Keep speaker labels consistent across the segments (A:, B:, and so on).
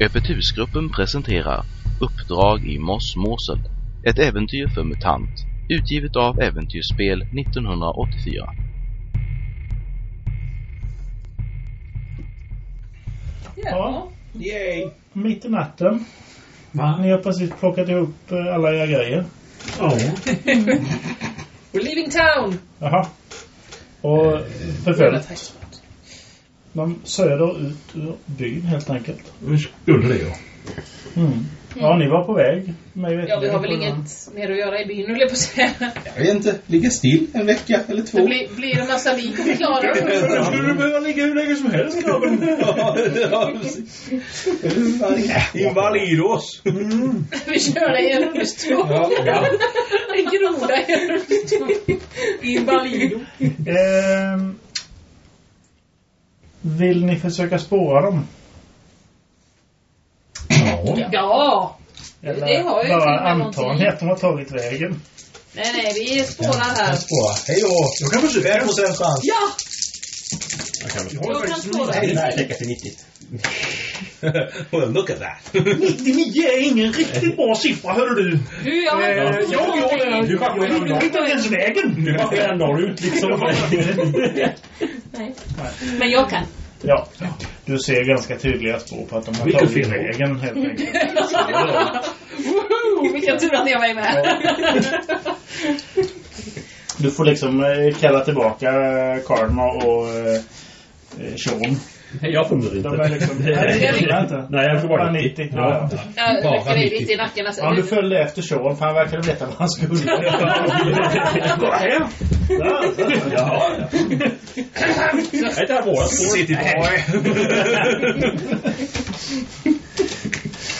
A: Öppet husgruppen presenterar Uppdrag i Mossmåsel, ett äventyr för MUTANT, utgivet av Äventyrsspel 1984.
B: Ja,
C: Yay!
B: mitt i natten.
D: Va?
B: Ni har precis plockat ihop eh, alla era grejer.
D: Ja.
C: We're leaving town!
B: Jaha. Och
C: Jävla
B: förföljt
C: taxbåt.
B: dem söder ut ur byn helt enkelt.
D: Vi skulle det ju.
B: Mm. Ja, ni var på väg. mig vet
C: Ja, vi
B: jag.
C: har väl inget mer att göra i byn, höll jag på att säga.
E: Jag vet inte, ligga still en vecka eller två.
C: Det blir, blir det en massa lik och förklara.
B: Skulle du behöva ligga hur länge som helst grabben?
E: Ja, ja, precis.
D: Invalidos!
C: Vi kör dig genom det stora.
E: Ja, ja.
C: En groda genom det stora. Invalido.
B: Ehm, vill ni försöka spåra dem?
D: Ja.
C: Ja! Det har jag ju till
B: bara
C: och med
B: anta
C: någonting.
B: att de har tagit vägen.
C: Nej, nej, vi spårar här.
E: Tvåa. Hej då!
D: Jag kan försöka.
E: Fem procent chans.
C: Ja!
D: Jag kan försöka.
C: Jag kan spåra.
E: Nej, nej, täcka till 90. well, look at that.
B: 99 är ingen riktigt bra siffra, hör du.
C: Du, jag har
B: Eh,
C: inte
B: ja, ja, det är-
D: Du bara
B: Vi
D: går
B: vet inte ens vägen.
D: bara skära norrut liksom.
C: Nej. Men jag kan.
B: Ja, du ser ganska tydliga spår på att de har
D: Vilken
B: tagit
D: film?
B: vägen helt enkelt.
C: Woho! Oh, Vilken tur att jag var med.
B: Du får liksom eh, kalla tillbaka eh, Karma och eh, eh, Sean.
D: Nej, jag funderar
B: De är
D: inte.
B: liksom...
D: Nej,
C: jag
B: jag inte.
D: Nej, jag får bara...
B: 90. Ja,
D: Ja.
B: ja.
C: Jag
E: Bara
C: rycker dig
E: mitt i.
C: lite i nacken. Alltså.
B: Ja, du följde efter Sean för han verkade veta vad han skulle. Gå hem! Ja, ja.
D: Ja, ja. Nej, det här var vårat spår.
E: City boy.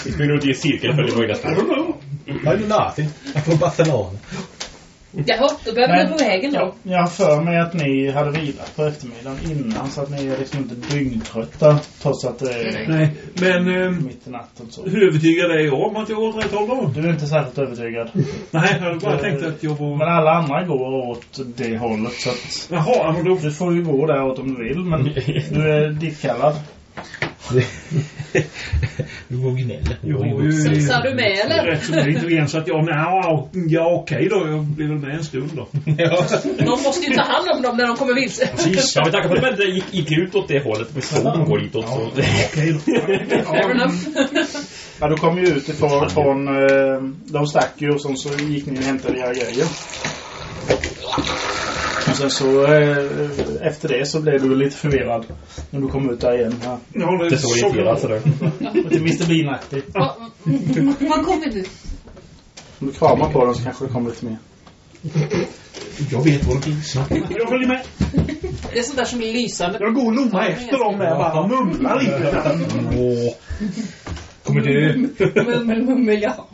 D: Vi springer runt i en cirkel för det var inga spår.
E: Why you laughing? I'm from Barcelona.
C: Jaha, då behöver du gå vägen
B: ja,
C: då.
B: jag har för mig att ni hade vilat på eftermiddagen innan så att ni är liksom inte dyngtrötta trots att det är
D: Nej, men eh,
B: mitt i natten och så.
D: hur övertygad är jag om att jag går åt rätt håll då?
B: Du är inte särskilt övertygad.
D: Nej, jag bara tänkte att jag
B: Men
D: var...
B: alla andra går åt det hållet så att
D: Jaha, men då...
B: du får ju gå däråt om du vill men du är dittkallad.
E: Du var gnäll.
D: Jag var ju...
C: Susar du med eller?
D: Rätt som det är intelligent så att jag... nja, Ja, okej då. Jag blir väl med en stund då.
E: Ja.
C: De måste ju ta hand om dem när de kommer vilse.
D: Precis. Ja, men tack för det. Men det gick, gick ut åt det hållet. Vi såg dem gå ditåt. Så. Okej då.
C: Fair enough.
B: Ja, du kom ju ut ifrån... Från, eh, de stack ju och sen så gick ni och hämtade era grejer. Och sen så eh, efter det så blev du lite förvirrad när du kom ut där igen. Ja.
D: Jag håller
E: Det såg inte jag, alltså,
D: det.
B: Lite Mr Bean-aktig.
C: Va- Vad kommer du?
B: Om du kramar på den så kanske det kommer lite mer.
E: Jag vet vad de finns.
D: Jag följer med.
C: Det är sånt där som är lysande.
B: Jag går och lommar
C: efter dem
B: med
E: bara,
B: mumlar lite.
E: Åh. Kommer du?
C: Mummel, mummel, ja.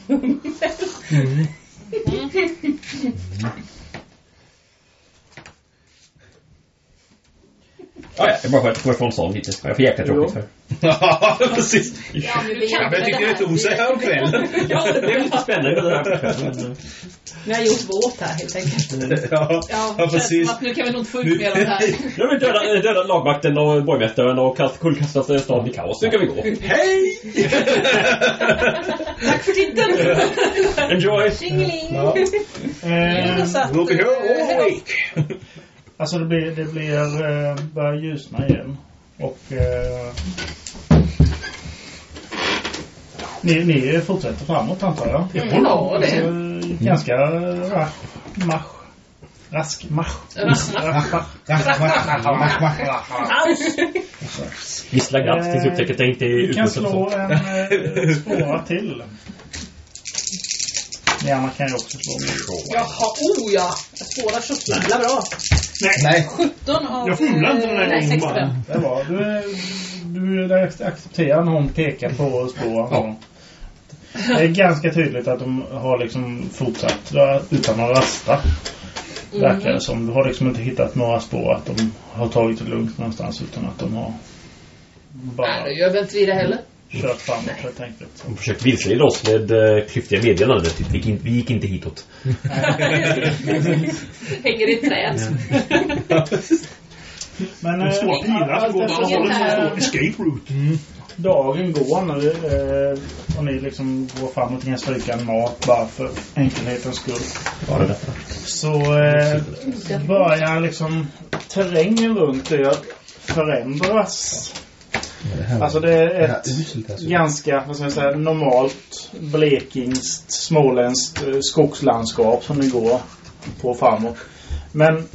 F: Ja, ja, det är bara för att gå ifrån sån lite. Jag får jäkla tråkigt för.
E: Ja, precis.
C: Ja, men
E: Ja, men jag tyckte det tog sig häromkvällen.
C: Ja, det är
F: lite spännande med det här.
C: Nu har jag gjort våt här helt enkelt.
E: Ja, ja,
C: känns
E: precis.
C: som Att nu kan vi nog inte få ut mer av det här.
F: Nu har vi dödat, eh, dödat lagvakten och borgmästaren och kast- kullkastat eh, staden i kaos. Nu kan vi gå.
E: Hej!
C: Tack för titeln!
F: Enjoy!
C: Tjingeling!
E: Ja.
B: Eh,
E: Nu åker jag all
C: Ja,
E: week.
B: alltså det blir, det blir, eh, börjar ljusna igen. Och eh, ni, ni fortsätter framåt antar jag.
C: det.
B: Eh, Ganska eh, rask marsch. Rask marsch. Rask marsch.
C: Aus!
F: Vissla glatt tills du upptäcker att det inte är
B: Eh, Vi kan
F: utmuttrat
B: slå
F: så.
B: en eh, spåra till. Ni andra kan ju också slå.
C: Jaha, oh ja! Jag spårar så himla bra.
E: Nej.
C: 17 av...
D: Jag fumlar inte den här
C: eh,
D: gången
C: 65.
D: bara.
B: Det var. Du, är- du är där accepterar när hon pekar på spåren. Det är ganska tydligt att de har liksom fortsatt eh, utan att rasta. Verkar det som. Du har liksom inte hittat några spår att de har tagit det lugnt någonstans utan att de har
C: Nej,
B: bara
C: det gör väl inte vi det heller.
B: kört framåt helt enkelt.
F: De försökte vilseleda oss med eh, klyftiga meddelanden. Typ, vi, gick in, vi gick inte hitåt.
C: Hänger i träd.
B: Men
D: De
B: eh,
D: stora
B: ja, eh,
D: pilarna som går åt alla
C: Inget
D: hållen.
C: här.
D: som står Escape route.
B: dagen går när vi, eh, och ni liksom går fram och kan stryka en mat bara för enkelhetens skull.
E: Var det detta?
B: Så eh, börjar liksom terrängen runt er förändras.
E: Det här,
B: Alltså det är
E: det här
B: ett
E: uselt alltså.
B: ganska vad ska jag säga, normalt blekingskt, småländskt eh, skogslandskap som ni går på framåt. Men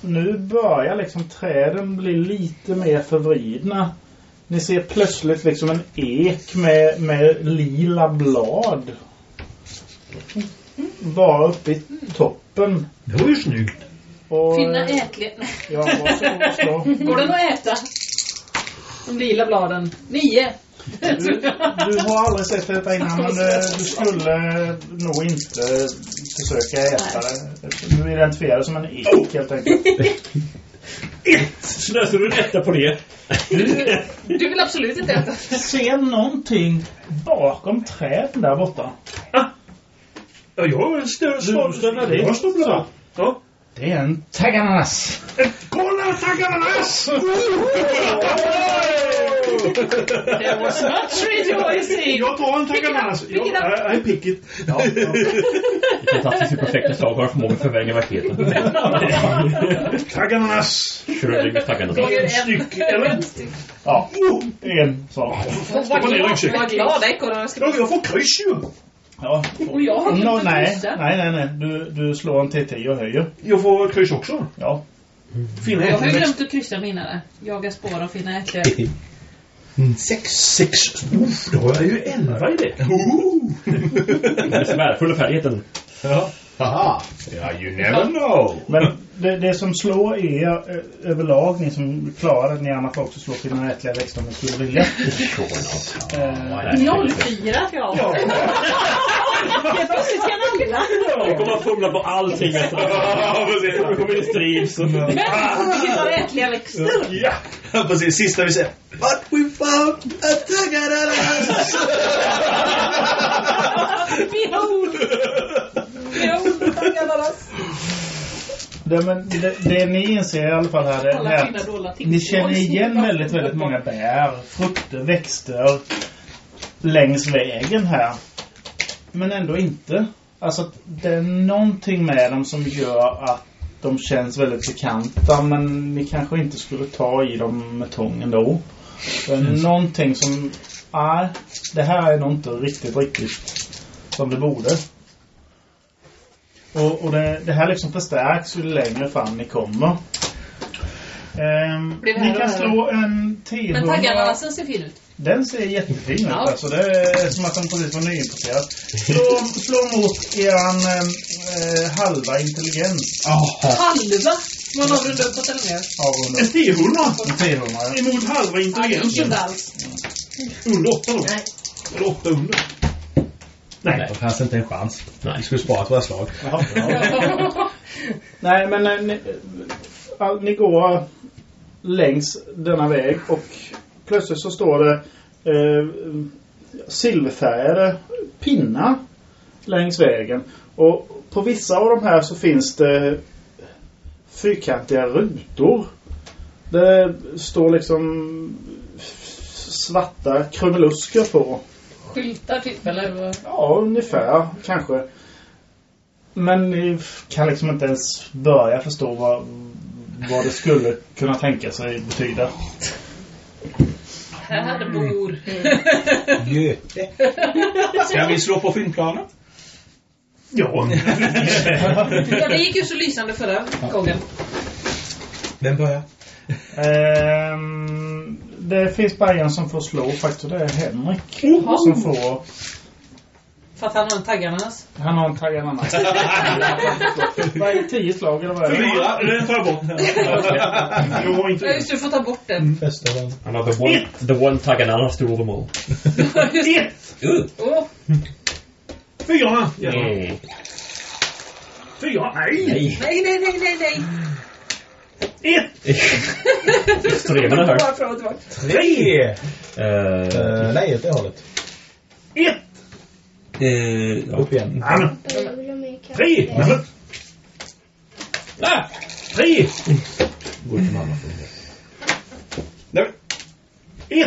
B: nu börjar liksom träden bli lite mer förvridna. Ni ser plötsligt liksom en ek med, med lila blad. Bara uppe i toppen.
E: Det var ju snyggt.
B: Och,
C: Finna ätlig... Nej,
B: Ja, varsågod och slå.
C: Går den att äta? De lila bladen. Nio.
B: Du, du har aldrig sett detta innan men eh, du skulle eh, nog inte eh, försöka äta det. Du identifierar det som en ek helt enkelt.
D: Slösar du en etta på det?
C: Du vill absolut inte äta.
B: Du ser någonting bakom träden där borta.
D: Ja, jag har en större
B: snabblare.
D: Jag snabblade. Ja.
B: Det är en tagananas.
D: Kolla taganas!
C: Det was much rejoicing.
D: Jag tar en
C: taganas. Pick it up, pick it up.
D: I pick it.
B: Ja, ja.
F: Fantastiskt hur perfekta slag har förmåga att förvränga verkligheten.
D: Taganas!
F: Schrödingers taggande.
C: Gånger en.
D: styck, eller?
C: En styck.
B: ja. en sak.
C: Och Vad
D: ner i
C: glad,
D: ryggsäcken.
C: vad glad ekorrarna
D: Ja,
C: skulle
D: jag får kryss ju!
B: Ja.
C: Och jag har
B: Nå,
C: inte
B: nej,
C: kryssa.
B: nej, nej, nej. Du, du slår en T10 och höjer.
D: Jag får kryss också.
B: Ja.
D: Fina
C: Jag har ju
D: ätteväxt.
C: glömt att kryssa mina där. Jaga spår och finna ätlig.
E: Sex.
D: Mm. Sex. Uff, då har jag ju elva i det. Oh.
F: Den svärfulla färdigheten.
D: ja.
E: Haha. Yeah, you never know.
B: Men det, det som slår er eh, överlag, ni som klarar det, ni annars också slår till den ätliga växten om ni skulle vilja. Eh,
F: Noll.
C: 04 ja. Helt plötsligt kan alla.
F: Vi kommer att fumla på allting. alltså. Vi kommer i strid. så-
C: Men vi har ätliga växter.
D: Ja, precis. Sista vi ser. But we found a
E: Äh,
D: tagararas!
C: Behold! Behold, tagalalas.
B: Det, men det, det ni inser i alla fall här det
C: Alla
B: är
C: fina
B: att
C: dolda ting.
B: ni känner igen väldigt, väldigt många bär, frukter, växter längs vägen här. Men ändå inte. Alltså, att det är någonting med dem som gör att de känns väldigt bekanta men ni kanske inte skulle ta i dem med tången då. Det är någonting som... Nej, det här är nog inte riktigt, riktigt som det borde. Och, och det, det här liksom förstärks ju längre fram ni kommer. Ehm,
C: Blir det
B: ni
C: här
B: kan
C: då,
B: slå en
C: Men
B: 1000
C: tagalasen ser fin ut.
B: Den ser jättefin ut.
C: Ja.
B: Alltså, det är som att den precis var nyimporterad. Slå, slå mot eran ehm, eh, halva intelligens.
C: Halva! Man avrundar uppåt eller ner.
B: Avrunda
D: En tiohundra!
B: till 400. ja.
D: Emot halva
C: Nej, det gick
D: intelligensen.
C: inte alls.
D: Under åtta då.
C: Nej.
D: Eller åtta under.
E: Nej, det fanns inte en chans. Vi skulle spara ett våra slag.
B: Jaha. Nej, men eh, ni, all, ni går längs denna väg och plötsligt så står det eh, silverfärgade pinnar längs vägen. Och på vissa av de här så finns det fyrkantiga rutor. Det står liksom svarta krumelusker på.
C: Skyltar typ eller? vad?
B: Ja, ungefär kanske. Men ni kan liksom inte ens börja förstå vad, vad det skulle kunna tänka sig betyda.
C: Här bor...
B: Mm.
E: Göte. Ska vi slå på filmplanen?
D: Ja.
C: Ja, det gick ju så lysande förra gången.
E: Vem börjar?
B: Ehm, det finns bara en som får slå faktiskt och det är Henrik. Som får...
C: För att han har en taggarnas.
B: Han har en taggad annan. Vad är det, tio slag eller vad är det?
D: Fyra. Den tar jag bort. Jag har
C: Ja,
D: inte...
C: just det, du får ta bort
B: Mm.
C: den.
E: Första den.
F: Han har the one, the one tag and another to them all.
C: Just det.
F: Uh.
C: Åh,
D: Fyra. Ja.
F: Mm.
D: Fyra. Nej.
F: Nej,
C: nej, nej, nej, nej, nej.
D: Ett.
F: extremerna här.
C: Bara fram och tillbaka.
E: Tre!
F: Eh,
E: Eh, nej, åt det hållet.
D: Ett.
F: eh, ja.
E: Upp igen.
D: Nej men.
G: Jag vill ha mer kaffe.
D: Tre. Nej men.
F: Ah!
D: Tre.
E: Går till mamma för
D: Nej men.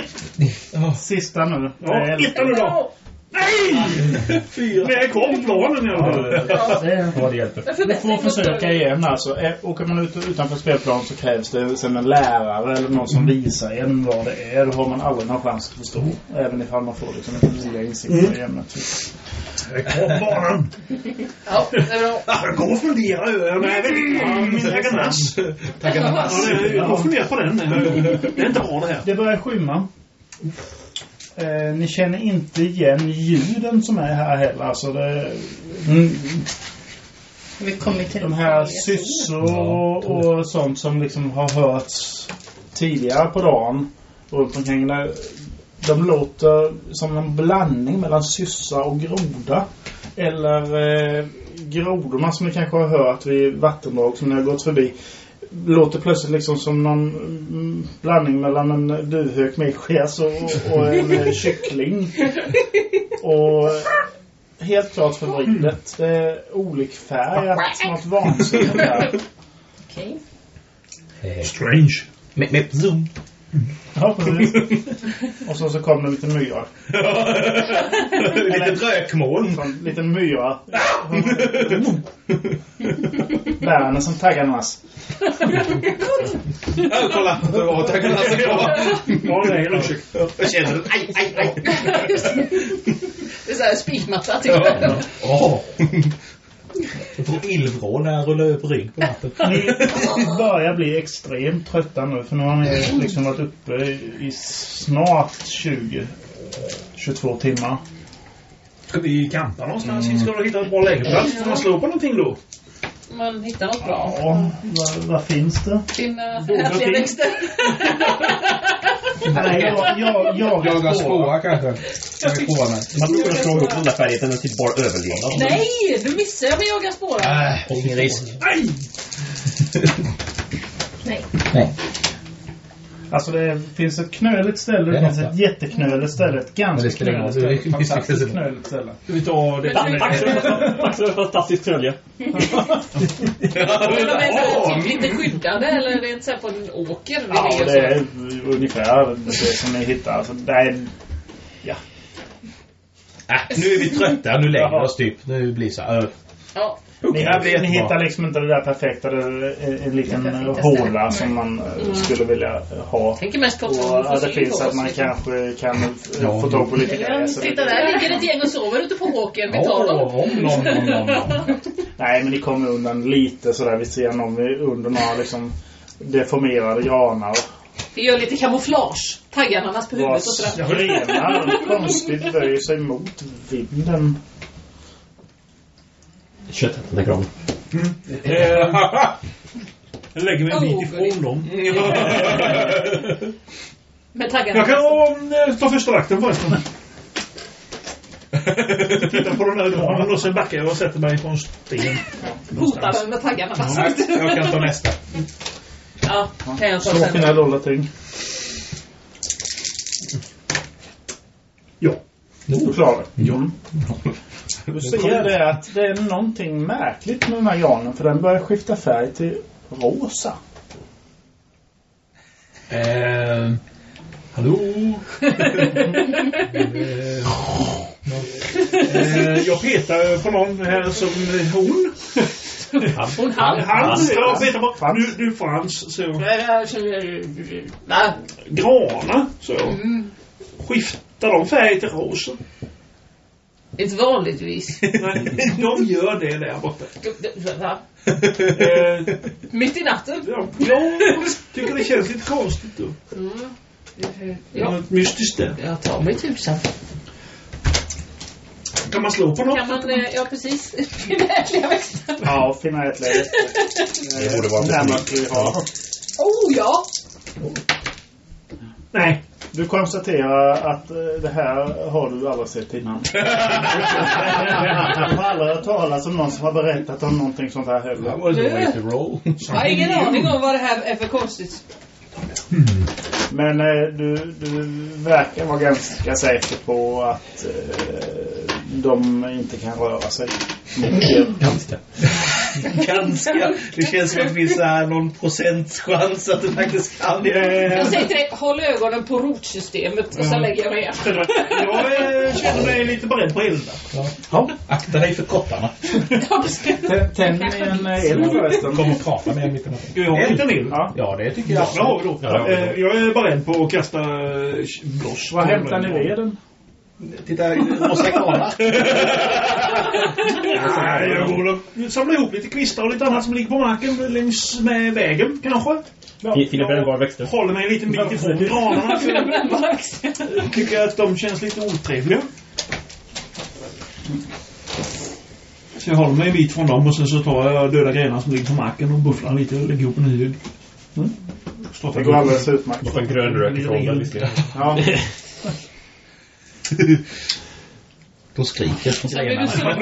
B: Ett! Sista nu.
D: Ja, ettan nu då! Nej! Fyra. Nej, kom planen i alla fall.
C: Ja.
B: Det är vad det hjälper.
C: Men
B: Du
C: förbättring
B: får
C: måste
B: försöka
C: du-
B: igen alltså. Eh, Åker man ut utanför spelplan så krävs det sen en lärare eller någon som visar en vad det är. Då har man aldrig någon chans att förstå. Även ifall man får liksom en nya insikter i ämnet.
D: Kom banan!
C: Ja, det är bra.
D: Jag går och funderar över den här veckan. Min taganas. Ja, det är- Jag har funderat på den. Det är inte bra det här.
B: Det börjar skymma. Eh, ni känner inte igen ljuden som är här heller. Alltså det, mm,
C: Vi kommer till
B: de här syssor och, och sånt som liksom har hörts tidigare på dagen runt omkring. Där, de låter som en blandning mellan syssa och groda. Eller eh, grodorna som ni kanske har hört vid vattendrag som ni har gått förbi. Låter plötsligt liksom som någon mm, blandning mellan en duvhök med skärs och, och en eh, kyckling. Och helt klart förvridet. Det är olikfärgat som något vansinnigt där.
C: Okej.
D: Strange.
E: Med, med zoom.
B: Ja, precis. Och så, så kom det en liten myra.
D: Lite rökmoln.
B: En liten myra. Bärande som taggarnas.
E: Ja, kolla. Det var taganas.
D: Ja, det är ursäkt.
E: Jag känner den. Aj, aj, aj.
C: Det är såhär spikmatta typ.
E: Åh. Jag får illvrål när jag rullar över rygg på natten.
B: Ni börjar bli extremt trötta nu för nu har ni liksom varit uppe i i snart 20 22 timmar.
D: Ska vi campa någonstans? Ska vi hitta en bra lägerplats? Får man slå på någonting då?
C: Man hittar något bra.
B: Ja, vad, vad finns det?
C: Finna ätliga växter.
B: Nej, jag, jag, jag,
E: Jaga
B: spår.
E: spåra kanske. Jag vill spåra mig.
F: Man skulle slå ihop den där färdigheten till bara överlevnad.
C: Nej, du missar jag med jaga spåra.
E: Äh, ingen risk.
D: Nej!
C: Nej.
B: Alltså det finns ett knöligt ställe, det
E: Det är
B: finns
E: nästa.
B: ett jätteknöligt ställe, ett
E: Men det
B: ganska
E: spelar ingen
B: knöligt ställe,
E: roll.
B: ett fantastiskt
E: Det är-
B: knöligt ställe.
D: Ska vi ta det?
F: Tack så mycket för fantastiskt trölje.
C: Men de är så här typ lite skyddade eller är det inte så här på en åker? Liksom.
B: Ja,
C: är
B: Alltså, det är ungefär det som ni hittar. Alltså, det är,
E: Äh, nu är vi trötta. Nu lägger vi oss typ. Nu blir det så här. äh.
C: Ja.
B: ni,
E: Det här
B: ni
E: blir jättebra.
B: hittar liksom inte det där perfekta, det är en, en liten
C: Det perfekta
B: håla
C: stället.
B: som man eh, skulle vilja eh, ha.
C: Tänker mest på att
B: Och
C: hon får
B: ja, det
C: syn
B: finns
C: på
B: att
C: oss,
B: man
C: liksom.
B: kanske kan f-
E: Ja.
B: få tag på lite
C: Ja,
B: gräs. eller-
C: Titta där ligger ett gäng och sover ute på åkern. Vi tar dem.
E: Åh, om, nom, nom, nom, nom.
B: Nej, men ni kommer undan lite sådär vid sidan om, eh, under några liksom deformerade granar.
C: Vi gör lite kamouflage. Taggarnas på huvudet och sådär.
B: Vars grenar konstigt böjer sig mot vinden.
F: Köttet, den granen.
D: Jag Eh, lägger mig en bit
C: Oh,
D: ifrån dem.
C: Med taggarna.
D: Jag kan eh, ta första vakten förresten. Titta på den där granen och sen backar jag och sätter mig på en sten.
C: Hota den med taggarna fast.
E: Jag kan ta nästa.
C: Ja, kan jag ta
B: Slå
C: sen.
B: fina dollarting.
D: Ja.
B: Du klarar det. Du ser det att det är någonting märkligt med den här granen för den börjar skifta färg till rosa.
E: Eh, hallå?
D: Eh, Jag petar på någon här som hon.
C: Hon hann.
D: Han. Jag petar på. Nu, nu Frans. Så. jag.
C: Nej,
D: Granar. Så. jag.
C: Mm.
D: Skiftar de färg till rosa?
C: inte vanligtvis.
D: Nej, de gör det där borta.
C: Va?
D: Eh,
C: Mitt i natten.
D: ja, jag tycker det känns lite konstigt då.
C: Ja.
D: Något mystiskt där.
C: Jag tar mig typ tusan.
D: Kan man slå på något?
C: Kan man, eh, ja precis. Ätliga växter.
B: Ja, finna ett läge.
E: Det borde vara
B: Närmast vi har.
C: Oh ja!
D: Nej.
B: Du konstaterar att eh, det här har du aldrig sett innan. Jag har aldrig hört talas om någon som har berättat om någonting sånt här heller.
E: That was a
H: Eh.
E: way to roll.
C: Jag har ingen aning om vad det här är för konstigt.
B: Men eh, du, du verkar vara ganska säker på att eh, de inte kan röra sig. mot er.
E: Ganska. ganska... Det känns som att det finns så här någon procents chans att det faktiskt kan
H: Jag
D: Eh,
E: det.
H: säger till dig, håll ögonen på rotsystemet och sen lägger jag mig igen.
D: Jag eh, känner mig lite beredd på elda.
E: Ja, akta dig för kottarna.
H: Ja, precis.
B: Tänd en eh, eld förresten.
E: Kom och prata med mig mitt emot.
D: Ska vi ha en liten eld?
B: Ja.
E: Ja, det tycker jag.
D: Ja, det har vi då.
E: Ja, det har vi då.
D: Eh, Jag är beredd på att kasta eh, blås.
B: Vad hämtar ni veden?
E: Titta, måste jag kolla?
D: Nej, jag går och samlar ihop lite kvistar och lite annat som ligger på marken längs med vägen kanske.
F: Filip brännbar växter.
D: Håller mig en liten bit ifrån granarna.
H: Mina brännbara axlar.
D: Tycker att de känns lite otrevliga. Så jag håller mig en bit från dem och sen så tar jag döda grenar som ligger på marken och bufflar lite och lägger ihop en hög. Mm.
B: Det går alldeles utmärkt.
F: Borta en grön rök ifrån den visserligen.
B: Ja.
E: Då skriker från
H: Jag blev
E: scenerna.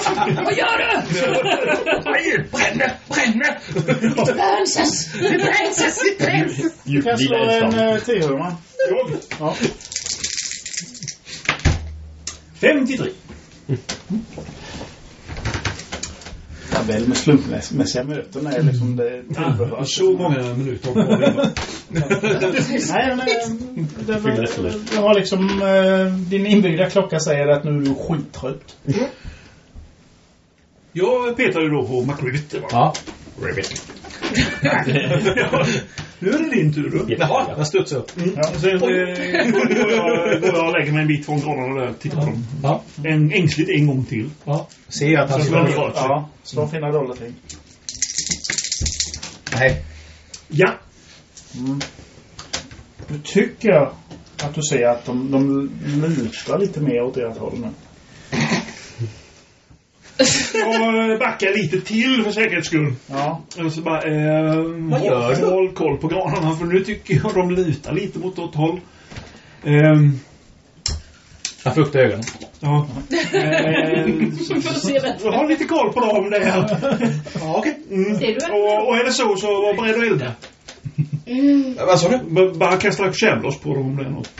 H: så- Vad gör du?
E: Bränne! Bränne!
H: Bönsas! Det bränses! Det bränns!
B: Du kan slå en eh, tiohumma. Ja.
D: 53.
B: Tabell med slumpmässiga möten är liksom det tillbehör.
D: Så många minuter har vi.
B: Nej, men, eh, det, var- det har liksom... eh, Din inbyggda klocka säger att nu är du skittrött.
D: Jag petar ju då på McRibbit.
E: Ja.
F: Ribbit.
D: Nu är det din tur då.
E: Jaha, jag studsar upp.
D: Ja, sen eh, går jag, går jag och lägger mig en bit från granarna där och tittar på dem.
E: Ja.
D: En, ängsligt en gång till.
E: ja. Ser jag att han
D: Så slår du
E: slår?
D: bort sig.
B: Ja, slå fina dollarting.
E: Nej.
D: Ja.
B: Nu tycker jag att du ser att de, de lutar lite mer åt ert håll nu.
D: Jag backar eh, lite till för säkerhets skull.
B: Ja.
D: Och så bara, eh,
E: Vad gör
D: håll,
E: du?
D: håll koll på granarna för nu tycker jag de lutar lite mot åt håll. Ehm,
E: Han fuktar ögonen.
D: ja. Ehm,
H: Vi får se bättre.
D: så ha lite koll på dem där.
E: Ja, okej.
D: Mm.
H: Ser du en?
D: Och, och är det så så var beredd att elda.
G: Mm.
E: Äh, Vad sa du?
D: B- bara kasta kävlås på dem om det är något.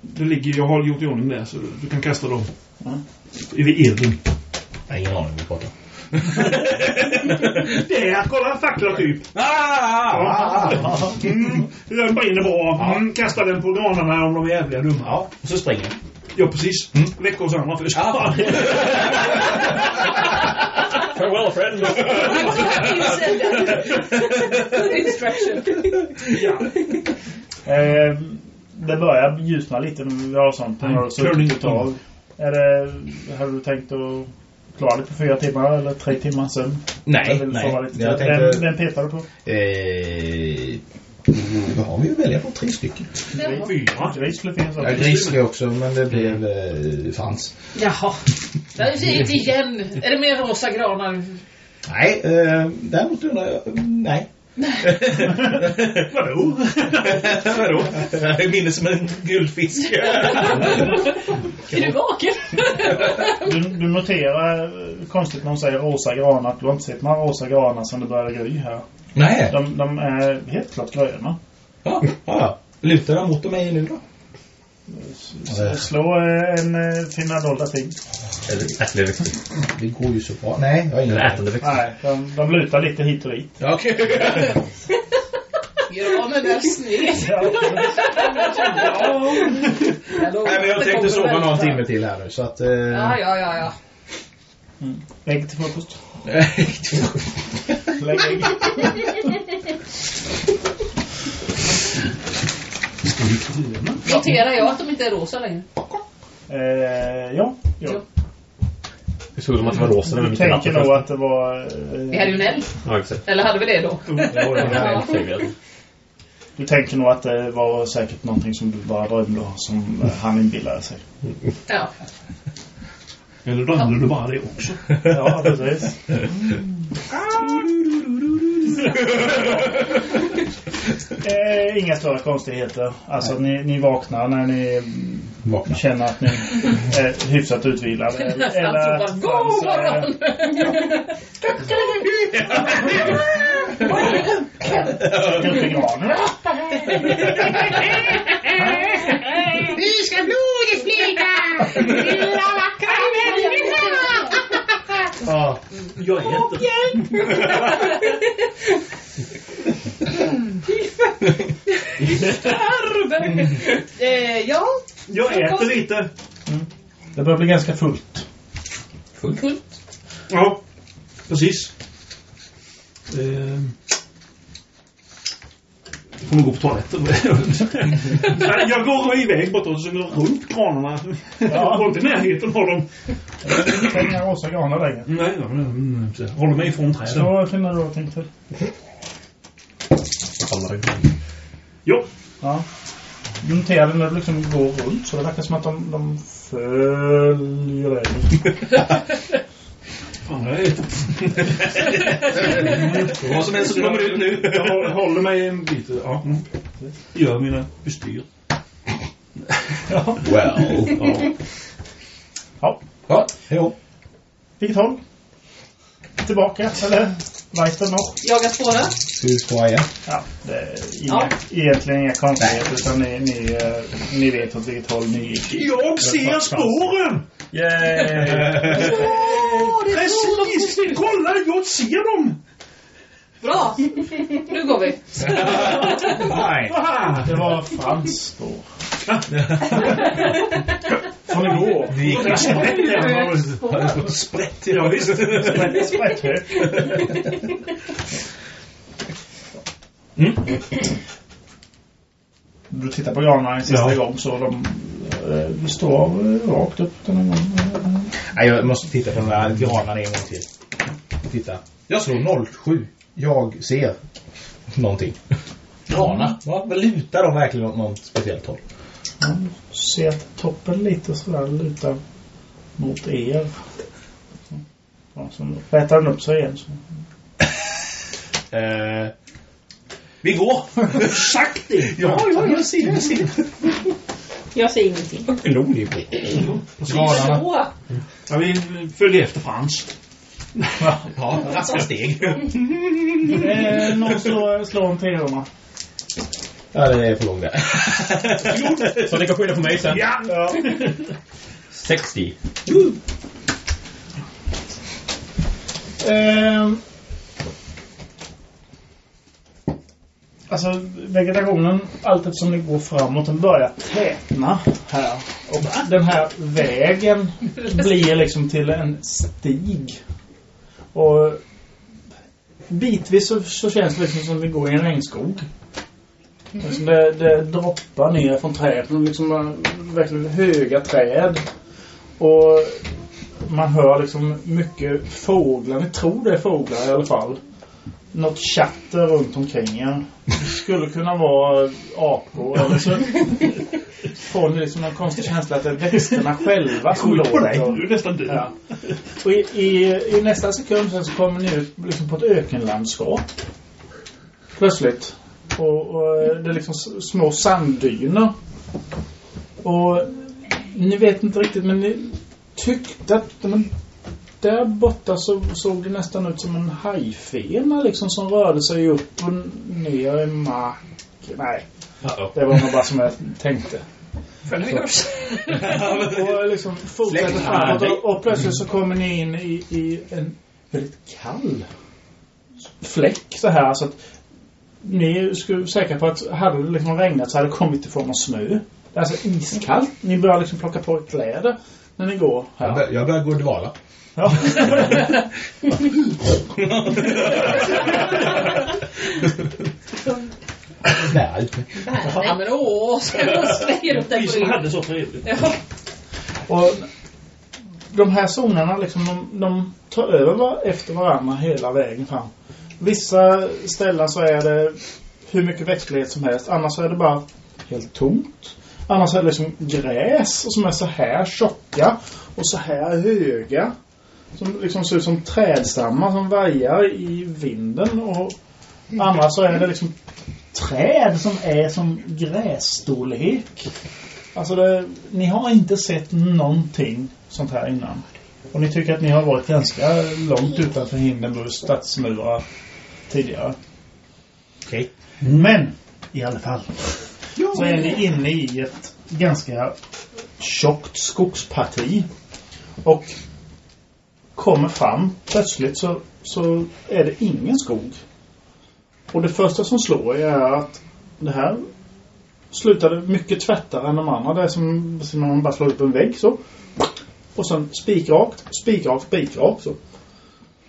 D: Det ligger, jag har gjort i ordning det så du kan kasta dem.
B: Ja.
D: I vid elden.
E: Jag har ingen aning. Vi pratar.
D: Där, kolla en fackla typ.
E: Ah!
D: Mm, den brinner bra. Mm, kasta den på granarna om de är jävliga dumma.
E: Ja, och så springer jag.
D: Ja, precis. Mm. Väck oss andra först.
E: Ja.
F: Farewell friend!
H: You said that. Good instruction.
B: Eh, det börjar ljusna lite när vi har sånt.
E: Mm.
B: När du har suttit ett tag. Är det, har du tänkt att klara dig på fyra timmar eller tre timmar sömn? Jag
E: Nej,
B: vill sova
E: nej.
B: lite.
E: Jag
B: Vem,
E: tänkte...
B: vem petar du på?
E: Eh... Då har vi ju att välja på tre stycken.
D: Fyra.
B: Gris skulle finnas
E: Ja,
B: också.
E: Grizzly också, men det blev eh, Frans.
H: Jaha. Där är inte igen. Är det mer rosa granar?
E: Nej, eh, däremot undrar jag... Nej.
D: Vadå? Vadå?
E: Jag minns som en guldfisk.
H: Är du vaken?
B: Du, du noterar eh, konstigt när de säger rosa granar att du har inte sett några rosa granar sedan det började gry här.
E: Nej.
B: De, de är helt klart gröna.
E: Ja, ja. Lutar jag mot mig nu då?
B: Så slå eh, en eh, finna dolda ting.
F: Eller ätlig växter.
E: Det går ju så bra. Nej, jag har ingen
F: Eller ätande växter.
B: Nej, de, de lutar lite hit och dit.
E: Ja, Okej.
H: Ja, men där sned.
B: Ja,
E: Nej, men jag tänkte sova någon timme till här nu, så att... Eh...
H: Ja, ja, ja, ja.
B: ägg till frukost.
E: Nej,
B: Lägg ägg.
H: Noterar jag att de inte är rosa längre?
B: Eh, ja, ja.
F: Vi såg de att det var rosa när vi
B: Du
F: mitt i
B: tänker
F: natten
B: nog
F: förresten.
B: att det var...
H: Vi
B: Eh,
H: hade ju en älg.
F: Ja, exakt.
H: Eller hade vi det då?
F: Jo, det var en trevlig.
B: du tänker nog att det var säkert någonting som du bara drömde om som eh, han inbillade sig.
H: Ja.
D: Eller drömde du bara det också?
B: Ja, precis. Ah! Eh, inga större konstigheter. Alltså, ni, ni vaknar när ni mm,
E: Vakna.
B: känner att ni är hyfsat utvilade. Eller, eller
H: Alltså, bara,
B: att
H: god
B: Frans, eh,
H: morgon!
B: klipper granen.
I: Nu ska blodet flyta! Lilla vackra människa!
E: Ja, Ja.
D: Jag är inte...
H: Arv! Eh, ja,
D: Jag äter lite.
B: Det börjar bli ganska fullt.
H: fullt.
D: Ja, precis. Eh, jag kommer gå på toaletten. Nej, jag går iväg bortåt och sen går jag runt granarna. Jag Håller inte i närheten av dem.
B: Det är inga rosa granar längre.
D: Nej, ja, mm, så jag håller mig ifrån träden.
B: Så känner du någonting till?
D: Jo,
B: Ja. Du noterade när du liksom går runt så det verkar som att de, de följer dig.
D: fan jag äter.
E: Vad som helst
D: Så
E: som
D: kommer
E: kommer
D: det
E: ut
D: ut nu. Jag hå- håller mig en bit. Ja. mm. Gör mina bestyr.
E: Well. Ja.
B: Ja.
E: Ja, jo.
B: Vilket håll? Tillbaka eller right eller norr?
H: Jaga spåra.
E: Hur ska jag?
B: Ja, det är inga,
H: Ja.
B: egentligen inga konstigheter utan ni, ni, eh, ni vet åt vilket håll ni gick.
D: Jag ser spåren! Eh.
H: Åh, det är så
D: Precis! Kolla, jag ser dem!
H: Bra! Nu går vi.
E: Nej.
D: Ah,
B: Det var Frans spår. Från igår.
E: Det gick ju
D: sprätt där.
E: sprätt
D: Ja, visst.
B: Sprätthög. Mm. Du tittar på granarna en sista
D: Ja.
B: gång så de eh, står eh, rakt upp den här gången.
E: Nej, jag måste titta på de där granarna en gång till. Titta. Jag slog 07. Jag ser någonting. Granar. Va? Vad Lutar de verkligen åt något speciellt håll?
B: Man ser att toppen lite sådär lutar mot er. Ja, så rätar den upp sig igen. Så.
E: Eh, vi går! Sagt det! Ja, ja, jag ser, jag ser.
H: Jag säger ingenting.
E: Blodig Granarna.
H: Så.
D: Ja, vi följer efter Frans.
E: Ja, raska steg.
B: Eh, någon slår, slår en trehundra.
E: Ja, det är för långt där.
F: Så ni kan skylla på mig sen.
D: Ja!
F: 60.
B: Ehm. Alltså vegetationen, allt eftersom det går framåt, den börjar tätna här. Och den här vägen blir liksom till en stig. Och bitvis så, så känns det liksom som vi går i en regnskog.
D: Mm.
B: Liksom det, det droppar ner från träden, liksom eh, verkligen höga träd. Och man hör liksom mycket fåglar. Ni tror det är fåglar i alla fall. Något chatter runt omkring er. Det skulle kunna vara apor eller så får ni liksom någon konstig känsla att det är växterna själva som
D: Skyll på dig.
B: låter.
D: Du är nästan du.
B: Ja. Och i, i, I nästa sekund sen så kommer ni ut liksom på ett ökenlandskap. Plötsligt. Och, och det är liksom s- små sanddyner. Och ni vet inte riktigt men ni tyckte att men, där borta så såg det nästan ut som en hajfena liksom som rörde sig upp och ner i marken. Nej, det var nog bara som jag tänkte.
H: Följ
B: Och liksom fortsätter
E: Släkt.
B: framåt och, och plötsligt så kommer ni in i, i en väldigt kall fläck så här så att ni skulle säkra på att hade det liksom regnat så hade det kommit i form av snö. Det är alltså iskallt. Ni börjar liksom plocka på er kläder när ni går
E: Jag
B: här.
E: bör- Jag börjar gå och dvala.
B: Ja.
E: Nej.
H: Nej men åh, ska jag slänga upp dig
D: Vi
H: på
D: som
H: ryggen?
D: hade så trevligt.
H: Ja.
B: Och de här zonerna liksom, de, de tar över var efter varandra hela vägen fram. Vissa ställen så är det hur mycket växtlighet som helst. Annars är det bara helt tomt. Annars är det liksom gräs som är så här tjocka och så här höga. Som liksom ser ut som trädstammar som vajar i vinden. Och andra så är det liksom träd som är som grässtorlek. Alltså det, ni har inte sett någonting sånt här innan. Och ni tycker att ni har varit ganska långt utanför Hindenburgs stadsmurar tidigare.
E: Okej.
B: Men i alla fall så är ni inne i ett ganska tjockt skogsparti. Och kommer fram plötsligt så, så är det ingen skog. Och det första som slår är att det här slutade mycket tvättare än de andra. Det är som, som när man bara slår upp en vägg så. Och sen spikrakt, spikrakt, spikrakt så.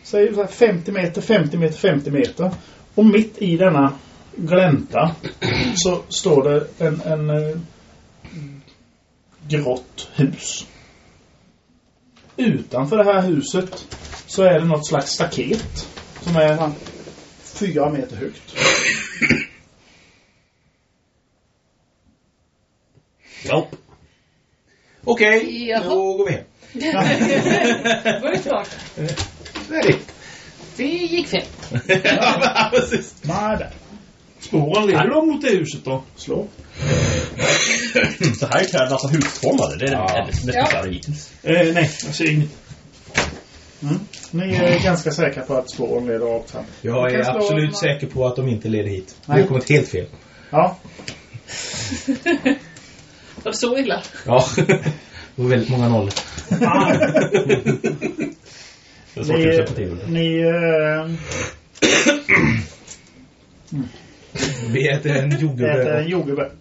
B: Så är det så här 50 meter, 50 meter, 50 meter. Och mitt i denna glänta så står det en, en eh, grått hus. Utanför det här huset så är det något slags staket som är eh, fyra meter högt.
E: Okej,
C: Jaha.
E: då går vi hem.
C: Det var ju klart.
E: Väldigt.
C: Det gick fel.
E: ja, precis.
B: Nej, där.
D: Spåren leder de mot det huset då?
B: Slå.
F: Så här är kläderna alltså husformade. Det är det ja. mest
C: Ja.
F: bisarra hittills.
D: Eh, nej, jag ser inget.
B: Mm. Ni är ganska säkra på att spåren leder rakt fram.
E: Jag
B: Du kan
E: är
B: slå
E: absolut
B: en-
E: säker på att de inte leder hit. Vi
B: Nej.
E: har kommit helt fel.
B: Ja,
C: Var det så illa?
E: Ja. Det var väldigt många nollor.
F: Det är svårt att
B: ni...
F: köpa till.
B: ni eh,
E: Vi äter en
B: äter
E: jordgubbe.
B: en jordgubbe.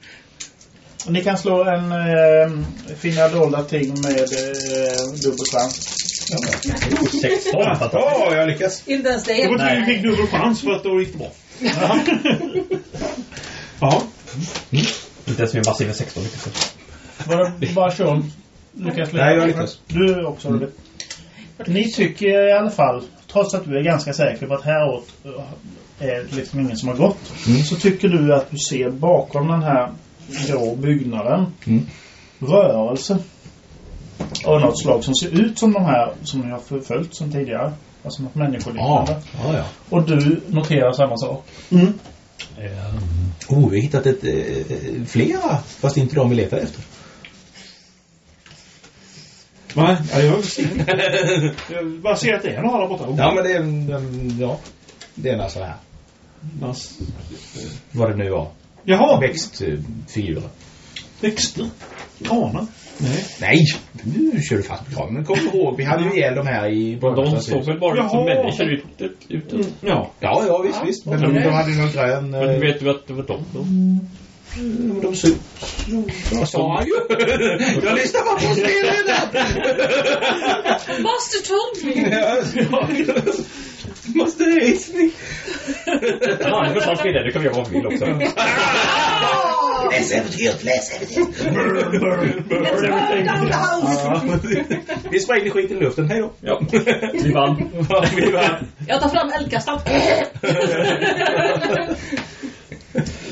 B: Ni kan slå en eh, finna dolda ting med eh, dubbel chans.
F: Oh, 16 fantastiskt.
E: Ja, jag lyckas.
C: Inte ens det.
D: Det var tur
C: Nej.
D: du fick dubbel chans för att då gick det bra. ja.
F: Inte ens min massiva 16 lyckas.
B: Var det bara Sean? Lyckas
E: Nej, jag lyckas.
B: Du också. Mm. Ni tycker i alla fall, trots att du är ganska säker på att häråt eh, är det liksom ingen som har gått,
E: Mm.
B: så tycker du att du ser bakom den här grå byggnaden
E: Mm.
B: rörelse av något slag som ser ut som de här som ni har förföljt som tidigare. Alltså något människoliknande.
E: ja, ja.
B: Och du noterar samma sak.
E: Oh, vi har hittat ett, eh, flera, fast inte de vi letar efter.
D: Va? Ja, jag ser inget. Jag bara ser att det är några där borta.
E: Ja, men det är en, en- ja. Det är en sån här,
D: Nas-
E: vad det nu var, eh,
D: Jaha,
E: växtfigurer.
D: växter. Granar. Nej.
E: Nej, nu kör du fast på kraven. Men kom ihåg, vi hade ju ihjäl de här i
F: De
E: Brunnslands
F: såg
E: hus.
F: väl bara ut som
D: Jaha.
F: människor ute. ute.
D: Ja.
E: Ja, ja, visst, visst. Men de,
F: okej.
E: de hade ju någon grön...
F: Men
E: eh,
F: vet du att det var de då?
E: De såg... Vad sa han ju? Jag lyssnar eh, bara på spelledaren!
C: Master told me!
E: Måste resa mig.
F: Ja, det var sant det. Det kan vi göra vad vi vill också.
E: Läs äventyret, läs äventyret! Vi sprängde skiten i luften, hej då!
F: Ja, vi vann.
E: Vi vann.
C: Jag tar fram eldkastaren.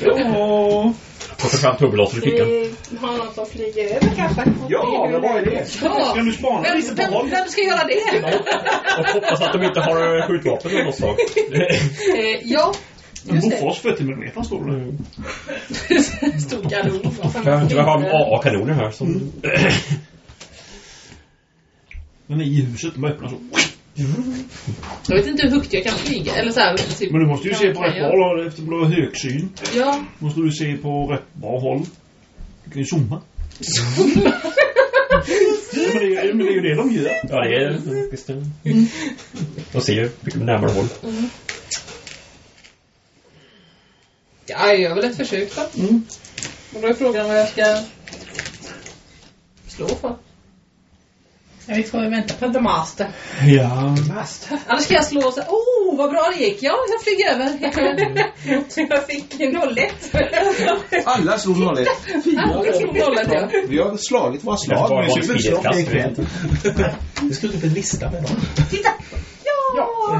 D: Ja.
F: Och så fram tubbelåsen i fickan.
J: Vi har något som flyger över kanske?
E: Ja, men vad är det?
C: Ja.
D: Kan du spana
C: Vem,
D: lite på
C: vem,
D: håll?
C: vem ska göra det?
F: Och hoppas att de inte har eh, skjutvapen av något slag.
C: Eh, ja,
D: En
C: just det.
D: Bofors 40 mm står det.
C: Stor kanon. Eh,
F: Jag har AA-kanoner här som...
D: Den är i huset, den bara öppnar så.
C: Jag vet inte hur högt jag kan flyga. Eller så här, typ.
D: Men du måste ju
C: Ja,
D: se på
C: kan
D: rätt
C: jag.
D: håll och eftersom du har högsyn.
C: Ja,
D: måste du se på rätt bra håll. Du kan ju zooma. ja, men, det, är- men det är ju det de gör.
F: Ja, det är... Visst är det. De ser ju mycket närmare håll.
C: ja jag gör väl ett försök då.
D: Mm.
C: Och då är frågan vad jag ska slå för. Ja, vi får vänta på The Master.
D: Ja.
C: Annars kan jag slå och säga, oh vad bra det gick. Ja, jag flög över.
J: Jag fick 01.
K: Alla slog 01.
C: Ja, jag slog nollan ja.
K: Vi har slagit våra
F: Det kanske
K: slag
F: bara
K: med
F: var ett
K: superslag.
F: frihetskast,
K: Det är
F: vet
K: kväll.
E: Vi skulle typ en lista med dem.
C: Ja!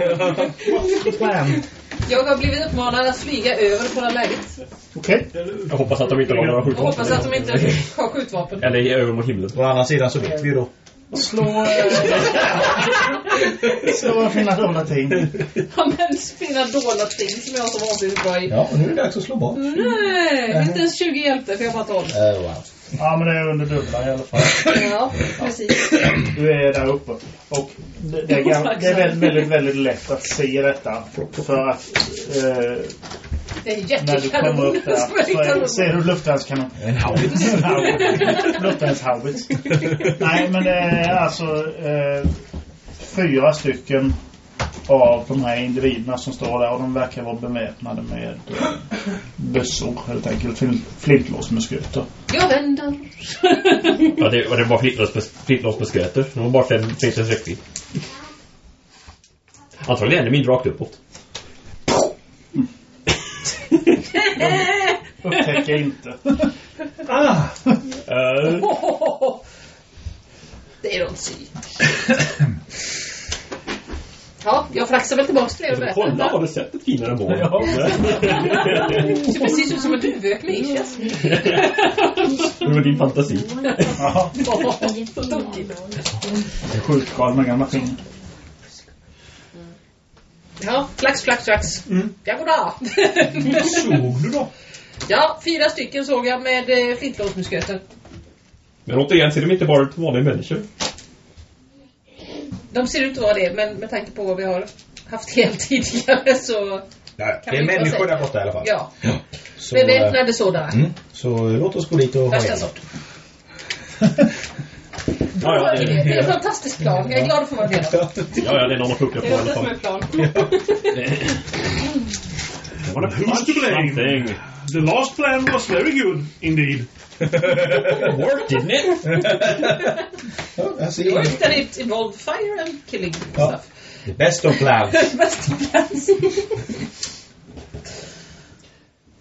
C: Jag har blivit uppmanad att flyga över och kolla läget.
B: Okej.
F: Jag hoppas att de inte har några
C: Och hoppas att
F: skjutvapen.
C: de inte har skjutvapen.
F: Eller i över mot himlen.
E: Å andra sidan så vet vi ju då.
B: Slå... eh, Slå och finna dolda ting.
C: Ja, men spinna dolda ting som jag har så vansinnigt bra i.
E: Ja, och nu är det dags att slå bort.
C: Nej, inte ens 20 hjälpte för jag bara 12.
E: Eh, wow.
B: Ja, men det är under dubbla i alla fall.
C: Ja, precis.
B: Du är där uppe. Och det, det, är, gam- det är väldigt, väldigt, väldigt lätt att se detta. För att eh,
C: Det är
B: när du
C: jättekanonen
B: kommer upp där
C: som jag
B: så är,
C: hittar
B: ser
C: upp.
B: du luftvärnskanon.
E: En haubits.
B: Luftvärnshaubits. Nej, men det är alltså eh, fyra stycken av de här individerna som står där och de verkar vara beväpnade med eh, bössor helt enkelt, flin- flintlås med skutor.
C: Jag vänder.
F: Ja, det, och det var flintlås- flintlås med sköter. Det var bara fem flintlås räckvidd. Antagligen ännu mindre rakt uppåt.
B: Upptäcker inte.
D: Ah.
F: Eh,
C: Det är de sy. Ja, jag flaxar väl tillbaka till er och berättar.
F: kolla, har du sett ett finare mål?
C: Det ser precis ut som en duvök med ischias.
F: Det var din fantasi.
B: Jaha,
C: Så tokigt.
B: det är skjutskal med gamla fingrar.
C: Ja, flax, flax, flax.
E: Mm.
C: Ja, goddag.
D: Såg du då?
C: Ja, fyra stycken såg jag med eh, flintlåsmusköter.
F: Men återigen ser de inte bara ut som vanliga människor.
C: De ser ut att vara det, men med tanke på vad vi har haft helt tidigare så...
E: Nej,
C: Kan
E: det är
C: vi bara
E: människor
C: säga.
E: där borta i alla fall.
C: Ja,
E: Så, eh,
C: beväpnade sådana.
E: mm, så låt oss gå dit och ha
C: Värsta
E: ihjäl dem.
C: sort. Ja, det, är- det är en fantastisk plan. Jag är glad för att få vara med om.
F: Ja, ja, det är någon att puckla på i
L: Det
F: alla
L: låter som
F: fall.
L: en plan.
D: Det var en push to blame.
F: Something.
D: The last plan was very good indeed.
F: Work, didn't it?
E: Ja, jag ser
C: Work
E: det.
C: that it involved fire and killing
E: Ja.
C: stuff.
E: The Best of plans.
C: Bästa plans.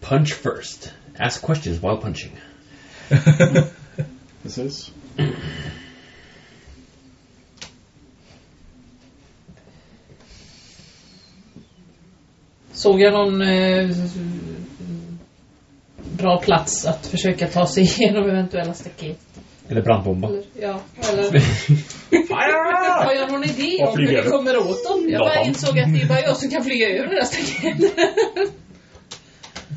F: Punch first. Ask questions while punching.
M: Precis.
C: Såg jag någon eh, bra plats att försöka ta sig igenom eventuella staket?
F: Eller brandbomba.
C: Eller, ja, eller... Har jag någon idé
F: Och
C: om hur
F: flyga
C: vi
F: över.
C: kommer åt dem? Jag
F: Ja.
C: bara insåg att det är bara jag som kan flyga över det där staketet.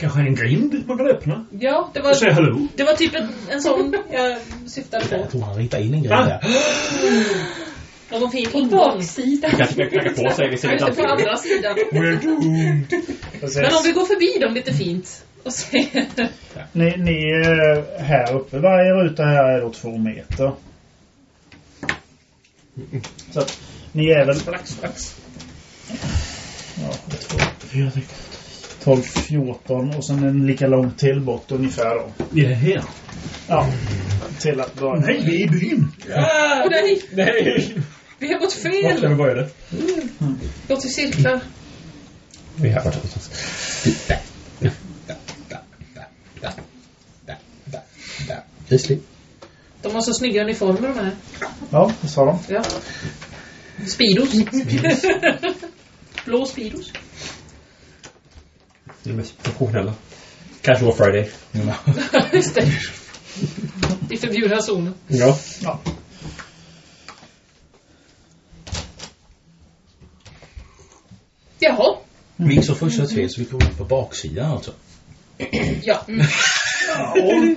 D: Kanske en grind man kan öppna
C: ja, det
D: och säga
C: var,
D: hallå.
C: det var typ en, en sån jag syftade på.
E: Jag tror han ritade in en grej där.
C: Någon fin
L: På
C: ingång.
L: baksidan.
F: Kanske kan knacka på sig vid
C: Ja,
F: sidan
C: just det, på andra sidan. Men om vi går förbi dem lite fint och ser...
B: Ni, ni eh, här uppe, varje ruta här är då två meter. Så att ni är väl... Strax, strax. Ja, det är två, fyra, sex, 12, 14 och sen en lika lång till bort ungefär då.
D: Vi är här.
B: Ja, till att börja med.
D: Nej, vi är i byn.
C: Åh nej,
F: Nej!
C: vi har gått
F: Vart ska
C: fel! Mm.
F: vi börja det?
C: Gått i cirklar.
F: Vi har varit någonstans.
E: Grizzly.
C: De har så snygga uniformer de här.
B: Ja, det sa de.
C: Ja. Speedos. Blå Speedos.
F: Det är mest professionella. Kanske var Friday.
C: Just det. I förbjudna zonen.
F: Ja.
B: Ja.
C: Jaha.
E: Vi gick så första fel så vi kom in på baksidan alltså.
C: Ja. Mm.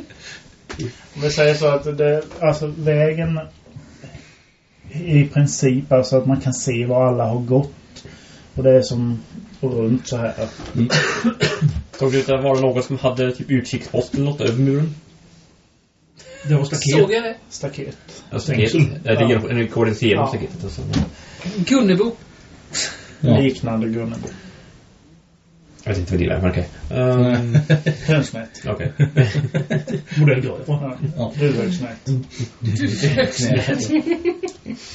B: Om vi säger så att det, alltså vägen i princip, alltså att man kan se var alla har gått. Och det är som runt så här.
F: Såg det ut att vara någon som hade typ utkikspost eller något över muren?
D: Det var staket.
C: Såg jag det?
B: Staket.
F: Ja, staket.
D: Stängsel.
F: Ja, det är en koordinat genom
B: Ja.
F: staketet. och så.
C: Gunnebo.
E: Ja.
B: Liknande Gunnebo.
F: Jag vet inte vad det är, men okej. Ehm,
B: Hönsnät.
F: Okej.
D: Modell därifrån.
B: Ja. Duvhögsnät.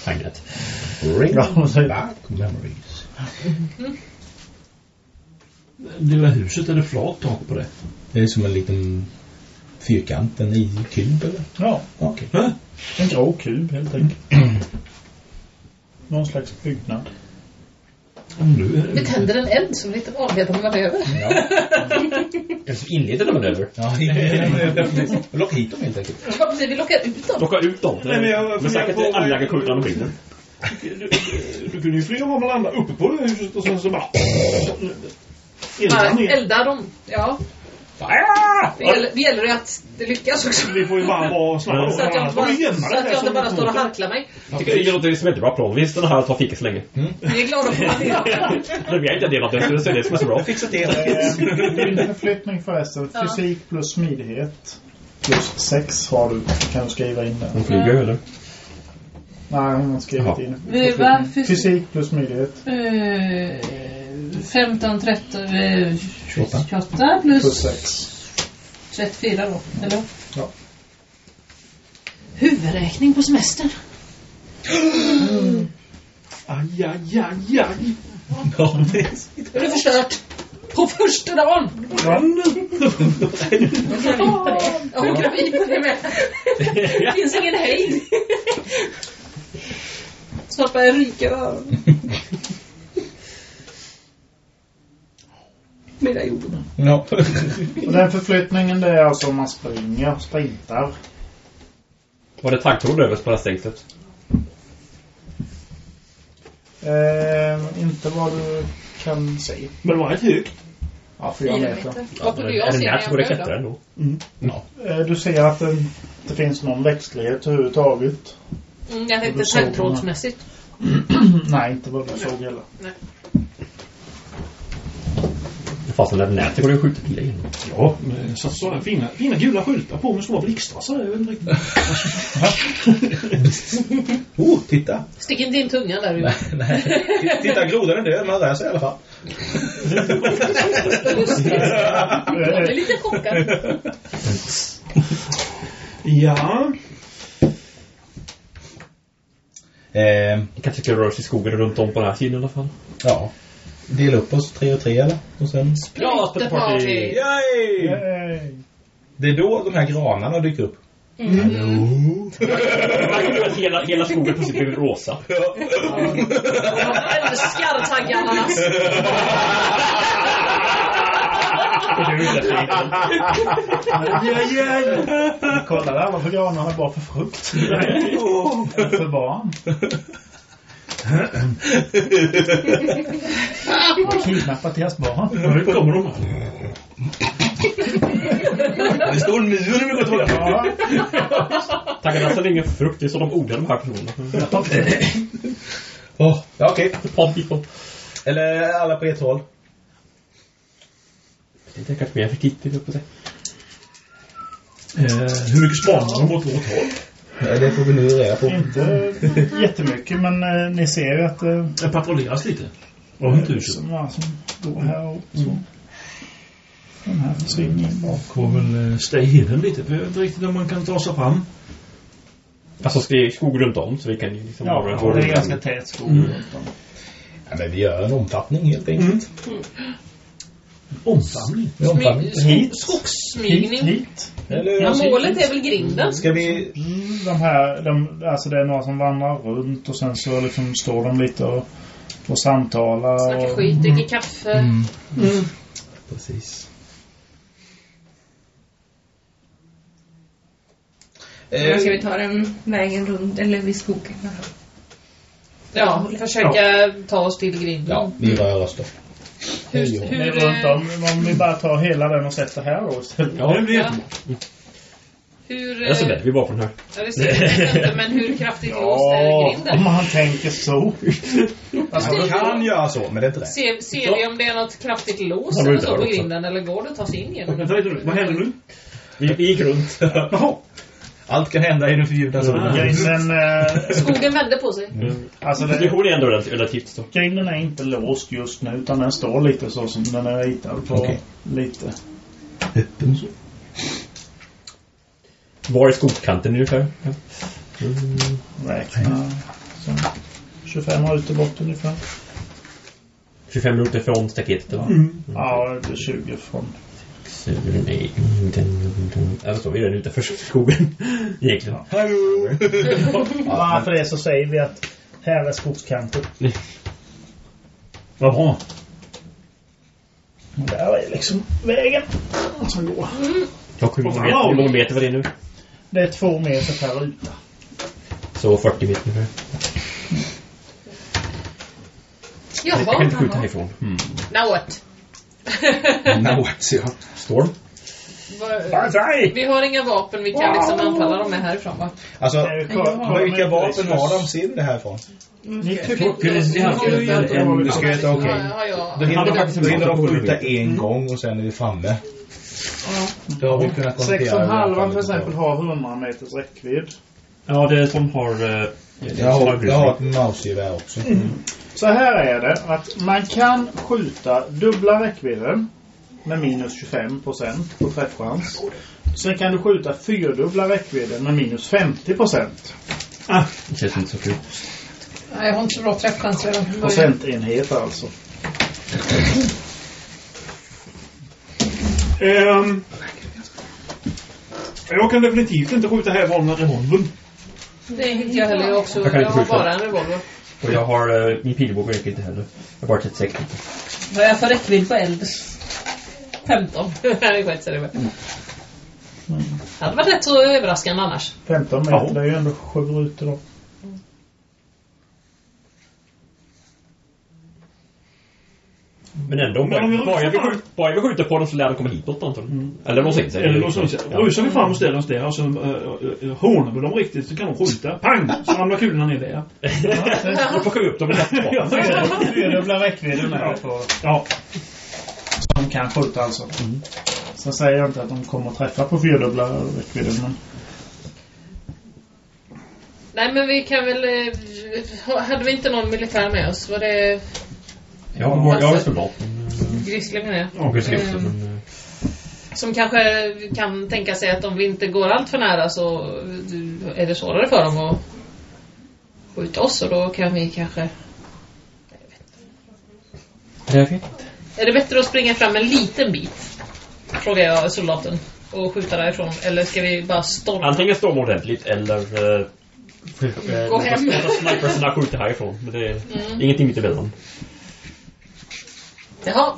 F: Tanget.
E: Ring
B: Ja, så-
E: back memories.
D: Det där huset, är det flat tak på det?
E: Det är som en liten fyrkant, en i kub eller?
B: Ja,
E: Okej.
B: en grå kub helt enkelt. Någon slags byggnad.
D: Nu är
C: Nu
D: det...
C: tänder en eld som en liten avledande manöver.
F: Mm. Eller så inleder de en över.
E: Ja, ja. Locka hit dem helt enkelt.
C: Ja, precis. Vi lockar ut dem.
F: Plocka ut dem.
D: Nej, men jag-
F: men säkert
D: jag-
F: anlägga skjutan och bilen.
D: Du, du, du kunde ju flyga om och landa uppe på det huset och sen så bara... Elda
C: Ja,
D: ner.
C: Elda dem. Ja. Det
D: Ah!
C: gäller, det gäller ju att det lyckas också.
D: Vi får ju bara vara snabba då.
C: Så att jag
D: Annars
C: inte
D: får
C: bara,
D: vi gömma
C: så
D: det
C: att
D: där
C: jag inte
D: som
C: bara
D: vi
C: står och
D: tog.
C: harklar mig.
F: Tycker det låter som en jättebra plan. Visst, den här tar fika så länge.
C: Vi är glada för det.
F: Men vi har inte delat det, så det är det som är så bra.
E: Fixa till.
B: Din förflyttning förresten.
C: Ja.
B: Fysik plus smidighet. Plus sex har du. Kan du skriva in där.
F: De flyger eller?
B: Nej, hon har skrivit
E: Jaha.
B: in.
H: Viva fysik.
B: Fysik plus smidighet.
H: Eh, 15, 13, eh,
E: 28.
H: 28 plus,
B: Plus sex.
H: 34 då, eller?
B: Ja.
H: Huvudräkning på semestern.
D: Aj, aj, aj, aj.
E: Ja, det är
H: Är det förstört? På första dagen!
C: Jag är gravid på det med. Det finns ingen hejd. Snart börjar jag ryka i öronen. Mera jorden.
E: ja.
B: Och den förflyttningen det är alltså om man springer, sprintar.
F: Var det taggtråd överst på det här stängslet?
B: Eh, inte vad du kan se.
D: Men det var rätt högt.
B: Ja, fyra
C: Fyra
B: meter.
C: meter.
H: Vad borde
F: är
H: jag
F: det
H: se när
F: nära så går det
H: jag
F: att
H: dör
F: klättra
H: då?
F: ändå.
B: Eh, du ser att det inte finns någon växtlighet överhuvudtaget.
C: Mm, jag
B: Då
C: tänkte
B: såg man.
C: taggtrådsmässigt.
B: Mm, Nej, inte vad du såg heller.
F: Fast det där nätet går det att skjuta pilar genom.
D: Ja, men Eh, så så här fina, fina gula skyltar på med små blixttrassar. Jag vet inte riktigt.
E: Oh, titta.
H: Stick inte in tungan där ute.
E: Nej. Titta, grodan är död. Man lär sig i alla fall.
B: Eh,
C: Jag är lite chockad.
D: Ja.
E: Eh,
F: Det kanske ska röra sig i skogen runt om på den här sidan i alla fall.
E: ja. Dela upp oss tre och tre eller? Och sen...
F: Ja, after party!
E: Yay!
B: eh,
E: Det är då de här granarna dyker upp.
F: Hela, hela skogen plötsligt blev rosa.
C: Jag älskar taggarna.
B: Kolla där, varför granarna bara för frukt? för barn. Man har kidnappat deras barn.
D: Nu kommer de här.
E: Det står en mur nu på toaletten.
B: Ja,
F: Taggarna säljer ingen frukt, det är så de odlar de här
B: Mm.
F: personerna.
E: Åh, ja, okej.
F: Party på.
E: Eller alla på ett håll.
F: Det är kanske mer försiktigt upp på sig.
D: Eh, hur mycket spanar de åt vårt håll?
E: Eh, Det får vi nu reda på.
B: inte jättemycket, men eh, ni ser ju att det är
D: Det patrulleras lite. Eh, Av
B: så många som går här och så. Den här försvinner ju bara.
D: Får väl eh, stay hidden lite. För jag vet inte riktigt om man kan ta sig fram.
F: Alltså ska det är skog runt om så vi kan ju liksom...
B: Ja,
F: vara-
B: det är ganska tät skog runt om.
E: Ja, men vi gör en omfattning helt enkelt. Mm.
D: Omfamning.
E: En omfattning.
B: Hit. Hit,
H: Skogssmygning.
B: hit.
E: Eller,
H: Men målet är väl grinden?
E: Ska vi...
B: Mm, de här, de, alltså det är några som vandrar runt och sen så liksom står de lite och, och samtalar.
H: Snackar
B: Och,
H: skit, dricker kaffe.
E: Precis. Eh,
C: Ska vi ta den vägen runt, eller vid skogen?
H: Ja, försöka ta oss till grinden.
E: ja, Eh, vi rör oss då.
H: Hur,
B: det är
H: hur,
B: runt
H: eh,
B: om. Om vi bara tar hela den och sätter här då istället.
D: Ja, det blir
H: Ja.
D: jättebra.
H: hur,
F: Jag ser
H: eh,
F: det, vi var på den här.
H: Ja, det ser jag inte, men hur kraftigt låst är
B: om
H: grinden?
B: man tänker så. Alltså,
E: Man kan göra så, men det är inte det.
H: Ser, ser vi om det är något kraftigt lås
F: Ja,
H: eller
F: det
H: så
F: är
H: på
F: det också.
H: grinden, eller går det att ta sig in genom den?
D: Vänta lite nu. Vad händer nu?
F: Vi, vi gick runt.
D: Jaha.
E: Allt kan hända i den förbjudna zonen.
B: grinden, eh,
H: Skogen vände på sig.
B: alltså det,
F: Mm. Positionen är ändå rel- relativt stor.
B: grinden är inte låst just nu utan den står lite så som den är ritad på.
E: Okej.
B: Lite.
E: Öppen zon.
F: Var är skogskanten ungefär? Mm.
B: Räkna. Så, 25 minuter bort ungefär.
F: 25 minuter från staketet
B: Mm.
F: va?
B: Ja, det är 20 från.
F: Nej, den- den- Eller så, vi är redan utanför skogen. Egentligen.
E: Hallå!
B: Bara för det så säger vi att här är skogskanten.
D: Vad bra.
B: Där är liksom vägen som går.
F: Jag kommer inte ihåg Hur många meter var det nu?
B: Det är två meter per ruta.
F: Så 40 meter ungefär.
H: Jaha,
F: Jag kan inte skjuta
H: jaha.
F: härifrån. Mm.
H: Now what?
E: Now what's your...
F: Storm?
H: Vad- Vi har inga vapen vi kan liksom anfalla dem med härifrån va?
E: Alltså,
B: Eh, kolla-
E: vilka vapen har de? Ser vi det härifrån?
B: Ni tycker
F: Torkades det här?
E: Du ska äta, okej.
H: Ja, ja, ja.
E: Då hinner
F: hade
E: de-
F: faktiskt
E: då hinner de
F: varit
E: skjuta en gång och sen är vi framme. Då har vi kunnat
B: sex och
E: hur vi har
B: halvan
E: fallit
B: till exempel
E: tillbaka.
B: har 100 meters räckvidd.
F: Ja, det är som har... eh, som
E: Jag har,
F: grizzly.
E: jag har ett mausgevär också.
F: Mm.
B: Så här är det att man kan skjuta dubbla räckvidden med minus 25 procent på träffchans. Sen kan du skjuta fyrdubbla räckvidden med minus 50 procent
F: Det känns inte så kul.
C: Nej, jag har inte så bra träffchans redan från början.
B: procentenhet alltså.
D: Ehm, jag kan definitivt inte skjuta här vanliga revolvern.
C: Det är inte jag heller. Jag, också,
F: Jag
C: jag,
F: kan inte
C: har
F: skjuta.
C: bara en revolver.
F: Och jag har... eh, min pilbåge räcker inte heller. Jag har bara 36 liter.
N: Vad är jag för räckvidd på eld?
C: 15. Nej, skit sig det med. Det hade varit rätt så överraskande annars.
B: 15 meter, det är ju ändå sju rutor då.
F: Men ändå, bara,
D: Men om vi-
F: bara, jag vill skjuta, bara jag vill skjuta på dem så lär de komma hitåt antagligen. Eller låsa in sig.
D: Eller något sånt.
F: Ja.
D: Rusar vi fram och ställer oss där och så eh, eh, hånar vi dem riktigt så kan de skjuta. Pang! Så ramlar kulorna ner där.
F: Jag får skjuta upp dem i
D: Ja,
F: natten.
B: Fyrdubbla räckvidden är det på.
D: Ja.
B: De kan skjuta alltså.
D: Mm.
B: Sen säger jag inte att de kommer att träffa på fyrdubbla räckvidden. Men...
C: Nej, men vi kan väl... eh, ha- Hade vi inte någon militär med oss? Var det
F: Jag har jag har en soldat.
C: Grizzly menar jag?
F: Och en skrift.
C: Mm.
F: men, eh,
C: Som kanske kan tänka sig att om vi inte går allt för nära så är det svårare för dem att skjuta oss och då kan vi kanske...
F: Jag vet inte.
C: Är det bättre att springa fram en liten bit? Frågar jag soldaten. Och skjuta därifrån. Eller ska vi bara storma?
F: Antingen står de ordentligt eller... eh, eh,
C: Gå hem.
F: låta Sniperserna skjuter härifrån. Men det är
C: Mm.
F: ingenting mitt emellan.
C: Jaha.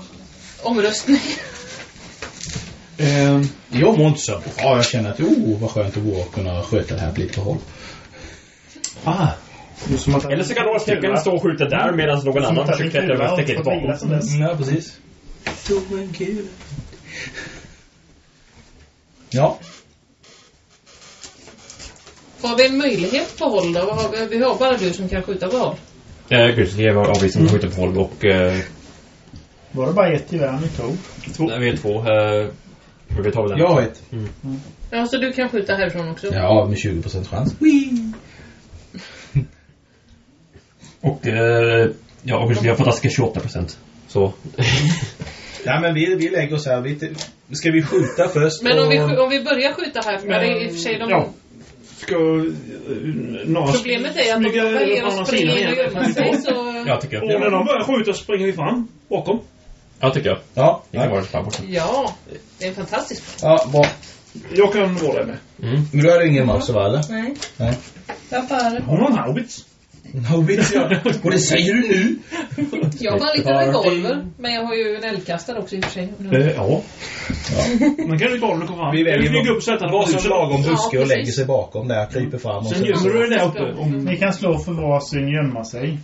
C: Omröstning.
D: Ehm,
E: Jag mår inte så bra. Jag känner att oh, vad skönt det vore att kunna sköta det här på lite håll.
D: ah.
B: Det är som att-
F: Eller så kan några stycken stå och skjuta där medan någon
B: Som
F: annan
B: att det är
F: försöker klättra
B: kula
F: över
B: och
F: staketet
B: får bilar som
F: bakom.
B: dess.
E: Ja, precis. Ja,
C: Har vi en möjlighet på håll då? Vad har vi- Vi har bara du som kan skjuta på håll.
F: Eh, Grizzly var avvisande och skjuter på håll och... eh,
B: Var det bara ett gevär ni tog?
F: Nej, vi är två. eh, Vi tar väl den.
E: jag har ett.
C: Ja, så du kan skjuta härifrån också?
E: Ja, med 20% chans.
F: Och... eh, Ja, och Grizzly har fantastiska 28%. Så...
E: Nej, men vi, vi lägger oss här. Vi, t- ska vi skjuta först?
C: Men om vi,
E: och-
C: sk- om vi börjar skjuta härifrån, men, i och för sig de...
D: Ja. Ska eh, några
C: Problemet är att om de
D: smyga
C: väljer
D: över på andra
C: att springa
D: sidan
C: in och
D: igen?
C: gömma sig så...
F: Ja, tycker
D: Och
F: jag.
D: när
E: Mm.
D: de börjar skjuta så springer vi fram bakom.
F: Ja, tycker jag.
E: Ja,
F: Det kan
E: ja,
F: vara där borta.
C: Ja, det är en fantastisk
E: ja, bra.
D: Jag kan vara där med.
E: Men då är det ingen mouse va, eller?
N: Nej.
E: Nej.
N: Jag bara...
D: Har någon haubits?
E: No, vet jag. Och det säger du nu?
C: Jag har bara en liten
F: Har-
C: revolver, men jag har ju en eldkastare också i och för sig.
F: Ja.
D: Man Eh, kan ju bollen komma fram.
E: Vi väljer
D: Eller flyga upp så att den
E: Vad som lagom
C: Ja,
E: buske och
C: precis.
E: lägger sig bakom där, kryper fram och
D: Sen gömmer du dig där uppe. Om,
B: Ni kan slå för varsin gömma sig.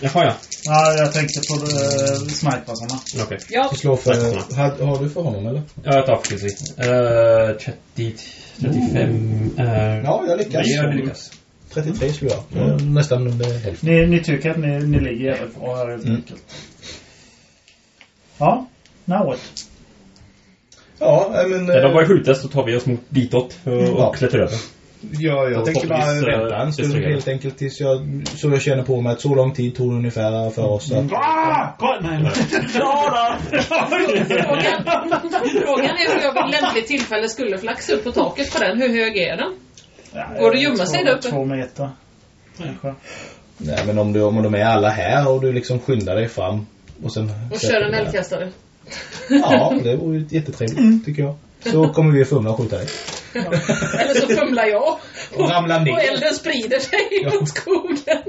F: Jaha, ja.
B: Ja, jag tänkte på äh, snipersarna.
F: Mm, Okej.
C: Ja,
E: så slår för... Har, har du för honom eller?
F: Ja, jag tar precis. Uh, 30, 35... Uh,
E: Mm. Ja, jag lyckas.
F: jag lyckas.
E: 33 slår jag. Mm. Nästan under hälften.
B: Ni, ni tycker att ni, ni ligger jävligt bra här helt
E: Mm.
B: enkelt. Ja, now what?
E: Ja, äh, men...
F: När de
E: eh,
F: börjar skjuta så tar vi oss mot ditåt eh, och
E: Ja.
F: klättrar över.
E: eh, Ja, jag
F: Och
E: tänker bara
F: förhoppningsvis, eh,
E: vänta en stund
F: distrahera.
E: helt enkelt tills jag, så jag känner på mig att så lång tid tog det ungefär för oss att...
D: Ah! Kom, nej, nej. Klara!
C: frågan, frågan är hur jag vid lämpligt tillfälle skulle flaxa upp på taket på den. Hur hög är den? Går det att gömma sig
B: Två-
C: där uppe?
B: Två meter. Kanske.
E: Nej, men om, du, om de är alla här och du liksom skyndar dig fram och sen...
C: Och
E: sätter
C: kör en
E: dig där.
C: eldkastare.
E: Ja, Mm. det vore ju jättetrevligt tycker jag. Så kommer vi att fumla och skjuta dig.
C: Eller så fumlar jag
E: Och ramla
C: och
E: ner.
C: elden sprider sig mot skogen.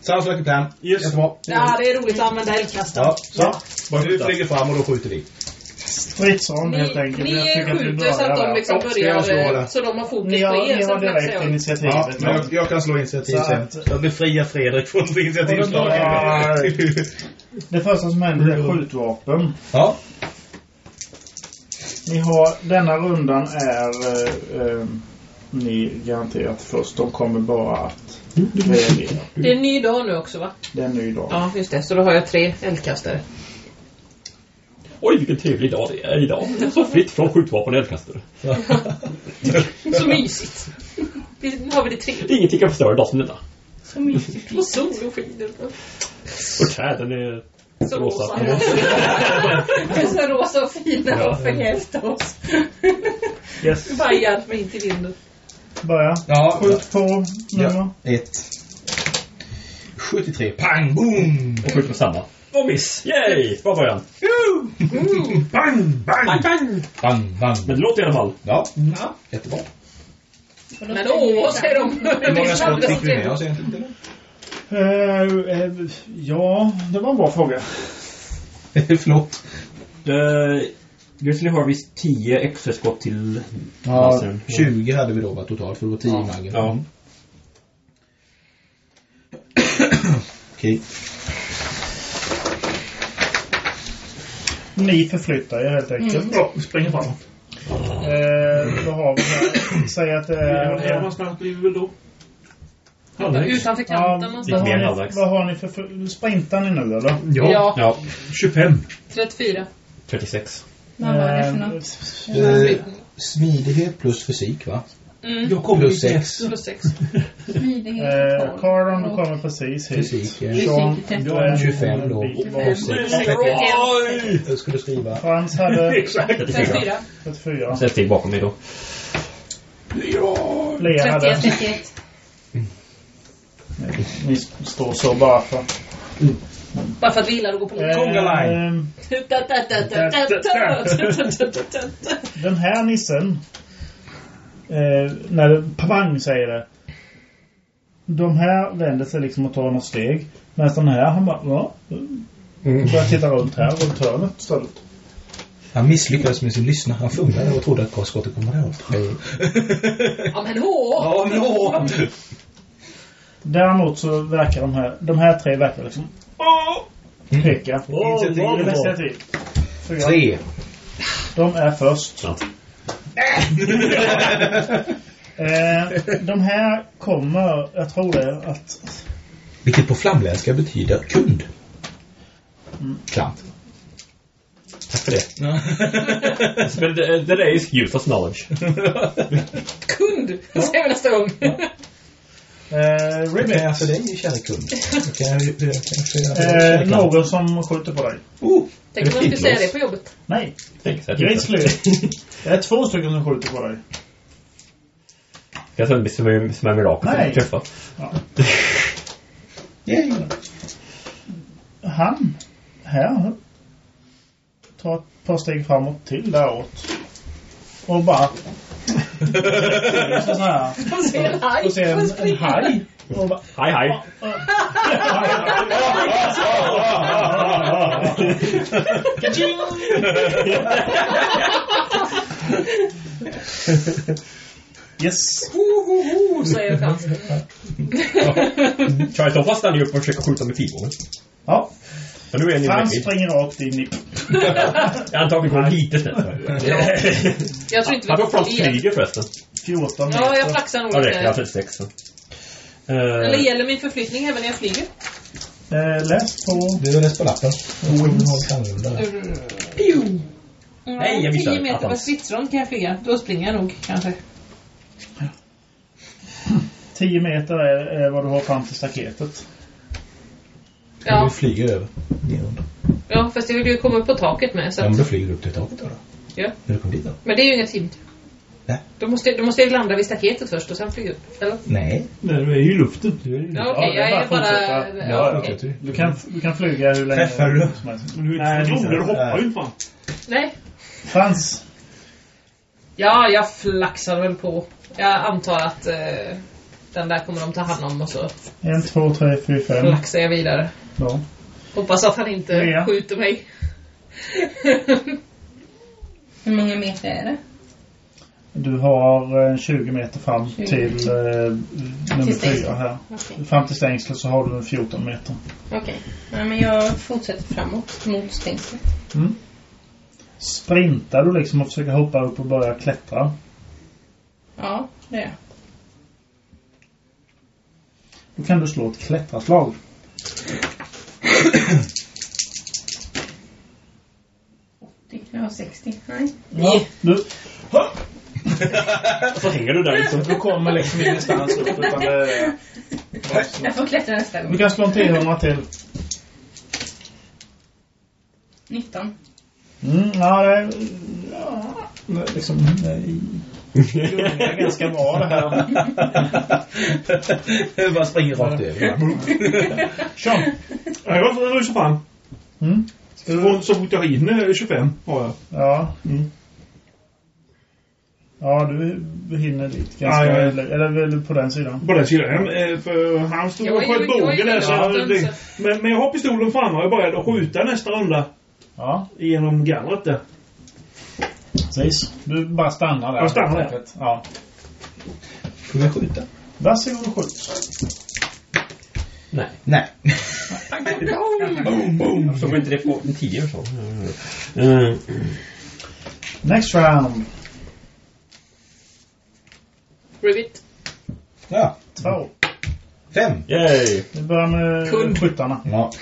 E: Sounds like a plan.
D: Yes.
E: Jättebra.
C: Ja, det är roligt att använda eldkastaren.
E: Ja, så. Du flyger fram och då skjuter vi.
B: Stridsarm
C: Ni,
B: helt enkelt.
C: ni
B: tycker att vi
C: skjuter så att
B: börjar
C: de
B: där.
C: liksom
E: Ja, ska jag slå
C: börjar...
E: det?
C: Så de har fokus
B: Ni
C: på
B: har,
C: er,
B: ni
C: så
B: har
C: flaxar
B: direkt
C: jag.
B: initiativet.
E: Ja, men jag, jag kan slå initiativ
B: Så
E: sen.
B: att-
E: Jag befriar Fredrik från sitt initiativslag.
B: Det första som händer är skjutvapen.
E: Ja,
B: Ni har, denna rundan är eh, eh, ni garanterat först. De kommer bara att reagera.
C: Det är en ny dag nu också, va?
B: Det är en ny dag.
C: Ja, just det. Så då har jag tre eldkastare.
F: Oj, vilken trevlig dag det är idag. Så fritt från skjutvapen och eldkastare.
C: Så mysigt. Vi- Nu har vi det trevligt.
F: Ingenting kan förstöra en dag som denna.
C: Så mysigt. Och sol och skiner.
F: Och träden är...
C: Så
F: Rosa.
C: rosa. så rosa och fina och förhävt oss.
B: Yes.
C: Bara hjälp mig inte i vinden.
B: Börja.
E: Ja,
B: Skjut på nu
E: ja. Ett. 73. Pang, boom!
F: Och skjuter med samma. Och miss! Yay! Bra början.
D: Bang, bang!
F: Bang, bang!
E: Bang, bang.
F: Men det låter i alla fall.
E: Ja, jättebra.
C: Men åh, säger de.
E: Hur många skott fick vi med oss egentligen?
B: Eh, eh, ja, det var en bra fråga.
E: Förlåt.
F: Uh, Grizzly har visst 10 extra skott till
E: Ja,
F: lasern.
E: 20 hade vi då va, totalt, för det var 10 ja. magen.
F: Ja.
E: Okej.
B: Ni förflyttar er helt enkelt.
D: Ja, vi springer framåt.
B: Eh, då har vi här. Säg att eh, det
D: Det var här
B: är...
D: någonstans blir vi väl då?
C: Utanför
B: Ja,
C: kanten
B: vad,
F: Lite
C: någonstans.
F: mer
B: har ni,
F: halvvägs.
B: vad har ni för... för sprintar ni nu eller?
D: Ja,
C: Ja,
F: Ja,
D: 25.
C: 34.
F: 36.
C: Vad var det för
B: Eh,
C: något?
E: Eh, smidighet plus fysik va?
C: Mm.
D: Jag kommer
E: Plus
D: inte
E: sex.
D: efter.
C: Plus 6.
B: eh, Cardon, du kommer precis hit.
E: Fysik, eh. ja.
B: Sean,
C: Fysik,
B: du är en
E: 25 då.
B: bit bak.
E: Plus sex.
F: Oj!
E: Jag skulle skriva...
B: Frans hade
D: Exakt.
F: 34.
C: 34.
B: 34.
F: Så ett steg bakom mig då.
B: Lea hade...
C: 31, 31.
B: Ni står så bara för...
C: Bara för att vi gillar att gå på
B: Eh,
C: lån.
B: Den här nissen. Eh, när det pang säger det. De här vänder sig liksom och tar något steg. Medan den här han bara, ja. Börjar titta runt här, runt hörnet istället.
E: Han misslyckades med sin lyssna. Han fumlade och trodde att skottet kom däråt.
C: Ja men åh!
E: Ja, men åh!
B: Däremot så verkar de här, de här tre verkar liksom, åh! Peka.
E: Initiativ.
B: Det är initiativ. Fyra.
E: Tre.
B: De är först.
F: Ja.
B: eh, de här kommer, jag tror det, att
E: Vilket på flamländska betyder kund. Mm. Klant.
F: Tack för det. Men det, det där är ju useless knowledge.
C: Kund! Säger vi nästa gång.
B: eh,
E: Vad
B: Ribbit.
E: kan jag för dig, kära kund? Vad kan jag vad kan jag för dig, kära
B: Eh,
E: klant?
B: någon som skjuter på dig.
E: Oh,
C: Tänk om man skulle säga det på jobbet.
B: Nej,
F: Tänk så här. typ.
B: Grizzly. Det är två stycken som skjuter på dig.
F: Jag tror att det blir som en mirakel.
B: Nej.
F: Träffa.
E: yay.
B: Han här tar ett par steg framåt till däråt. Och bara... Så här.
C: Man ser en haj.
B: Och ser en,
C: Man
B: en
C: springer.
B: haj. Och bara...
F: Hej, hej.
B: Yes.
C: Ho, ho, ho, säger chansen.
F: Charlton stannar ju upp och försöker skjuta med pilbågen.
B: Ja,
F: Men nu är ni i
B: han
F: räckvidd.
B: springer rakt in i...
F: Antagligen går det lite snett.
C: Jag tror inte
F: Han tog från
C: vi vet.
F: flyger förresten.
B: 14 meter.
C: Ja, jag flaxar nog
F: Ja, det räcker. Jag har
C: lite.
F: 36. så. Eh,
C: Eller gäller min förflyttning även när jag flyger?
B: eh, läs på...
E: Du har läst på lappen.
F: Nej, jag missade.
C: 10 Mm. meter på
F: Attans.
C: stridsrond kan jag flyga. Då springer jag nog kanske.
B: 10 meter är, är vad du har fram till staketet.
E: Ja.
C: Ja.
E: Du flyger över. Neråt.
C: Ja, fast jag vill ju komma upp på taket med. Så
E: Ja,
C: att,
E: men då flyger du upp till taket då. då.
C: Ja.
E: När du kom dit då?
C: Men det är ju inget hinder.
E: Nej.
C: Då måste, då måste jag ju landa vid staketet först och sen flyga upp. Eller?
E: Nej.
D: Nej, du är ju i luften. Du är ju-
C: Ja, okej.
B: det är
C: jag är
B: bara
C: bara...
B: att
C: Ja,
B: fortsätta.
E: Ja,
C: okej.
E: okay.
B: Du kan, du kan flyga hur länge
E: Mm. Träffar du?
B: som helst.
D: Men du är
B: Nej,
D: inte
B: det är
D: så
B: inte.
D: du hoppar ju fan.
C: Nej.
B: Frans.
C: Ja, jag flaxar väl på. Jag antar att eh, den där kommer de ta hand om och så
B: 1, 2, 3, 4, 5.
C: flaxar jag vidare.
B: Ja.
C: Hoppas att han inte
B: Ja.
C: skjuter mig.
G: Hur många meter är det?
B: Du har eh, 20 meter fram till eh, nummer
G: Till
B: 4 här.
G: Okej.
B: Fram till stängslet så har du 14 meter.
G: Okej. Ja, men jag fortsätter framåt mot stängslet.
B: Sprintar du liksom och försöker hoppa upp och börja klättra?
G: Ja, det är
B: Då kan du slå ett klättraslag. Ja, nu.
D: Så hänger du där liksom.
B: Du kommer liksom ingenstans upp utan det...
G: Jag får klättra nästa gång.
B: Vi kan slå en T100 till.
G: 19.
B: Mm, ja, det, ja, det- liksom, nej. Det är ganska bra det här.
E: Jag bara springer rakt över.
B: Kör.
D: Ja, jag rusar fram.
B: Mm.
D: Så fort- Så fort jag hinner, 25 har jag.
B: Ja.
D: Mm.
B: ja, du hinner dit ganska...
D: Ja, ja.
B: Eller, eller väl på den sidan.
D: På den sidan. eh, För han stod
C: Jag
D: och
C: är ju-
D: sköt
C: jag är ju
D: båge där. Så
C: soldaten,
D: det, men, men jag har pistolen framme och jag började skjuta nästa runda.
B: Ja,
D: Genom gallret där.
B: precis. Du bara stannar där.
D: Jag stannar där.
B: Enkelt. Ja.
E: Får jag skjuta?
B: Varsågod och skjut.
F: Nej.
E: Nej.
F: Boom, boom. Jag såg inte det på den tidigare så. Mm.
B: Next round.
C: Ribbit.
E: Ja.
B: Två.
E: Fem.
F: Yay!
B: Vi börjar med
C: Kung.
B: skyttarna.
E: Ja.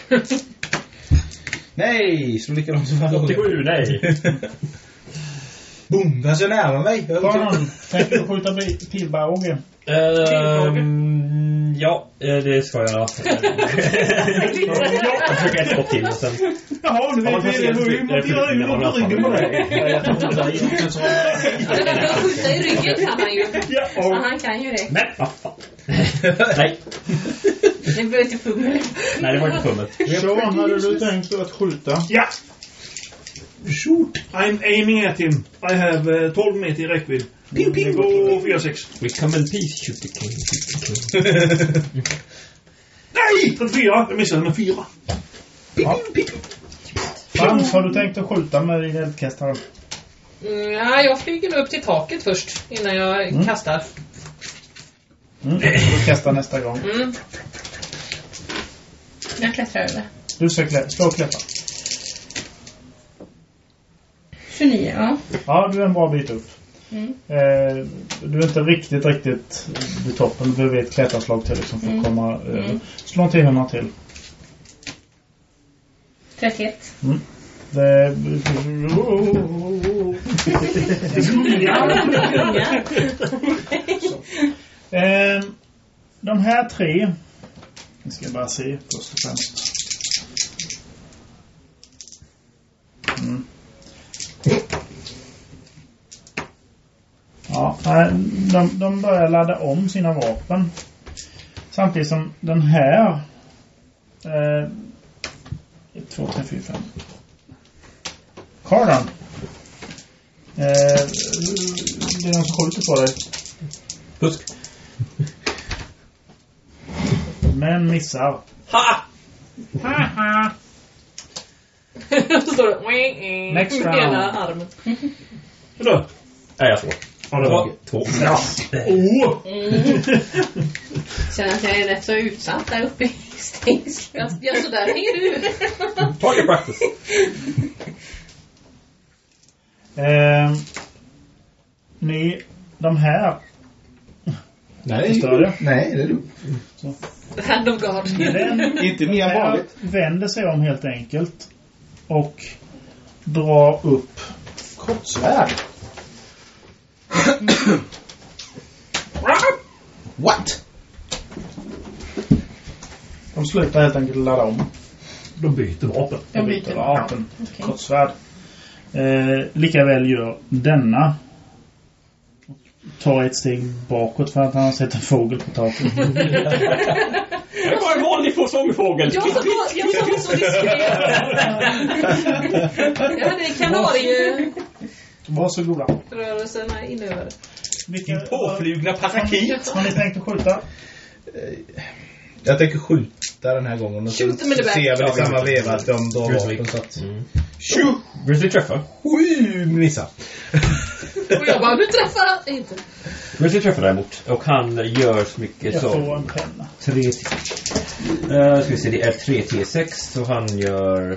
E: Nej, slå likadant som förra gången.
F: 87, nej.
E: Boom, den är så nära mig. Jag
B: Kanon, tänker du skjuta bi- pilbåge?
F: Ehm, ja, eh, det ska jag. Jag försöker ett skott till och sen...
D: Jaha, nu vet vi det. Nu monterar jag monterar in ryggen på dig.
G: Han kan skjuta i ryggen kan han ju.
D: Ja,
C: Alltså,
G: Så
D: och-
G: han kan ju det.
F: Men vad fan. Nej,
G: Det behöver inte fumla.
F: nej, det var inte fummet.
B: Sean, hade du tänkt att skjuta?
D: Ja! Shoot! I'm aiming at him. I have eh, 12 meter i räckvidd. Ping, ping! På 4-6.
F: We come in peace, shoot the king, shoot the king.
D: Nej! 34! Jag missade med 4.
B: Frans, har du tänkt att skjuta med din eldkastare?
C: Mm, ja, jag flyger nog upp till taket först innan jag kastar.
B: Mm. Du kastar nästa gång.
C: Mm.
G: Jag klättrar över.
B: Du ska klä, slå och klättra.
G: 29, ja.
B: Ja, du är en bra bit upp.
G: Mm.
B: Eh, du är inte riktigt, riktigt vid toppen. Du behöver ett klättarslag till liksom för att
G: Mm.
B: komma över.
G: Mm.
B: Slå en T100 till.
G: 31.
B: Det... Eh, de här tre... Vi ska bara se först och främst. Mm. Ja, nej, de, de börjar ladda om sina vapen. Samtidigt som den här... Eh, 1, 2, 3, 4, 5. Cardan. Eh, det är någon som skjuter på dig.
F: Fusk.
B: Men missar.
C: Ha! Så står det... "Wing, wing"
B: Next
C: med
B: round.
C: Hela armen.
D: Då.
F: Nej, jag slår. Två. Två. Oh!
D: Åh!
G: Känner att jag är rätt så utsatt där uppe i stängslet.
C: Ja, så där hänger du.
F: Target practice.
B: Eh, ni, de här.
E: Nej,
B: Förstör jag?
E: Nej, det är lugnt.
C: Hand of God.
B: Den
O: Inte mer än
B: här
O: vanligt.
B: vänder sig om helt enkelt. Och drar upp.
E: Kortsvärd. What?
B: De slutar helt enkelt ladda om.
D: De byter vapen.
G: Jag byter
B: vapen.
G: Okej.
B: Kortsvärd. Eh, likaväl gör denna. Tar ett steg bakåt för att han har sett en fågel på taket.
F: Det var en vanlig få- zombie-fågel.
C: Jag som var, jag som var så diskret. Jag hade kanarierörelserna
B: Varsågoda.
C: inövade.
B: Vilka,
F: Påflugna parakit.
B: har ni tänkt att skjuta?
E: Jag tänker skjuta den här gången. Och så
C: Shoot them in the back.
E: ser liksom jag väl i samma veva att de drar vapen så att...
F: Mm.
E: Tjo!
F: Grizzly träffar.
E: Sju missar.
C: Och jag bara, du träffar han inte.
F: Grizzly träffar däremot. Och han gör så mycket
B: Jag får
F: som...
B: en penna.
F: 3 uh, ska vi se, det är 3 T6 så han gör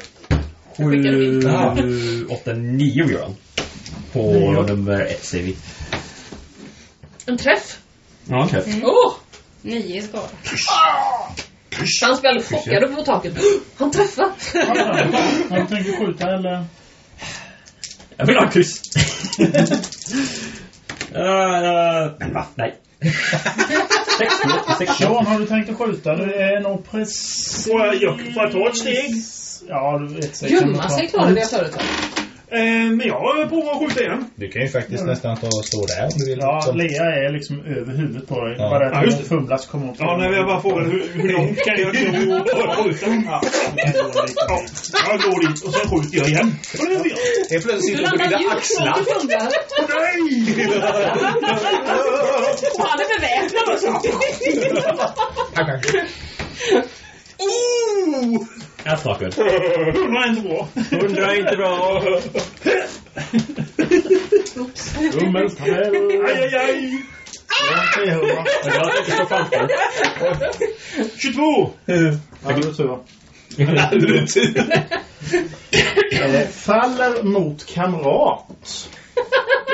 C: skickar du in?
F: 7, 8, 9 gör han. På
B: Nio.
F: nummer 1 säger vi.
C: En träff.
F: Ja, han träff.
C: Åh! Oh,
G: 9 skada.
C: han spelade chockad uppe på taket. Han träffar!
B: Har du tänkt att skjuta eller?
F: Jag vill ha en kryss. Eh, eh, men va? Nej. Sex, förlåt, sex.
B: Sean, har du tänkt att skjuta? Du är nog precis...
D: Får jag, jag, eh, får jag ta ett steg?
B: Ja, du vet säkert.
C: Gömma sig klarar vi förut. va?
D: Eh, men jag provar att skjuta igen.
E: Du kan ju faktiskt nästan ta och stå där om du vill.
B: Ja,
E: Som-
B: Lea är liksom över huvudet på dig.
E: Ja.
B: Bara
D: Ja,
B: att
D: just
B: hon
D: det.
B: fumlas kommer hon på.
D: Ja, nej, jag bara frågade hur, hur långt kan jag gå och skjuta? Ja, jag går dit och sen skjuter jag igen. Och det gör jag.
E: Helt plötsligt
C: Du
E: sitter du på
C: landar
E: dina
C: djupt
E: axlar.
C: bak i huvudet. Han är beväpnad också.
F: Jag stakar.
D: Hundra är inte bra.
F: Hundra är inte bra.
D: Aj, aj, aj.
F: Jag är glad att jag inte står framför.
D: 22!
B: Eh, Faller mot kamrat.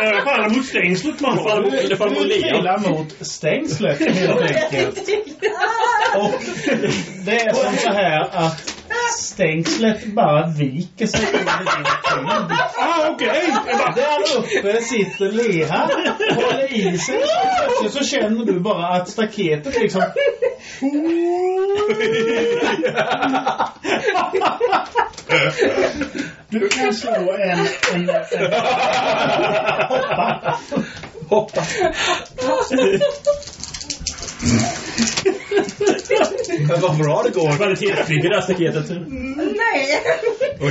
D: Jag faller mot stängslet, man. Jag faller mot-
F: Eller farmor
B: Du
F: Lea.
B: trillar mot stängslet helt enkelt. Och det är som så här att stängslet bara viker sig.
D: Ah, okej! Jag bara,
B: Där uppe sitter Lea och håller i sig. Plötsligt så känner du bara att staketet liksom... Du kan slå en... en, en hoppa.
E: Hoppa. Men vad bra det går.
F: Kvalitetsflyger det här staketet.
G: Nej!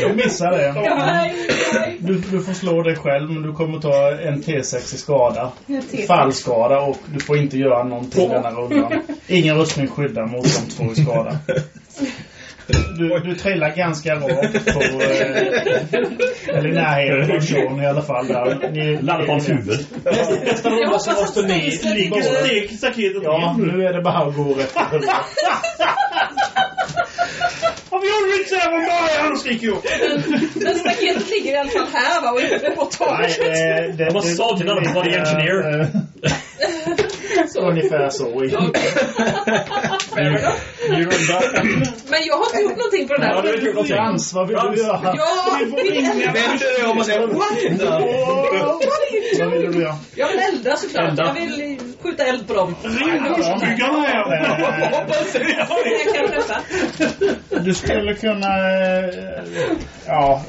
B: Du missar det.
G: Nej, nej.
B: Du, du får slå dig själv men du kommer ta en T6 i skada.
G: Jag tittar.
B: fallskada och du får inte göra någonting denna rundan. Ingen rustning skyddar mot de två i skada. Du, du trillar ganska rakt på... Eh, eller i närheten av Sean i alla fall. Där. Ni,
F: Landar på hans huvud.
B: Nästa, nästa
C: Jag
B: runda så
C: hoppas
B: måste
C: att
B: ni
C: stängslet
B: ligga
D: vilket
B: och-
D: steg staketet
B: Ja,
D: ner.
B: nu är det bara att gå rätt i huvudet.
D: Om jag gjorde inte så här från början, skriker jag.
C: Men staketet ligger i alla fall här va och inte på
B: Nej,
C: taket.
B: eh, det-
F: Jag var
B: det-
F: soldier, not a bloody engineer.
B: eh, Ungefär så.
F: Ny runda.
C: Men jag har inte gjort någonting på den
F: Ja,
C: här.
F: det är kul också.
B: Frans, vad vill du göra?
C: Ja,
E: Vänd dig om och säg what?
B: Vad vill du göra?
C: jag vill elda såklart.
F: Elda.
C: Jag vill skjuta eld på dem.
D: Ring husbyggarna här.
B: Eh,
C: Jag kan träffa.
B: Du skulle kunna eh, ja,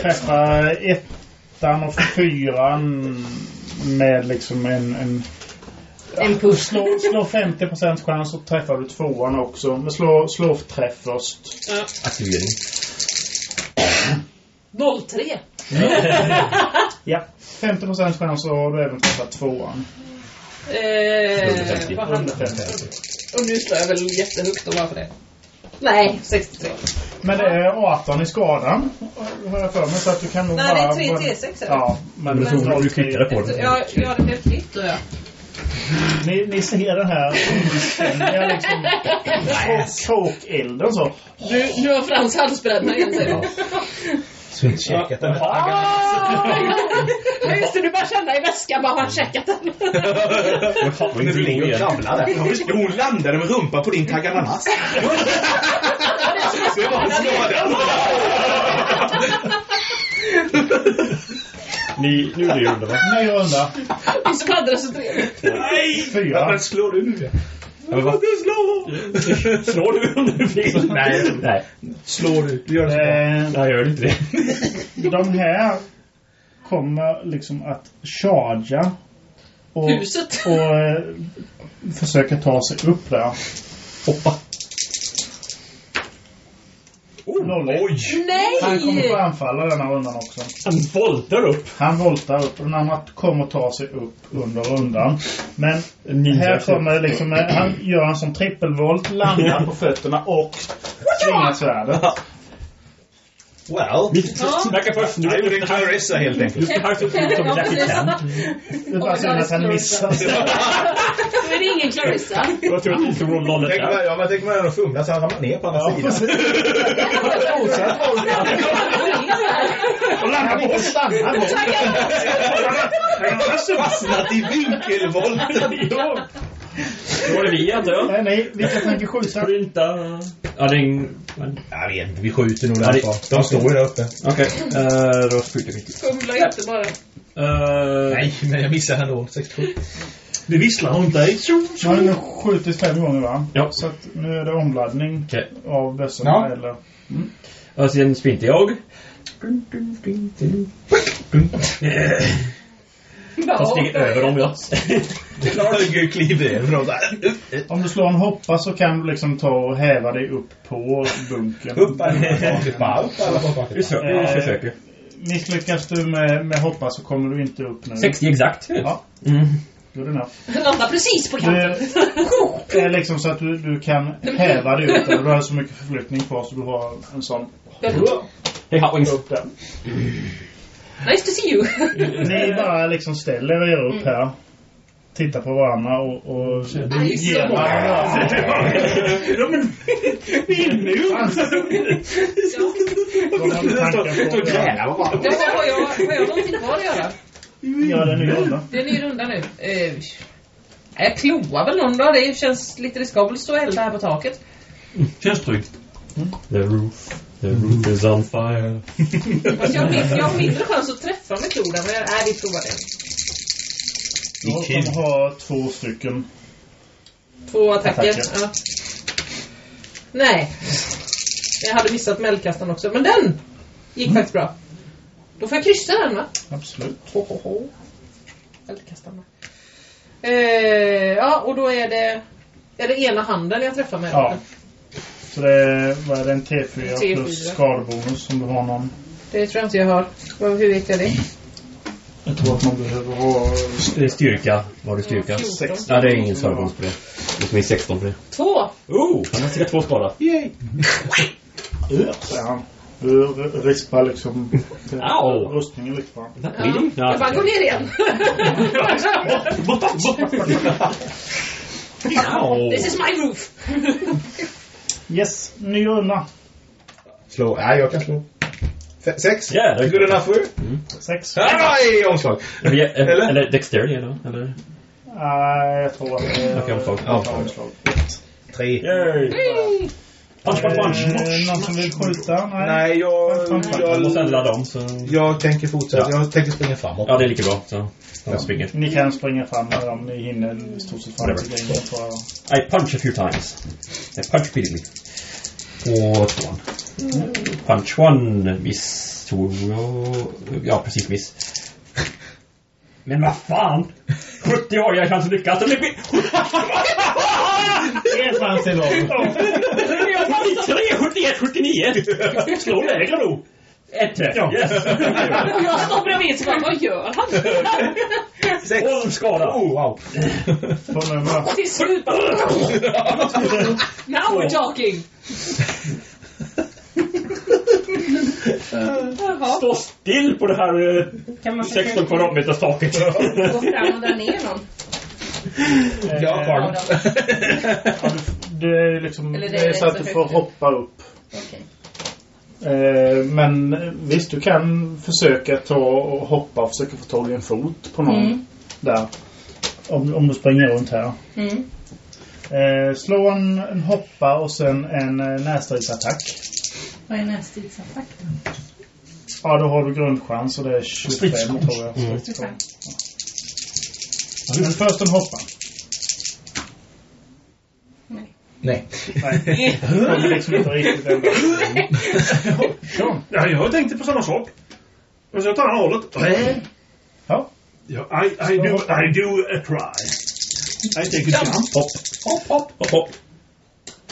B: träffa ettan och fyran med liksom en... en
G: En puss.
B: slå, slå 50 chans så träffar du tvåan också. Men slå, slå träff först.
F: Aktivering.
C: 03.
B: Ja. 50 chans så har du även träffat tvåan.
C: Eh, vad handlar det om? Och nu slår jag väl jättehögt då bara för det. Nej, 63.
B: Men det är 18 i skadan, har jag för mig. Så att du kan nog
C: Nej, det
B: bara...
C: är 3 T6 eller?
B: Ja, men...
F: Men så
B: men
F: du klickade på
C: Efter,
F: den.
C: jag, jag hade helt fritt då jag.
B: Ni, ni ser den här omständiga liksom... krå- Kråkelden så.
C: Nu, nu har Frans halsbränna igen säger du.
E: Svinkäkat den.
C: Ja just det, du bara kände i väskan bara har han checkat den?
E: Men du ligger och kravlar där.
O: Hon landade med rumpa på din tagananas. Det var skadan.
F: Ny, nu är det runda va?
B: Ny runda.
C: Vi som hade det så trevligt.
D: Nej!
B: Fyra.
D: Men slår du nu?
F: Jag bara, Slår du om du vill? Nej. Nej,
E: Slår du. Du gör det så bra.
B: Eh,
F: jag gör inte det.
B: de här kommer liksom att charga och,
C: Huset.
B: och eh, försöka ta sig upp där.
F: Hoppa.
D: Oh,
B: Noll ett. Han kommer
C: Nej!
B: få anfalla denna rundan också.
F: Han voltar upp.
B: Han voltar upp och den andra kommer ta sig upp under rundan. Men här kommer liksom, eh, han gör en sån trippelvolt, landar på fötterna och svingar svärdet.
E: Well.
C: Ja.
F: Snacka först. Du
E: Jag
F: ska
E: gjorde en
F: hacka
E: Clarissa helt enkelt.
F: upp som
C: Ja,
F: Jackie
C: precis.
F: Chan.
B: Det är bara synd att han missar.
C: Då är det ingen Clarissa.
F: Jag tror att du slog om nollet
E: Tänk
F: där.
E: man, ja, men tänk man ändå fumla så han ramlar ner på andra sidan.
D: Och landar på oss.
B: Stannar då.
E: Han har fastnat i vinkelvolten.
D: Då
F: Då var det vi jag dör.
B: Nej, nej. Vilka tänker skjuta?
F: Skjuta. Ja, det är ingen...
E: Jag vet inte, vi skjuter nog
F: Ja, det-
E: där bak. De står ju där uppe.
F: Okej, eh, då skjuter vi.
C: Fumla inte bara.
F: Eh,
E: Nej, men jag missade ändå. 67.
D: Det visslar runt dig.
B: Man har nu skjutit fem gånger va?
F: Ja.
B: Så att nu är det omladdning
F: Okej.
B: av bössorna
E: Ja.
B: eller...
F: Och sen spinter jag. Jag stiger över dem, jag.
E: Höger kliv över dem.
B: Om du slår en hoppa så kan du liksom ta och häva dig upp på bunken.
E: Upp alla Upp alla
F: Vi
E: bakåt.
F: försöker. Vi försöker.
B: Misslyckas du med, med hoppa så kommer du inte upp nu.
F: 60 exakt.
B: Ja.
F: Mm.
B: Good enough.
C: Landar precis på kanten.
B: Du, det är liksom så att du, du kan häva dig upp där. Du har så mycket förflyttning kvar så du har en sån
F: Hey, hot wings.
B: upp där.
C: Nice to see you.
B: Ni bara liksom ställer er upp här. Tittar på varandra och... och
C: Aj, så
B: ger varandra.
D: Ja, men... Vi är nu.
B: Vad har ni tankar på?
C: Ja, har, jag, har jag någonting kvar att göra?
B: Ja, det är en ny runda.
C: Det är en ny runda nu. Eh, jag kloar väl någon dag. Det känns lite riskabelt att stå och elda här på taket.
D: Känns tryggt.
F: The roof. The roof is on fire.
C: Fast jag, har min- jag har mindre chans att träffa med kloden. Men jag, nej, vi provar det.
B: Jag kommer ha två stycken.
C: Två attacker.
B: Attacker.
C: Ja. Nej. Jag hade missat med eldkastaren också. Men den gick faktiskt bra. Då får jag kryssa den va?
B: Absolut.
C: Ho, ho, ho. Eldkastaren. Eh, ja, och då är det... Är det ena handen jag träffar med?
B: Ja. Så det är, vad är det, en T4,
C: T4.
B: plus skadebonus om du har någon.
C: Det tror jag inte jag har. Vad- Hur vet jag det?
B: Jag tror att man behöver ha...
F: Det är styrka. Var det styrka?
C: Sex.
F: Ja, det är ingen servons på det. Det som är 16 på det.
C: Två!
F: Oh! Han har cirka två skada.
B: Ja, säger han. Du r- rispar liksom eh,
F: Au.
B: rustningen lite på honom.
C: Ja. Jag bara, gå ner igen! This is my roof!
B: Yes, ny runda.
E: Slå. Nej, jag kan slå. Fe- Sex.
F: Jädrar.
E: Good enough for you.
B: Sex.
E: Nej, omslag.
F: Eller,
E: Eller?
F: eller dexterity eller? eller?
B: Nej, jag tror att det är...
F: Okej, omslag.
B: Ja,
E: Omslag.
B: omslag.
E: Tre.
F: Yay!
D: Punch, punch,
B: Eh,
D: punch.
B: någon som vill skjuta? Nej.
E: Nej, jag...
F: Jag måste
E: Jag,
F: ändra dem så...
E: jag tänker fortsätta. Jag tänker springa framåt.
F: Ja, det är lika bra. Så de springer.
B: Ni kan springa fram med dem. Ni hinner i stort sett fram till grejen, tror jag.
F: I punch a few times. I punch repeatedly. På tvåan. Punch one miss. Två... Ja, precis miss. Men vad fan! 70 år, jag chans att lyckas. Det blir...
B: En chans till av.
F: Jag har 73, 71, 79! Slå lägre då! Ett träff, yes!
C: Och jag står bredvid så bara, vad gör han?
F: Tolv skada! Oh, wow!
B: Får ni med?
C: Till slut bara, now we're talking! Jaha.
F: Stå still på det här eh,
G: Kan man försöka
F: 16 kvadratmeters taket.
G: gå fram och dra ner någon?
E: Jag har kvar den.
B: Ja, du- Eh, Det är liksom...
G: Eller det
B: Det är
G: är
B: så att
G: så
B: du får
G: högt.
B: hoppa upp.
G: Okej.
B: Eh, Men eh, visst, du kan försöka ta och hoppa och försöka få tag i en fot på någon
G: Mm.
B: där. Om, om du springer runt här.
G: Mm.
B: Eh, slå en, en hoppa och sen en eh, närstridsattack.
G: Vad är nästidsattack då?
B: Ja, då har du grundchans och det är 25 tror jag.
F: Mm.
B: 25. Men först en hoppa.
E: Nej.
B: Nej, det är liksom inte riktigt ändå.
D: Ja, jag tänkte på samma sak. Alltså, Men så åt andra hållet.
B: Ja.
D: Ja, I, I, do, I do a try. I take a jump.
F: Hopp, hopp, hopp, hopp, hopp.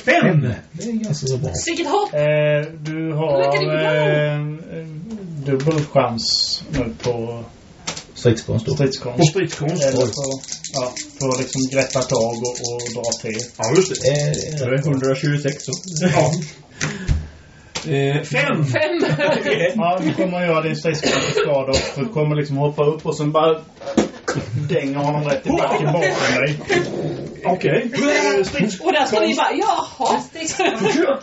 D: Fem!
E: Det är ganska så bra.
C: Vilket hopp!
B: Eh, du har
C: Verkar det bra?
B: eh, en dubbel chans nu på
E: Stridskonst då.
D: På
B: stridskonst.
D: stridskonst.
B: Eller på, ja, på liksom greppa tag och, och dra till.
D: Ja, just det.
E: Eh,
F: Det är 126 så.
D: Ja. Eh, Fem!
C: Fem!
B: Ja, du kommer att göra din stridskraftskada och du kommer liksom hoppa upp och sen bara dänga honom rätt i backen bakom dig.
D: Okej. Eh, strids-
C: Och där står ni bara, jaha!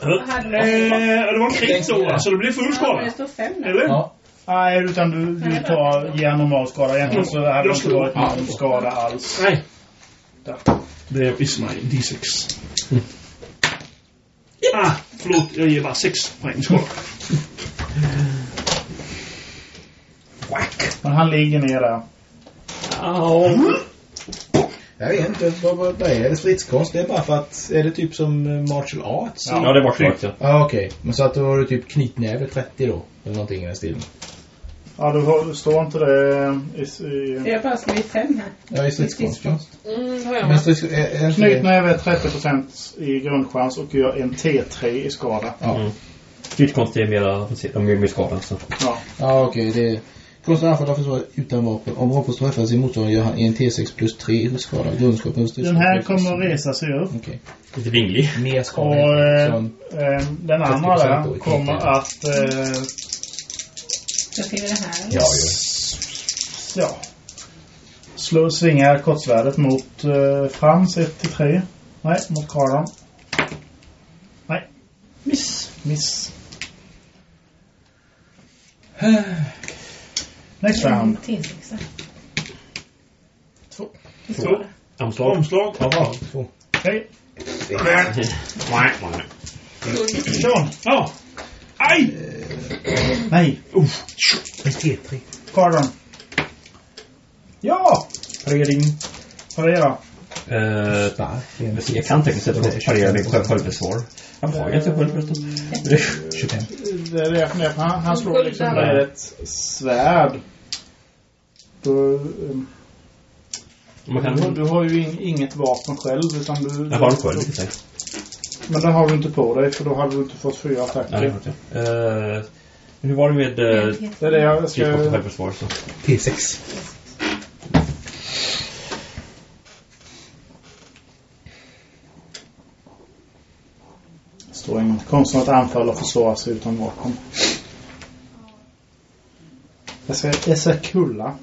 G: Vad hade du?
D: Eh, Det var en krit så, alltså. Det blir full
G: Ja,
D: skada.
G: det står fem där.
D: Eller?
E: Ja.
B: Nej, utan du, du Alltså, tar, ger normal skada. Egentligen så hade det inte varit någon skada alls.
D: Nej. There is my D6. Ah, förlåt. Jag ger bara 6 poäng. Skål.
B: Men han ligger ner där.
E: Jag vet inte, vad, vad vad är det stridskonst? Det är bara för att, är det typ som eh, martial arts?
F: Ja, det är martial arts, ja.
E: Ja, okej. Men så att då har du typ knytnäve 30 då? Eller någonting i den stilen.
B: Ja, du har, står inte det i... i
G: Jag har bara skrivit fem här.
E: Ja, i stridskonst. ja.
C: Mm, har jag
E: Men
C: med.
E: strids, eh, är, är inte det-
B: Knytnäve är 30% i grundchans och gör en T3 i skada.
E: Ja.
F: Mm. Stridskonst är mera, de är mer skadade. Så.
B: Ja.
E: Ja, okej. Det är... Konsten anfall av försvaret utan vapen. Om vapen står träffar sin motståndare gör han en T6 plus 3 i skada. Grundskapen
B: Den här kommer att resa sig upp.
E: Okej.
F: Lite vinglig.
E: Mer skada.
B: Och
E: helt
B: eh,
E: enkelt.
B: eh, den andra
E: 30% då
B: där
E: i
B: kommer
E: knytnäve.
B: att... Eh,
G: Jag skriver det här.
E: Ja, ju.
B: ja. Slå, svinga kortsvärdet mot eh, Frans 1-3. Nej, mot Karlan. Nej. Miss. Miss. Next round.
G: Till sexa.
D: Så,
F: Omslag.
D: Omslag.
E: Jaha, två.
B: Okej.
D: Sean. Ja. Aj!
B: Nej.
E: En T3.
B: Karlan. Ja!
F: Parering.
B: Parera.
F: Eh,
E: Stark.
F: jag ser- jag kan tekniskt sett parera med själv- självförsvar. Jag har ju inte självförsvar.
E: 25.
B: Det är det jag funderar på. Han, han slår liksom med ett svärd. Då, ehm,
F: Man kan...
B: du,
D: Mm.
B: du har ju in, inget vapen själv. Utan du,
F: Jag har en själv, lite
B: Men det har du inte på dig för då hade du inte fått fyra
F: Ja, det
B: attacker.
F: har jag. Eh, men hur var det med eh,
B: det är det jag ska...
F: stridskonst och självförsvar? Så?
E: T6.
B: står ingen. Konsten att anfalla och försvara sig utan vapen. Jag ska, jag ska kulla.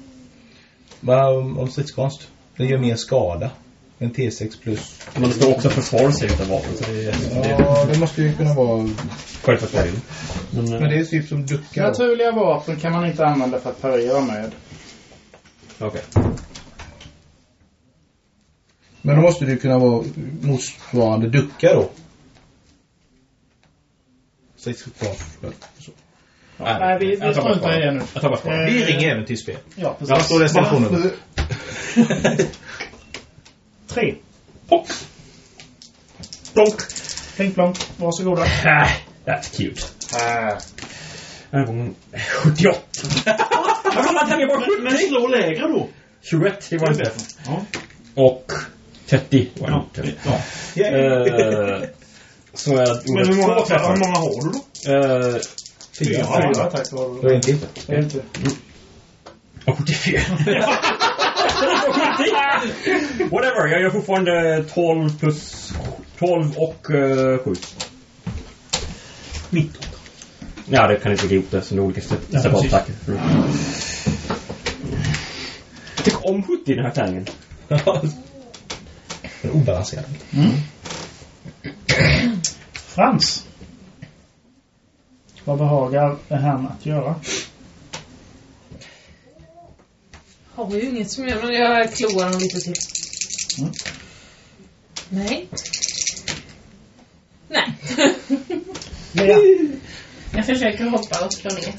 E: Vad om, om stridskonst? Den gör mer skada. En T6 plus.
F: Men det står också försvara sig utan vapen. Så det, är- det är
E: Ja, det måste ju kunna vara...
F: självförsvar. ju. Men, eh,
E: Men det är typ som duckar.
B: Naturliga vapen kan man inte använda för att parera med.
F: okej.
E: Men då måste det ju kunna vara motsvarande ducka då. Stridskonst.
B: Nej, vi, vi
F: jag tar bara
B: struntar i
F: svaret.
B: det nu.
F: Jag tar bara svaret.
E: Vi
B: Eh,
E: ringer äventyrsspel.
B: Ja, precis.
E: Var står destinationen?
B: Tre.
F: Pop!
B: Plonk. Plink plonk. Varsågoda.
F: Ah, that's cute. Ah.
B: Äh.
F: Den här gången 78. Jag kommer att tänka på
D: Men, men slå lägre då.
F: 21, det var det inte. Och 30 var det inte. Eh, Så jag
D: Men
F: gjorde
D: hur många,
F: två
D: hur
F: träffar.
D: många har du då?
F: Eh,
E: Fyra.
B: Fyra attacker har
E: Då
B: du.
E: är det en till.
B: Det är inte.
F: Och 74. Whatever, jag gör fortfarande 12 plus 12 och uh, 7. 19. Ja, det kan inte gå ihop det som det är olika separattacker. Jag tycker om 70 i den här tärningen.
E: Den är obalanserad.
B: Frans. Vad behagar han att göra?
C: Har ju inget som jag, men jag kloar honom lite till.
B: Mm.
C: Nej. Nej.
B: Lea.
G: Jag försöker hoppa och slå ner.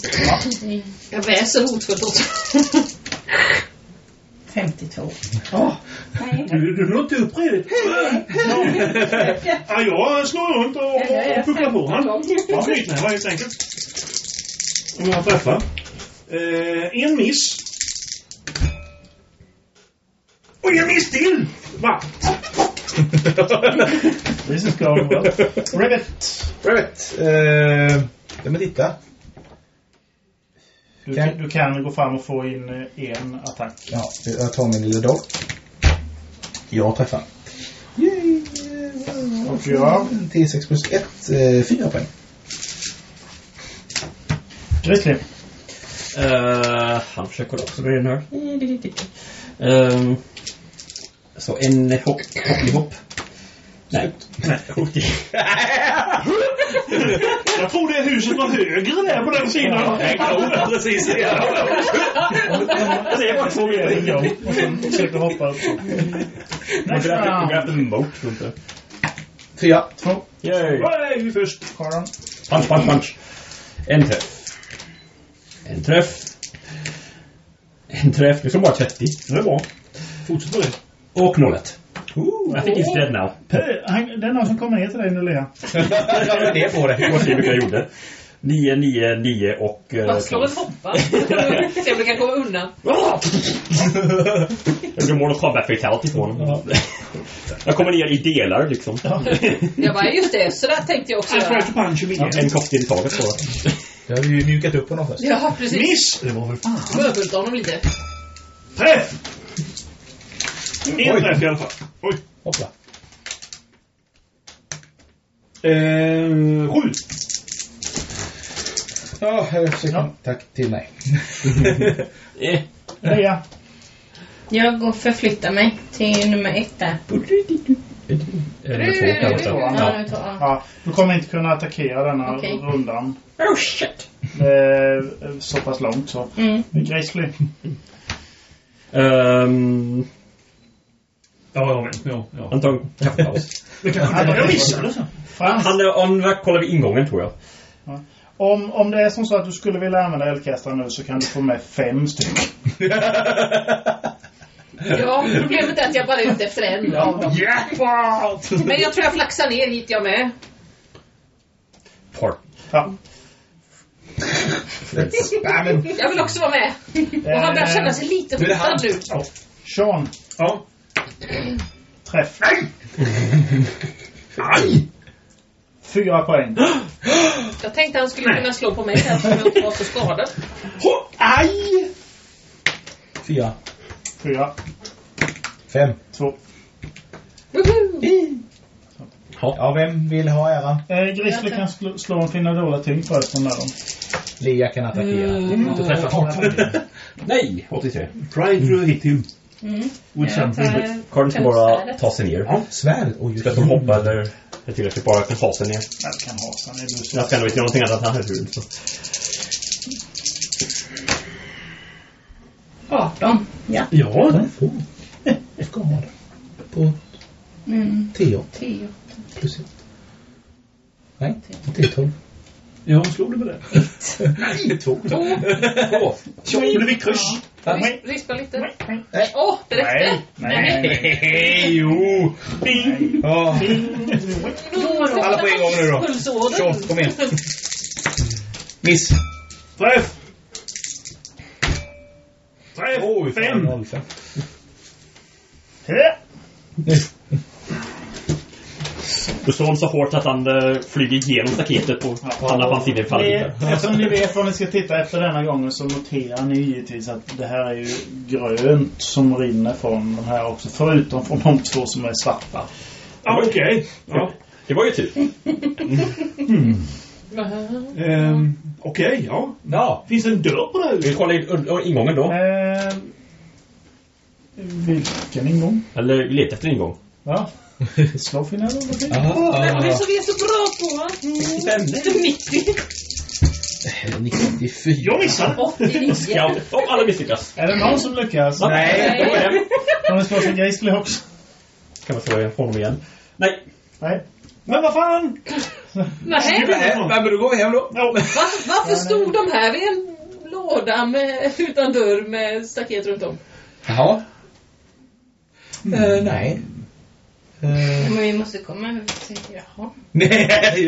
C: jag väser hotfullt åt honom.
G: 52.
D: Du, du når inte upp redigt. ja, jag slår runt och, och, och pucklar på honom. Ja, knytnävar helt enkelt. Om jag träffar. Eh, en miss. Och en miss till! Va?
B: This is going well. Ribbit.
E: Right. Eh, ja, men titta.
B: Du,
E: Kan-
B: du kan gå fram och få in eh, en attack.
E: Ja, jag tar min lilla dag. Jag träffar. Yay!
B: Och jag.
E: T6 plus 1, 4 poäng.
B: Grizzly.
F: Eh, han försöker också med den här. Ehm, så en hopp, hopp i hopp. Nej. Nej, hopp i-
D: Jag tror det huset var högre där på den sidan.
F: Jag glömde precis det.
D: Det är faktiskt vad vi gör.
B: Och sen försökte hoppa upp.
F: Vi har haft en bok, tror inte.
E: Fyra.
B: Två.
F: Yay!
D: Nej, vi är först.
B: Karan.
F: Punch, punch, punch. En träff. En träff. En träff. Nu får de bara 30. Det är bra.
D: Fortsätt på det.
F: Och nollet. Jag fick inte dead now.
B: Hej, han- Det är någon som kommer ner till dig nu, Lea.
F: det på det. Vad ser vi jag gjorde? 9, 9, 9 och... eh,
C: Bara slå en hoppa. Se om du kan komma undan.
F: Jag gjorde Mortal Kombat fatality på honom. Jag kommer ner i delar liksom.
C: Jag bara, just det, så där tänkte jag också
D: I try
C: göra.
D: to punch him again.
F: En cocktail i taget bara.
E: Det hade ju mjukat upp på något sätt.
C: Ja, precis.
D: Miss! Det var väl fan.
C: Bögulta honom lite.
D: Träff! En träff i alla fall. Oj.
E: Hoppla.
F: Ehm.
D: Eh, sju.
E: Ja, jag försöker. Tack till mig.
F: Eh,
B: Lea.
G: Jag går förflytta mig till nummer ett där.
D: Eh,
F: Eller två kanske.
G: Ja, nu tar jag.
B: Ja, du kommer inte kunna attackera denna
G: Okej.
B: rundan.
G: Oh shit!
B: Det är eh, så pass långt så.
G: Mm.
B: Grizzly.
F: Ehm,
D: Ja, ja, men. Ja, ja.
F: Antagligen kaffepaus.
D: Det kanske
B: Ja,
D: var
B: det
D: jag
B: var-
D: missade. så.
B: Frans.
F: Han, om jag kollar vid ingången tror jag.
B: Om, om det är som så att du skulle vilja använda eldkastaren nu så kan du få med fem stycken.
C: Ja, problemet är att jag bara är ute efter en av dem. Men jag tror jag flaxar ner hit jag med.
F: Park.
B: Ja.
E: Nej, men
C: Jag vill också vara med. Och han börjar känna sig lite hotad nu.
B: Sean.
D: Ja.
B: Träff. Fyra poäng.
C: Jag tänkte han skulle kunna slå på mig där som jag inte var så skadad.
D: Ho, Aj!
E: fyra.
B: Fyra.
E: Fem.
B: Två.
C: Woho!
E: Ja, vem vill ha ära?
B: Eh, Grizzly kan slå, slå en finna dåliga ting först. Den där då.
E: Lea kan attackera.
G: Mm.
F: Inte träffat hårt. Nej, 83.
D: Try to hit him.
G: Mm.
D: With
G: Jag
D: something.
G: tar
F: Karin ska bara ta sig ner.
E: Svärd. Oj,
F: Ska de hoppa eller? Jag tycker att vi bara kan ta sig ner.
B: Jag kan ha sen. Är du så.
F: Jag ska nog inte göra någonting annat än hans huvud. så.
G: 18. Ja.
D: Ja.
E: Den får en skada på
G: Mm.
E: 10
G: 10.
E: plus 1. Nej, inte 12.
D: Ja, slog du på det?
E: Nej, 2.
D: Ja, blev vi kryss.
C: Ris- Rispa lite. Åh, det räckte!
B: Nej, nej, nej.
D: Eh,
E: Nej, jo! Ja, Alla på en gång nu då.
C: Pulsådern.
E: Sean, kom igen. Miss.
D: Träff! Träff! Fem!
E: 05.
B: Eh,
F: Du slår honom så hårt att han eh, flyger igenom staketet och hamnar på hans sida i
B: ni-
F: fallet.
B: Eftersom ni vet vad ni ska titta efter denna gången så noterar ni givetvis att det här är ju grönt som rinner från de här också. Förutom från de två som är svarta.
D: Ja, Okej. Ja.
F: Det var ju typ- tur.
D: Ehm, Okej, ja.
F: Ja.
D: Finns det en dörr på det här
F: Vi
D: huset?
F: kollar in- un- un- ingången då.
B: Eh, vilken ingång?
F: Eller vi letar efter en ingång.
B: Va? Slå finna dåliga ting.
C: Det var
E: Ah,
C: ju så vi är så bra på va? Lite 90.
E: 94.
D: Jag missade!
C: 89.
F: Ja, om alla misslyckas.
B: Är det någon som lyckas?
F: Nej, då är det.
B: Kan ni slå sin Grizzly också?
F: Kan man slå honom igen? Nej.
B: Nej. Men vad fan!
C: Nej,
E: Nej, men då går vi hem då.
B: Ja.
C: varför, varför stod de här vid en låda med, utan dörr med staket runt om?
E: Jaha. Eh, nej. Eh,
G: Men vi måste komma över till... Jaha.
E: nej, ja.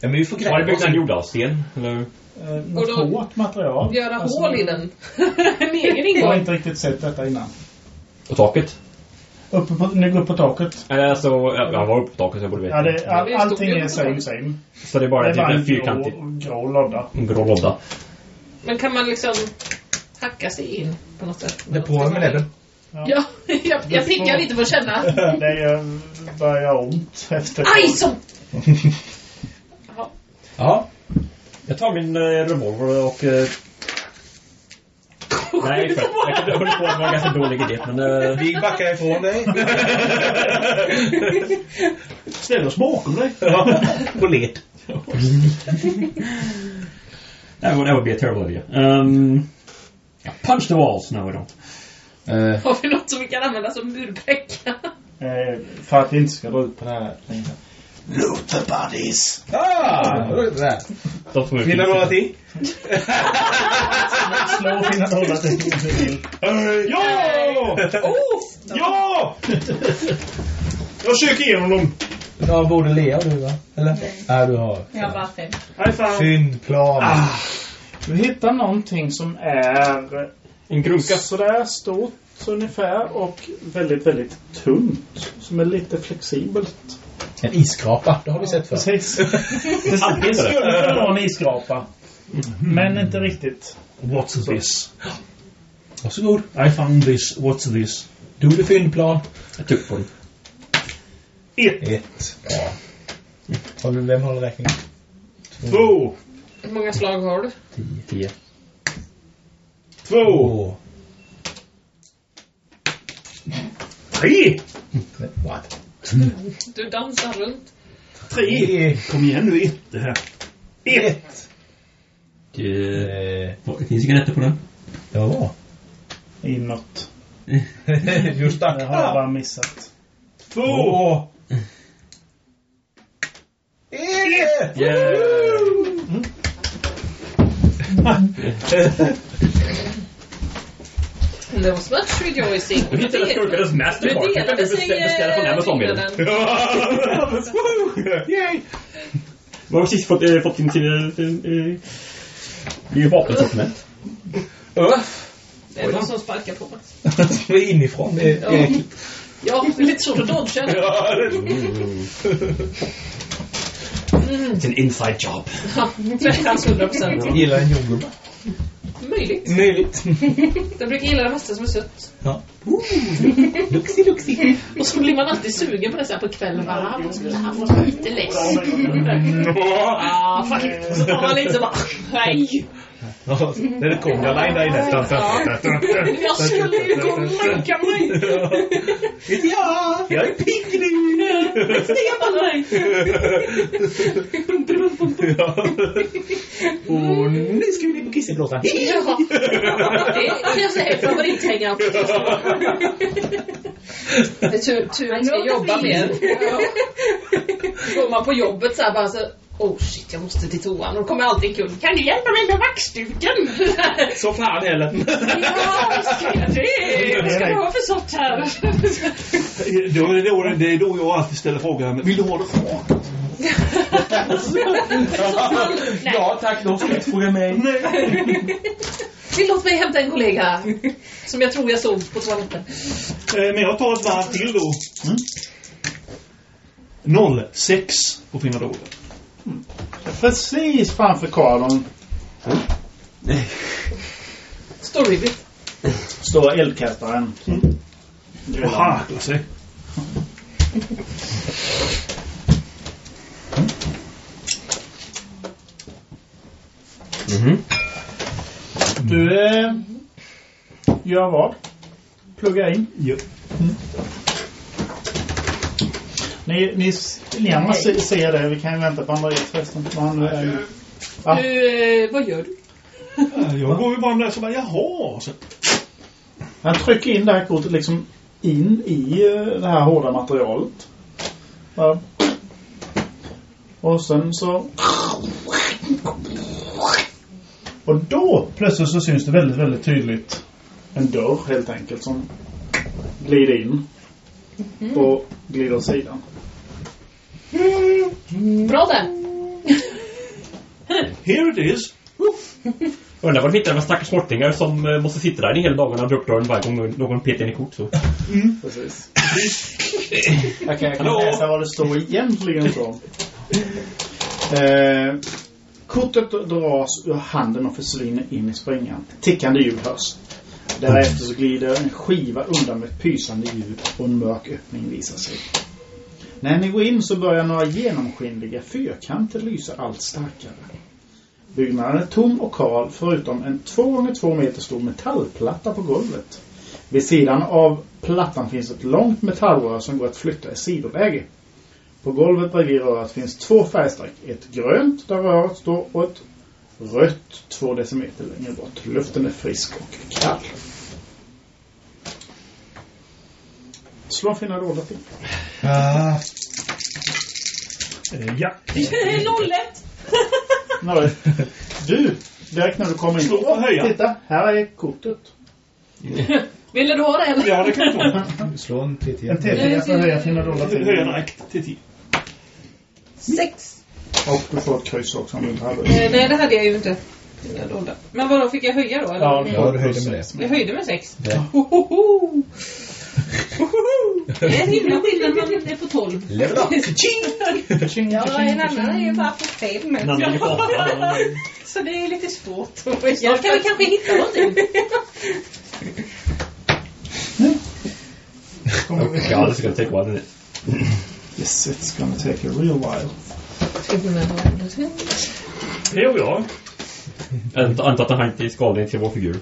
E: ja. Men vi får
F: Var det
E: gräva
F: byggt en
E: oss.
F: jordavsten? Eller?
B: Eh,
C: Och
B: något
C: då-
B: hårt material.
C: Göra
B: Alltså,
C: hål i den. en egen
B: Jag har
C: ingång.
B: inte riktigt sett detta innan.
F: På taket?
B: Uppe på, ni går upp på taket.
F: Eller alltså, jag, jag var uppe på taket så jag borde veta.
B: Ja, det, all,
C: det är stor
B: allting är
C: grå.
B: same same.
F: Så det är
B: Det
F: bara
B: är bara
F: typ en
B: en
F: fyrkantig
B: grå, grå låda.
F: en grå låda.
C: Men kan man liksom hacka sig in på något sätt?
E: Det är på med näbben.
C: Ja, jag, jag piggar lite för att känna.
B: Det gör- börjar ont efter...
C: Aj, så!
E: Ja.
F: Jag tar min eh, revolver och... Eh... Nej, för, jag jag höll på att vara en ganska dålig idé, men... Eh...
E: Vi backar ifrån dig.
D: Ställ oss bakom dig.
E: På led.
F: that would, that would be a terrible idea. Um, yeah, punch the walls. No, I don't. Uh,
E: Eh.
C: Har vi något som vi kan använda som murbräcka?
B: Eh, för att vi inte ska dra ut på det här längre. Loot the bodies!
E: Ah, då är det där.
F: De får
E: Vill du några ting?
B: Slå och finna några ting om du vill.
D: Ja! Ja! Jag söker igenom dem.
E: Du har både Lea och du va? Eller? Nej. Nej, du har.
G: Jag har bara fem.
B: High five!
E: Fyndplan.
B: Ah. Du hittar någonting som är eh,
D: En grunka.
B: sådär stort ungefär och väldigt, väldigt tunt. Som är lite flexibelt.
E: En isskrapa. Det har vi sett förr.
B: Precis. Det skulle kunna vara en iskrapa. Men inte riktigt.
D: What's this?
E: Varsågod.
D: I found this. What's this?
E: Du gjorde fyndplan.
F: jag tog på den.
D: Ett,
E: Ett. Ja. Håller- Vem håller räkningen?
D: två,
C: Hur många slag har du?
F: Tio, tio.
D: två, tre,
E: What?
C: Du dansar runt.
D: tre. Kom igen nu, ett det här. Ett.
F: Det
E: Eh,
F: det finns cigaretter på den.
E: Det var bra.
B: Inåt.
E: Just
B: Det har jag bara missat.
D: Två!
E: Ett!
C: Det var much rejoicing.
F: Du hittade skurkarnas mastercard.
C: Du
F: Du
C: delade
F: kan
C: sig eh,
F: beställa från Amazon med den.
C: skillnaden.
F: Yay! Var har precis fått, eh, fått in sin... eh, eh, Det är vapensortiment.
C: Det är någon som sparkar på mig.
E: Det är inifrån. Det är- det är-
C: Ja, det är lite svårt att dodga. Mm.
F: It's an inside job.
C: Ja, Nästan 100 procent.
E: Jag gillar en jordgubbe.
C: Möjligt.
E: Möjligt.
C: Jag brukar gilla det mesta som är sött.
E: Ja.
C: Luxi, luxi. Och så blir man alltid sugen på det så här på kvällen. Bara, ah, man skulle ha fått lite läsk. Ah, fuck it. Och så tar man lite så bara, nej.
E: Ja, När det kommer jag line där i nästan.
C: Jag skulle ju gå och lägga mig.
E: Inte jag! Jag är pigg nu!
C: Stefan, nej.
E: Och nu ska vi ner på kissenblåsan.
C: Ja. Det kan jag säga är favorithängaren på Det är tur, tur att jag jobbar med den. Ja. Går man på jobbet så här bara så Oh shit, jag måste till toan. Och då kommer alltid en kund. Kan du hjälpa mig med vaxduken?
E: Så fan heller.
C: ja, vad ska jag det? Vad ska du ha för sort här?
D: Det är då, det är då jag alltid ställer frågan. Vill du ha det kvar?
E: Ja tack, då ska du inte fråga mig.
C: Tillåt mig hämta en kollega. Som jag tror jag såg på toaletten.
D: Eh, Men jag tar ett varv till då. Mm. Noll, sex på fina dollar.
B: Precis framför kameran
C: Storybit.
B: står eldkastaren.
D: Och harklar sig.
B: Du eh, gör vad? Pluggar in? Mm.
D: Ja.
B: Ni, ni gärna se, se det. Vi kan ju vänta på Andreas förresten. Men Han, eh, Ja.
C: Du, eh, vad gör du?
D: Eh, Jag går ju bara där så bara, jaha. Så,
B: han trycker in det här kortet liksom in i eh, det här hårda materialet. Ja. Och sen så... Och då plötsligt så syns det väldigt, väldigt tydligt en dörr helt enkelt som glider in och glider åt sidan.
C: Bra där.
D: here it is.
F: Undrar var de hittar de här stackars småttingar som eh, måste sitta där en hel dag och dra upp dörren varje gång någon- någon petar in i kort. Så.
B: Precis. Jag kan, jag kan
F: Hallå?
B: läsa vad det står egentligen så. Eh, kortet dras ur handen och försvinner in i springan. Tickande ljud hörs. Därefter så glider en skiva undan med ett pysande ljud och en mörk öppning visar sig. När ni går in så börjar några genomskinliga fyrkanter lysa allt starkare. Byggnaden är tom och kal förutom en 2x2 meter stor metallplatta på golvet. Vid sidan av plattan finns ett långt metallrör som går att flytta i sidoläge. På golvet bredvid röret finns två färgstreck. Ett grönt där röret står och ett rött två decimeter längre bort. Luften är frisk och kall. Slå fina dolda till.
E: Ah.
B: Ja.
C: Noll ett!
B: Nej. Du, direkt när du kommer in.
D: Slå och höja.
B: Titta, här är kortet.
C: Ville du ha det eller?
D: Ja, det kan du få.
E: Slå en TT.
B: En T4 för att höja fina dolda till.
D: Höja direkt till 10.
C: Sex.
B: Och du får ett kryss också om du inte hade
C: Eh, nej, det hade jag ju inte. Jag dolde. Men vadå, fick jag höja då? Eller?
B: Ja,
E: Ja, du höjde med det.
C: Jag höjde med sex.
E: Ja.
C: Hohoho! Hohoho! Det är en himla skillnad när man är på tolv.
E: Level up!
G: Ja, en annan är ju bara på fem.
C: Så det är lite svårt. Jag kan vi kanske hitta någonting.
B: Kommer vi-
F: God, this is gonna take a while, isn't it?
B: Yes, it's gonna take a real while.
F: Det gör jag. Jag antar att han inte är skadlig till vår figur.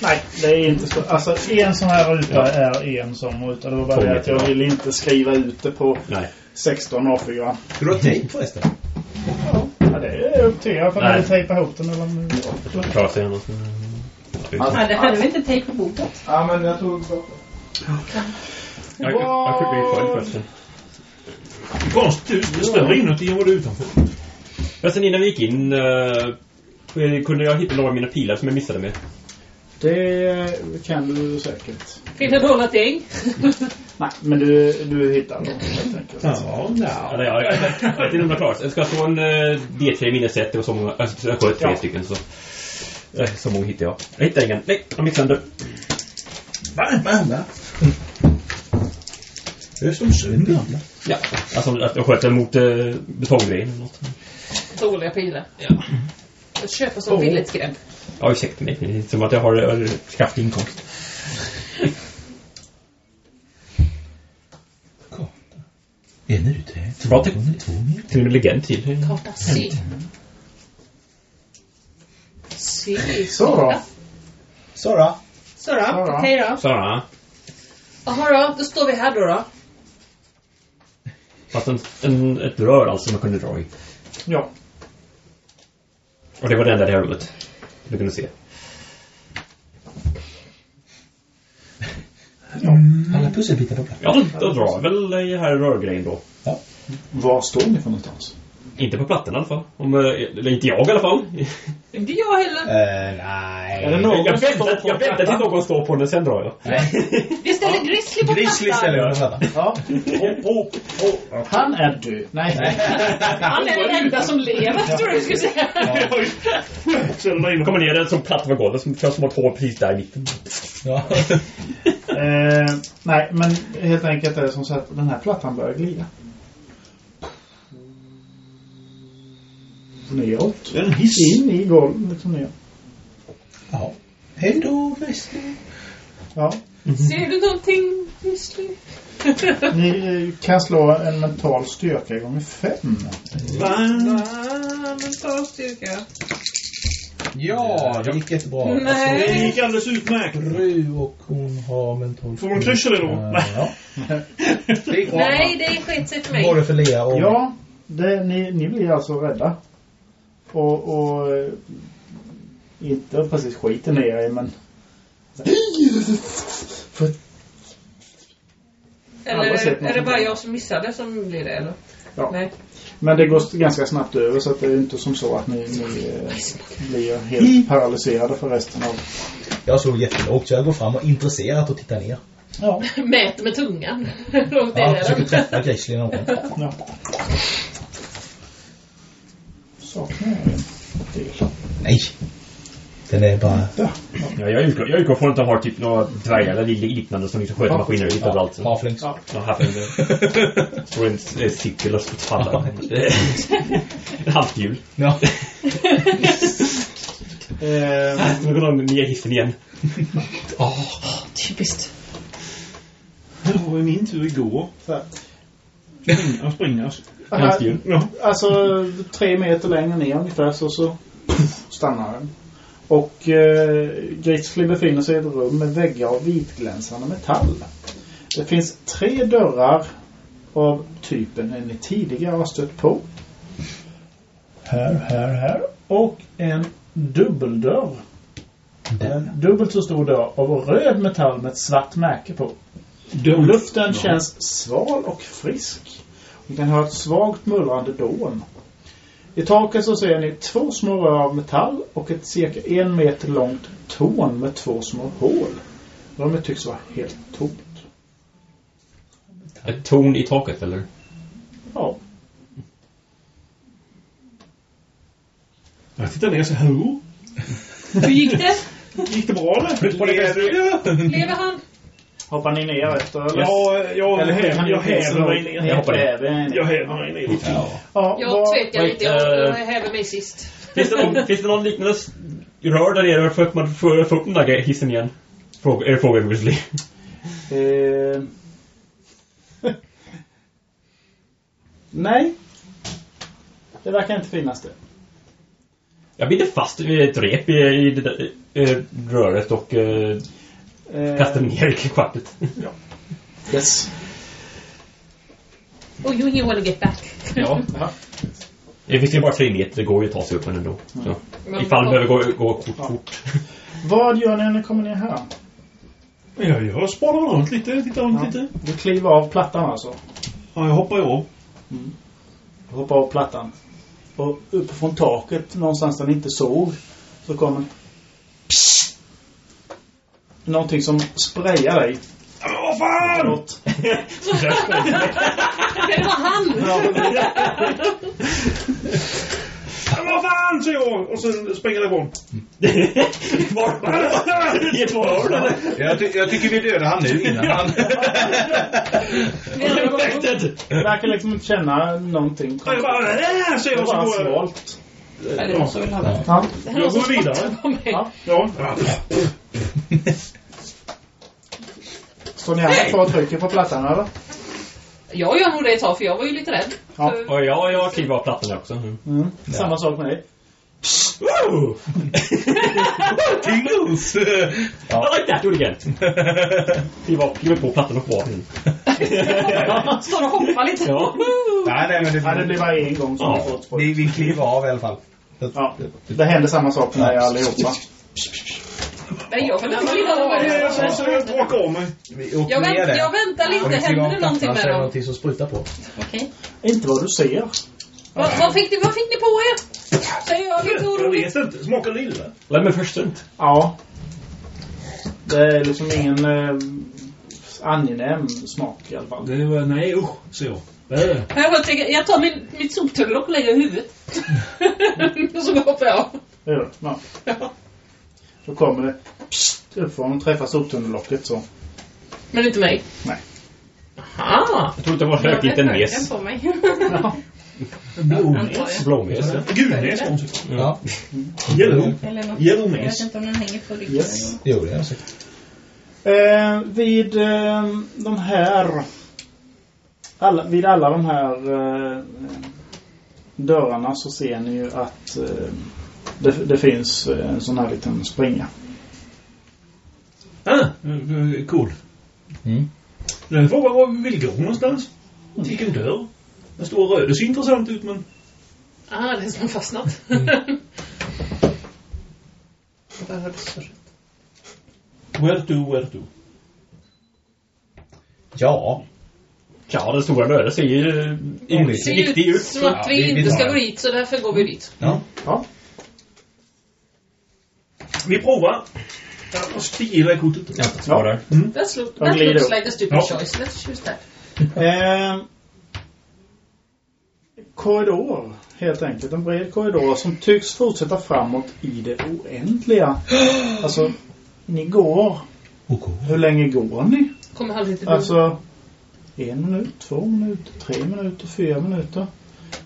B: Nej, det är inte så. Alltså, en sån här ruta
F: Ja.
B: är en sån ruta. Det var bara
F: Kommer
B: det att jag
F: till.
B: ville inte skriva ut det på
F: Nej.
B: 16 A4.
E: Ska du ha tejp förresten?
B: Ja, det är upp till er för
F: Nej.
B: att tejpa ihop den eller om
F: Jag klarar sig ändå.
C: Nej, det hade vi inte tänkt på bordet.
B: Ja, men jag tog
F: Jag jag skickar in följd förresten.
D: Konstigt, du är större inuti än vad du är utanför.
F: Men sen innan vi gick in eh, kunde jag hitta några av mina pilar som jag missade med.
B: Det kan du säkert.
C: Finna dolda ting.
B: Nej, men du, du hittar dem helt enkelt.
F: Ja, Alltså. ja. Jag jag vet inte om jag klarar sig. Jag ska slå en eh, D3 minus 1. Det var så många. Jag jag sköt tre
B: Ja.
F: stycken. Så. Eh, Så många hittade jag. Jag hittade ingen. Nej, jag missade den.
E: Va? Va? Va? Det är som sönder.
F: Ja, alltså att jag sköt den mot eh, betonggrejen eller något.
C: Dåliga pilar. Ja. Jag köper som billigt skräp.
F: Ja, ursäkta mig. Det är som att jag har eh, kraftig inkomst.
E: En ute.
F: Så bra teknik.
E: Två mer.
F: Till och med legend till.
C: Karta C. C.
B: Så då.
E: Sara.
C: Så då.
B: då.
C: Okej då.
F: Sara.
C: Jaha då, då står vi här då då.
F: Fast en, en, ett rör alltså som man kunde dra i.
B: Ja.
F: Och det var det enda i det här rummet. Du kunde se.
E: Alla pusselbitar på plats.
F: Ja, då drar jag väl i här rörgrejen då.
B: Var står ni för någonstans?
F: Inte på plattan i alla fall. Om, eh, eller inte jag i alla fall.
C: Inte jag heller.
E: Eh, nej.
B: Är det någon
F: Jag
B: som står
F: väntar,
B: på
F: jag väntar tills
B: plattan?
F: någon står på den, sen drar jag.
C: Vi ställer Grizzly på
E: Grizzly
C: plattan.
E: ställer jag på plattan.
B: Ja.
F: Hopp, hopp.
B: Han är du. Nej.
C: Han är den enda som lever, tror jag du skulle säga.
D: Sen där inne.
F: Kommer ner den som platt över golvet, som kör som ett hår precis där i mitten.
E: Ja.
B: Eh, nej, men helt enkelt är det som så att den här plattan börjar glida. Neråt.
D: Det är en hiss.
B: In i golvet. Liksom ner.
E: ja. Hej då, Grizzly.
B: Ja.
C: Ser du någonting, Grizzly?
B: Ni eh, kan slå en mental styrka gånger fem.
C: Ah, men ta styrka.
E: Ja, det gick jättebra. Alltså,
D: Det
C: Nej.
D: gick alldeles utmärkt.
E: Fru och hon har mental...
D: Får hon kryssa det då?
E: Eh, Ja. Det gick bra.
C: Nej, det sket sig för mig.
E: Både för Lea och...
B: Ja, det, ni, ni blir alltså rädda. Och, och eh, inte precis skiten ner i men... För
C: Eller
B: Alla har sett något
C: är det
B: sånt
C: bara
B: där.
C: jag som missade som blir det, eller?
B: Ja.
C: Nej.
B: Men det går ganska snabbt över så att det är inte som så att ni, ni eh, blir helt paralyserade för resten av...
E: Jag slog jättelågt så jag går fram och intresserat och tittar ner.
B: Ja.
C: Mäter med tungan. Långt
E: Ja,
C: ner
E: jag försöker
C: den.
E: träffa Grizzly någon gång.
B: ja. Saknar jag en del.
E: Nej. Den är bara...
F: Ja, jag, utgår, jag utgår från att de har typ några dvärgar eller liknande som liksom sköter maskiner lite överallt. så.
E: Halflings.
B: Ja.
F: Jag har haft en... Står en eh, cykel och faller. En halvhjul.
E: Ja.
B: Eh,
F: Nu går de ner hissen igen.
C: Typiskt.
D: Det var ju min tur igår.
B: så här.
D: Springa, springa.
B: Här,
F: Halvhjul.
D: Ja.
B: alltså tre meter längre ner ungefär så, så stannar den. Och eh, Grizzly befinner sig i ett rum med väggar av vitglänsande metall. Det finns tre dörrar av typen än ni tidigare har stött på. Här, här, här. Och en dubbeldörr. En dubbelt så stor dörr av röd metall med ett svart märke på. Luften känns sval och frisk. Ni kan höra ett svagt mullrande dån. I taket så ser ni två små rör av metall och ett cirka en meter långt torn med två små hål. Rummet tycks vara helt tomt.
F: Ett torn i taket, eller?
B: Ja.
D: Jag tittar ner så här. "Hallå?
C: Hur gick det?
D: Gick det bra eller?
C: Lever han?
B: Hoppar ni ner efter? Eller?
D: Ja, jag,
B: Eller häver
D: häver,
B: ni
D: jag
B: priset
D: häver
B: då?
D: mig ner.
B: Ni hoppar ner.
D: Jag häver mig ner.
B: Ja, eh,
C: Jag typ-
B: vad-
C: tvekar lite. Jag häver mig sist.
F: Finns det någon, finns det någon liknande s- rör där nere för att man får får upp den där gre- hissen igen? Fråga, eh, fråga Grizzly.
B: Eh... Nej. Det verkar inte finnas det.
F: Jag biter fast i ett rep i, i det där, eh, röret och eh,
B: Eh,
F: kastar ner i schaktet.
B: Yes.
C: Oh, you, you wanna get back.
F: Ja. Det finns ju bara tre meter, det går ju att ta sig upp men ändå. Så.
C: Men-
F: Ifall det behöver gå, gå fort, fort.
B: Vad gör ni när ni kommer ner här?
D: Jag, jag spanar runt lite, tittar runt
B: Ja.
D: lite.
B: Du kliver av plattan alltså?
D: Ja, jag hoppar ju av.
B: Du hoppar av plattan. Och uppifrån taket, någonstans där ni inte såg, så kommer... Psst! Någonting som sprayar dig.
D: Åh fan!
B: Något.
C: Det var han!
D: Ja, Vad fan, säger jag! Och sen springer jag ifrån.
F: Var I ett rör eller?
O: Jag, ty jag tycker vi dödar han nu innan han...
F: Infected!
B: Du verkar liksom inte känna någonting.
D: Ja, Jag bara, äh, säger
B: Det är
D: jag och så
B: bara
D: går jag.
B: svalt.
C: Nej, det är någon som vill ha det.
B: Ja.
C: Det här är någon som
D: Jag går vidare.
C: spottar på mig.
B: Ja.
D: Ja.
B: Står ni andra kvar och trycker på plattan eller?
C: Jag gör nog det ett tag, för jag var ju lite rädd.
B: Ja.
C: Så-
F: Och jag, jag kliver av plattan också. Mm.
B: Mm. Samma sak med dig.
F: Woo!
O: Fucking loose!
F: I like that, do it again. Kliva av, kliva på plattan och kvar.
C: Står och hoppar lite.
F: Ja.
O: Nej, nej, men det...
B: Nej, det blir bara en gång som
F: Ja.
B: du får ett spott.
E: Vi, vi kliver av i alla fall.
B: Ja. Det händer samma sak med er allihopa.
C: Nej, jag vill inte vilja ha
D: Ja,
C: det.
D: Jag sa så jag rakar av mig.
E: Vi åker
C: Jag,
E: ner
C: vänt,
E: där.
C: jag väntar
E: Och
C: lite.
E: vi kliver av
C: Händer det någonting
E: plattan,
C: med
E: så alltså, är det
C: dem?
E: någonting som sprutar på.
C: Okej.
B: Inte vad du ser.
C: Vad, vad, fick ni, vad fick ni på er? Säger jag lite
D: Jag
C: oroligt.
D: vet inte. Smakar lilla.
F: Lemon first inte.
B: Ja. Det är liksom ingen eh, angenäm smak i alla fall.
D: Det var, nej usch, säger jag. Det är det.
C: Jag, tänker, jag tar min, mitt soptunnlock och lägger i huvudet. Och så hoppar jag av.
B: Det gör det. Ja. Då kommer det pssst, uppifrån och träffar soptunnelocket så.
C: Men inte mig.
B: Nej.
C: Aha.
F: Jag tror inte det var
G: Jag
F: högt,
G: blev
F: inte en
G: skjuten
F: mes.
G: på mig.
C: Antar jag.
F: Blåmes.
D: Gulnäs kom så.
E: Ja.
D: Yellow.
G: Eller något.
D: Yellow
G: Jag vet
D: mes.
G: inte om den hänger på ryggen.
B: Yes.
E: Jo, det är det säkert.
B: Eh, vid eh, de här... Alla, vid alla de här eh, dörrarna så ser ni ju att eh, det, det finns eh, en sån här liten springa.
D: Ah, eh, cool.
E: Mm.
D: Den frågan var vill gå någonstans. Vilken dörr. Den stora röda ser intressant ut men...
C: Ah, det är som fastnat. Det där hördes så rätt.
D: Where to, where to.
E: Ja.
F: Ja, den stora röda ser ju eh, in-
C: Det ser
F: riktig
C: ju ut
F: ut.
C: som att
E: Ja,
C: vi
E: vi- vi
C: inte
E: tar
C: ska
E: den.
C: gå dit, så därför går vi dit.
B: Ja.
D: Vi provar. Jag måste ge dig kortet.
F: Ja, det var där.
C: That looks,
B: Jag
C: that
B: glider
C: looks
B: upp.
C: like a stupid
D: Ja.
C: choice. Let's choose that.
B: Eh, korridor, helt enkelt. En bred korridor som tycks fortsätta framåt i det oändliga. Alltså, ni går. Hur länge går ni?
C: Kommer aldrig till alltså,
B: Alltså, en minut, två minuter, tre minuter, fyra minuter.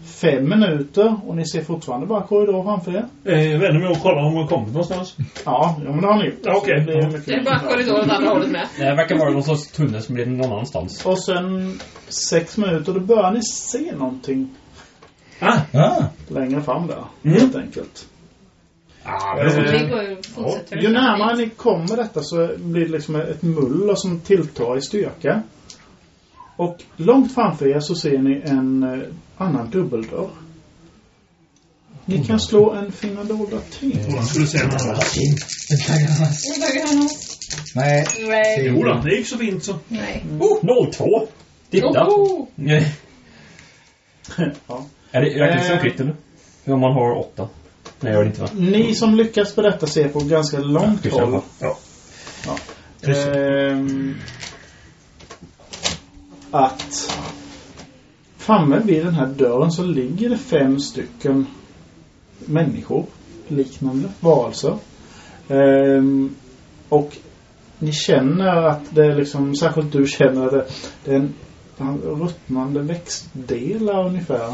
B: Fem minuter och ni ser fortfarande bara korridor framför er.
D: Eh, vänder mig och kollar om hon kommit någonstans.
B: Ja, ja men det har ni gjort.
D: Ja, okej.
B: Så det är
D: Ja.
B: mycket
C: Det är bara
B: mindre.
C: korridoren åt andra hållet med.
F: Det här verkar vara någon sorts tunnel som leder någon annanstans.
B: Och sen sex minuter, då börjar ni se någonting
E: Ah.
B: längre fram där.
D: Mm.
B: Helt enkelt.
D: Ah,
B: Eh,
G: Det går ju fortsätter.
B: Ju närmare ni kommer detta så blir det liksom ett muller som tilltar i styrka. Och långt framför er så ser ni en eh, annan dubbeldörr. Ni kan slå en finna dolda till.
D: Jag skulle säga något annat.
E: Nej.
G: Nej.
D: Jo då, det gick så fint så.
G: Nej.
F: Oh, 02! Titta!
G: Oho!
F: Nej.
B: Ja.
F: Är det räknas det som
B: Eh.
F: krit eller? Ja, Om man har åtta. Nej, jag gör det inte va?
B: Ni som lyckas på detta ser på ganska långt
F: Ja,
B: håll.
F: Ja.
B: Ja. Ehm, att framme vid den här dörren så ligger det fem stycken människor, liknande varelser. Ehm, och ni känner att det är liksom, särskilt du känner att det, det är en, en ruttnande växtdelar ungefär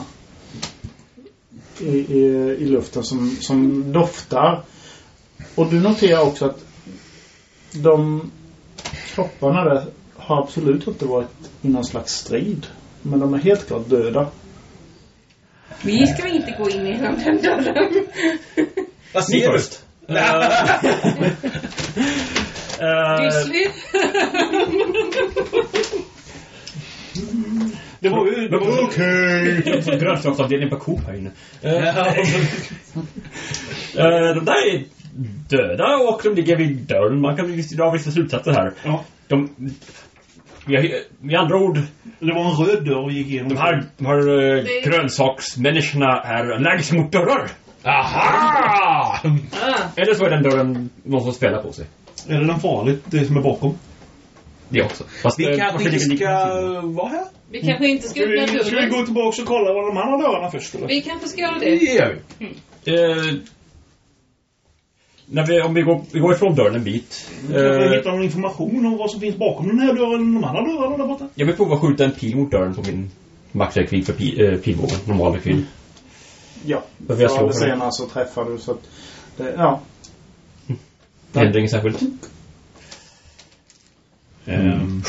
B: i, i, i luften som, som doftar. Och du noterar också att de kropparna där har absolut inte varit i någon slags strid. Men de är helt klart döda.
G: Vi ska inte gå in genom den dörren.
F: Vad ser du? först.
G: Pysslig.
D: Det var ju... Det var ju
F: Okej! Som grönsaksavdelning på Coop här inne. Eh, de där är döda och de ligger vid dörren. Man kan ju dra vissa slutsatser här.
D: Ja.
F: De... Med med andra ord,
D: det var en röd dörr vi gick igenom.
F: de här, de här eh,
C: Det-
F: grönsaksmänniskorna är allergiska mot dörrar.
C: Ah.
F: Aha! Eller så är den dörren någon som spelar på sig.
D: Eller den farligt, det som är bakom.
F: Det också. Fast
O: Vi
F: eh,
O: kanske
F: varför ligger
O: inte
F: det
O: ska
F: liknande till?
O: vara här.
C: Vi kanske inte ska
D: Ska vi,
C: öppna
D: ska vi
C: dörren.
D: gå tillbaka och kolla vad de andra dörrarna först eller?
C: Vi kanske ska göra
F: Det
C: det.
F: gör vi. Eh, när vi, om vi går, vi går ifrån dörren en bit.
D: Kan vi
F: Eh,
D: hitta någon information om vad som finns bakom den här dörren och de andra dörrarna där borta?
F: jag vill prova att skjuta en pil mot dörren på min maxräckvidd för pi, eh, pilbågen. Normal räckvidd.
B: Ja.
F: Då får jag
B: Förr
F: slå
B: eller
F: för det.
B: senare så träffar du så att... Det, ja.
F: Det händer inget särskilt. Ehm,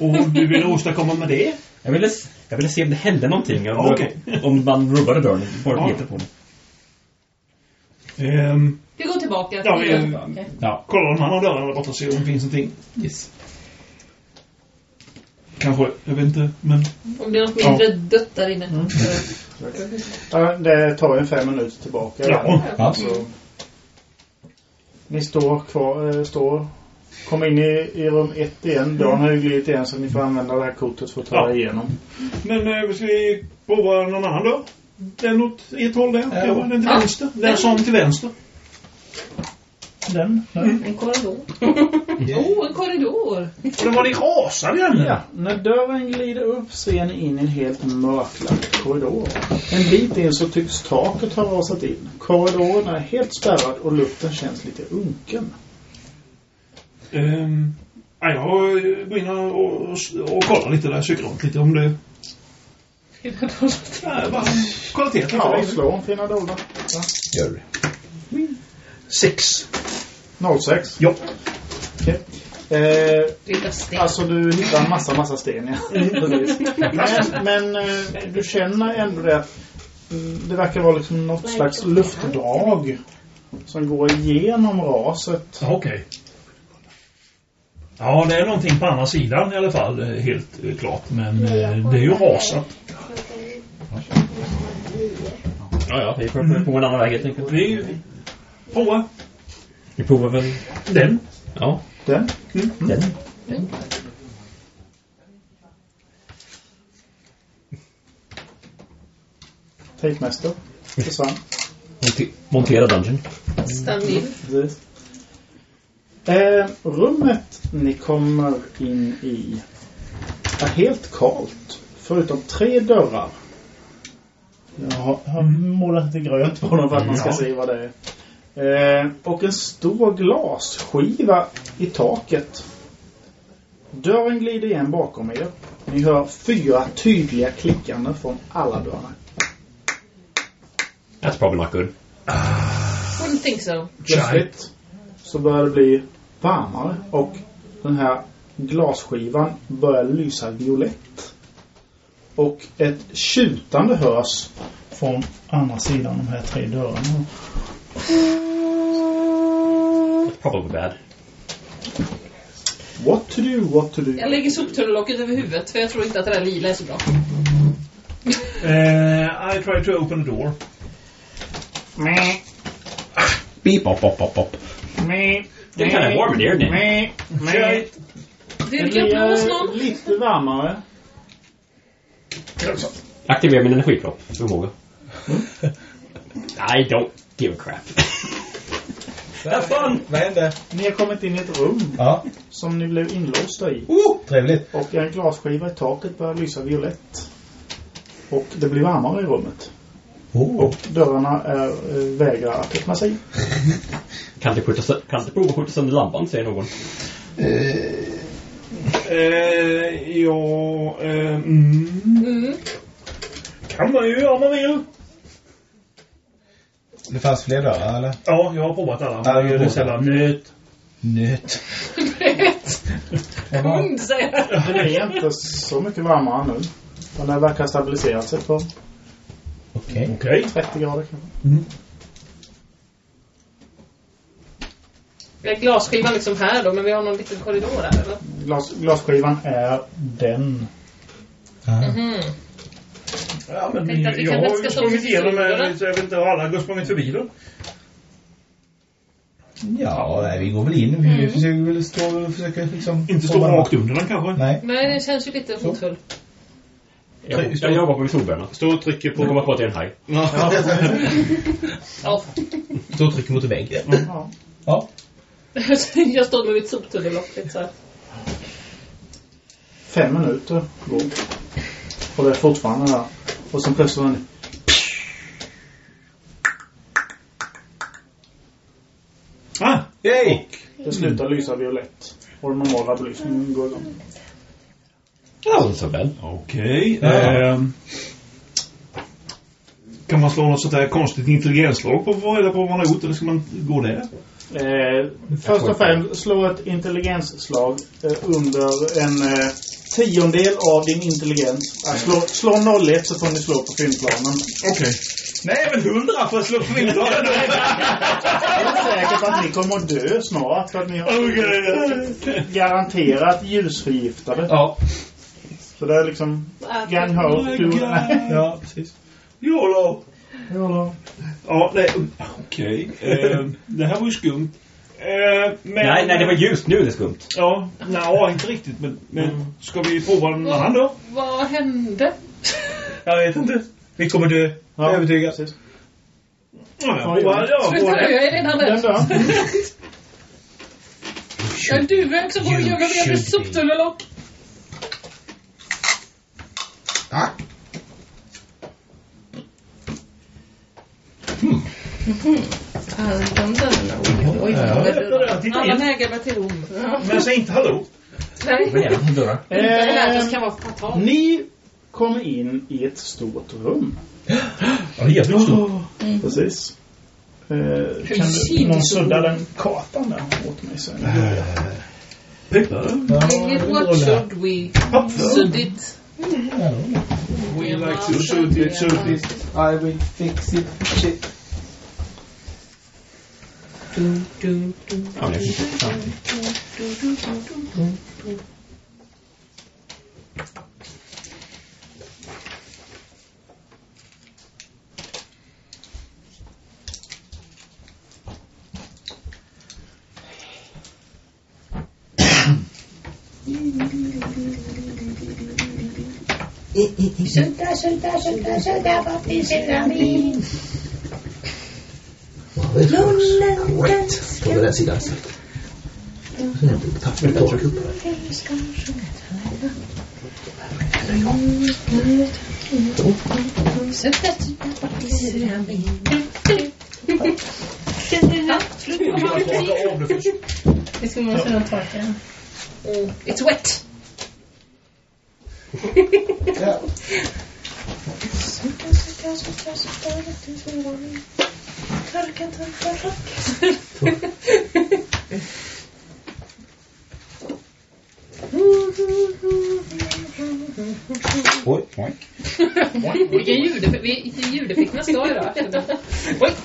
D: Och du vill åstadkomma med det?
F: jag, ville, s- jag ville se om det hände någonting. Om,
D: Okej.
F: om man rubbade dörren. Bara
D: Ja.
F: meter på den.
D: Ehm,
C: Vi går tillbaka
D: ja, vi
C: till
D: eh,
F: Ja.
D: kollar de andra dörrarna där borta och ser om det finns någonting.
F: Yes.
D: Kanske, jag vet inte, men...
C: om det är något mindre dött där inne.
D: Mm.
B: Ja, Det tar ju fem minuter tillbaka.
D: Ja.
B: Så. Ni står kvar, eh, står. Kom in i, i rum ett igen. Dörren har ju glidit igen så ni får använda det här kortet för att ta
D: Ja.
B: er igenom.
D: Men eh, ska vi prova någon annan dörr? Den åt ett håll där,
E: Ja.
D: ja. den till vänster. Den som till vänster.
B: Den?
G: En korridor.
C: Oh, en korridor!
D: För den var det rasade i den.
B: Ja, när dörren glider upp ser ni in i en helt mörklagd korridor. En bit in så tycks taket ha rasat in. Korridoren är helt spärrad och luften känns lite unken.
D: Ehm, ja, jag går in och, och, och kollar lite där, söker runt lite om det... Ja, jag bara kolla till.
B: Ja, slå en fina dolda.
E: Gör det.
D: Sex.
B: 06.
D: Ja.
B: Okej. Eh,
C: Det är lustigt.
B: alltså du hittar en massa, massa sten ja. Precis. men men eh, du känner ändå det att mm, det verkar vara liksom något slags luftdrag som går igenom raset.
D: Ja, okej. Ja, det är någonting på andra sidan i alla fall, eh, helt eh, klart. Men eh, det är ju rasat.
F: Ja, ja. Vi får prova en annan väg helt enkelt.
D: Det är ju... Prova
F: Vi provar väl... Mm.
D: den.
F: Ja.
B: Den.
F: Den.
B: Tejpmästare. Försvann.
F: Monte- Montera dungeon.
C: Stabil.
B: Precis. Eh, rummet ni kommer in i är helt kallt. Förutom tre dörrar. Jag har, har målat lite grönt på dem för att man ska
D: Ja.
B: se vad det är. Eh, och en stor glasskiva i taket. Dörren glider igen bakom er. Ni hör fyra tydliga klickande från alla dörrar.
F: That's probably not good.
C: Wouldn't think so.
B: Plötsligt så börjar det bli varmare och den här glasskivan börjar lysa violett. Och ett tjutande hörs från andra sidan de här tre dörrarna.
F: That's probably bad.
D: What to do, what to do.
C: Jag lägger soptunnellocket över huvudet för jag tror inte att det där lila är så bra.
D: Eh, I try to open the door.
B: Meh,
O: Beep, pop, pop, pop, pop.
B: meh.
F: They're kinda warm in here, isn't it?
B: Meh, meh.
C: Virka blås
B: eh,
C: någon.
B: lite varmare.
F: Aktivera min energikropp. Förmåga. I don't give a crap. Have fun!
E: Vad hände?
B: Ni har kommit in i ett rum
E: Ja.
B: som ni blev inlåsta i.
E: Oh, trevligt.
B: Och en glasskiva i taket börjar lysa violett. Och det blir varmare i rummet.
E: Oh.
B: Dörrarna är, eh, vägrar att öppna sig.
F: Kan inte, skjuta, sö- kan inte prova att skjuta sönder lampan, säger någon.
D: Eh, ja, eh, mm.
C: Mm.
D: Kan man ju om man vill.
E: Det fanns fler dörrar, eller?
D: Ja, jag har provat alla.
E: Ja,
D: jag
E: jag
D: har
E: har
D: sällan nöt.
E: Nöt.
C: Kund säger jag.
B: Den är inte så mycket varmare nu. Den där verkar ha stabiliserat sig på
E: Okej.
D: Okej.
B: 30 grader kanske.
C: Vi har glasskivan liksom här då men vi har någon liten korridor här eller?
B: Glas, glasskivan är den.
D: Mm. Ja, men
C: Tänkte att vi
D: jag
C: kanske
D: har
C: ska
D: ju
C: stå
D: sprungit
C: till
D: igenom
C: sidan.
D: eh, så jag vet inte, har alla har sprungit förbi den.
E: Ja, nej, vi går väl in. Vi
C: Mm.
E: försöker väl stå och försöka liksom...
D: Inte stå rakt under den kanske.
E: Nej.
C: Nej den känns ju lite hotfull.
F: Jag, jag jobbar på solbrännarna.
D: Stå och trycka
F: Nu
D: på...
F: kommer jag på att det är en haj.
C: Ja.
E: Stå och tryck mot väggen.
B: Ja.
E: Ja.
C: Jag står med mitt soptunnellock lite såhär.
B: Fem minuter går. Och det är fortfarande där. Och sen plötsligt en...
D: Ah,
E: Yay!
B: Det slutar lysa violett. Och den normala belysningen går igång.
F: Ja, så väl.
D: Okej.
E: Ja.
D: ehm. kan man slå något sånt där konstigt intelligenslag på vad reda på vad man har gjort eller ska man gå där?
B: Eh, först och främst, slå ett intelligensslag eh, under en eh, tiondel av din intelligens. Eh, slå, slå 01 så får ni slå på filmplanen.
D: Okej. Nej, men hundra för att slå på min dag.
B: Jag är säker på att ni kommer att dö snart. För att ni har
D: Okej.
B: garanterat ljusförgiftade.
E: Ja.
B: Så det är liksom... Gang
D: Oh
B: ho,
D: my
B: du...
D: God.
E: Ja, precis.
D: YOLO.
B: Ja,
D: Ja, nej. Okej. ehm, det här var ju skumt. Eh, men,
F: Nej, nej, det var ljust nu, det är skumt.
D: Ja, nej, inte riktigt. Men, men ska vi prova en annan då?
C: Vad hände?
D: Jag vet inte.
E: Vi kommer dö.
B: Ja,
E: Övertygad.
B: precis.
D: Ja, jag provar. Ja,
C: Sluta
D: provar.
C: nu, jag är redan
B: Den
C: rädd.
B: där.
C: Jag är en duvhök som går och gömmer mig under ett soptunnellock.
G: Alltså, de dörrarna. Oj,
D: Ja,
G: oj, oj.
D: jag börjar titta
C: Alla
D: in.
C: vägar bär till Rom.
D: Men säg inte hallå.
C: Nej,
F: Vad är det för dörrar?
C: det
D: Ehm.
C: är värt att
B: Eh,
C: det kan vara fatal.
B: Ni kommer in i ett stort rum.
E: Ja, det är jävligt stort.
C: Mm.
B: Precis. Eh, kan du,
C: shit,
B: någon
C: så-
B: sudda den kartan där åt mig sen?
D: Pippa.
C: What should we suddit?
D: We like to shoot it, shoot it.
O: I will fix it. Shit.
F: Ja, men jag förstår. Ja.
I: Sudda, sudda, sudda, sudda bort din celamin. Lollen danskar,
O: den sidan.
I: den ska sjunga. Sudda, sudda bort din celamin.
G: Vi ska måste nog torka den.
C: Mm, It's wet.
I: Sudda, sudda, sudda, sudda bort din celamin. Torka, torka, torka.
O: Oj, oj.
C: Vilken ljudeffekt- vilken ljudeffekt man ska idag.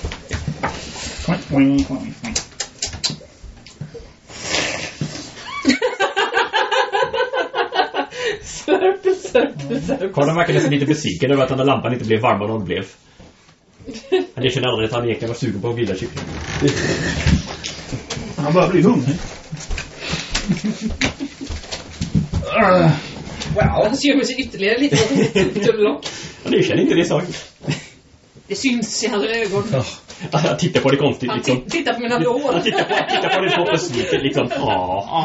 C: Oj,
B: Boing, boing, boing.
C: Visar upp, visar upp.
F: Karlen verkar nästan lite besviken över att den där lampan inte blev varmare än den blev. Han erkänner aldrig att han egentligen var sugen på att grilla kyckling.
D: Han börjar bli hungrig.
C: Wow. Han gömmer sig ytterligare lite bakom sitt tunnlock.
F: Han erkänner inte det saken.
C: Det syns i hans ögon.
F: Han tittar på det konstigt
C: Han
F: liksom.
C: t- tittar på mina lår.
F: Han tittar på, han tittar på det så besviket liksom. Åh.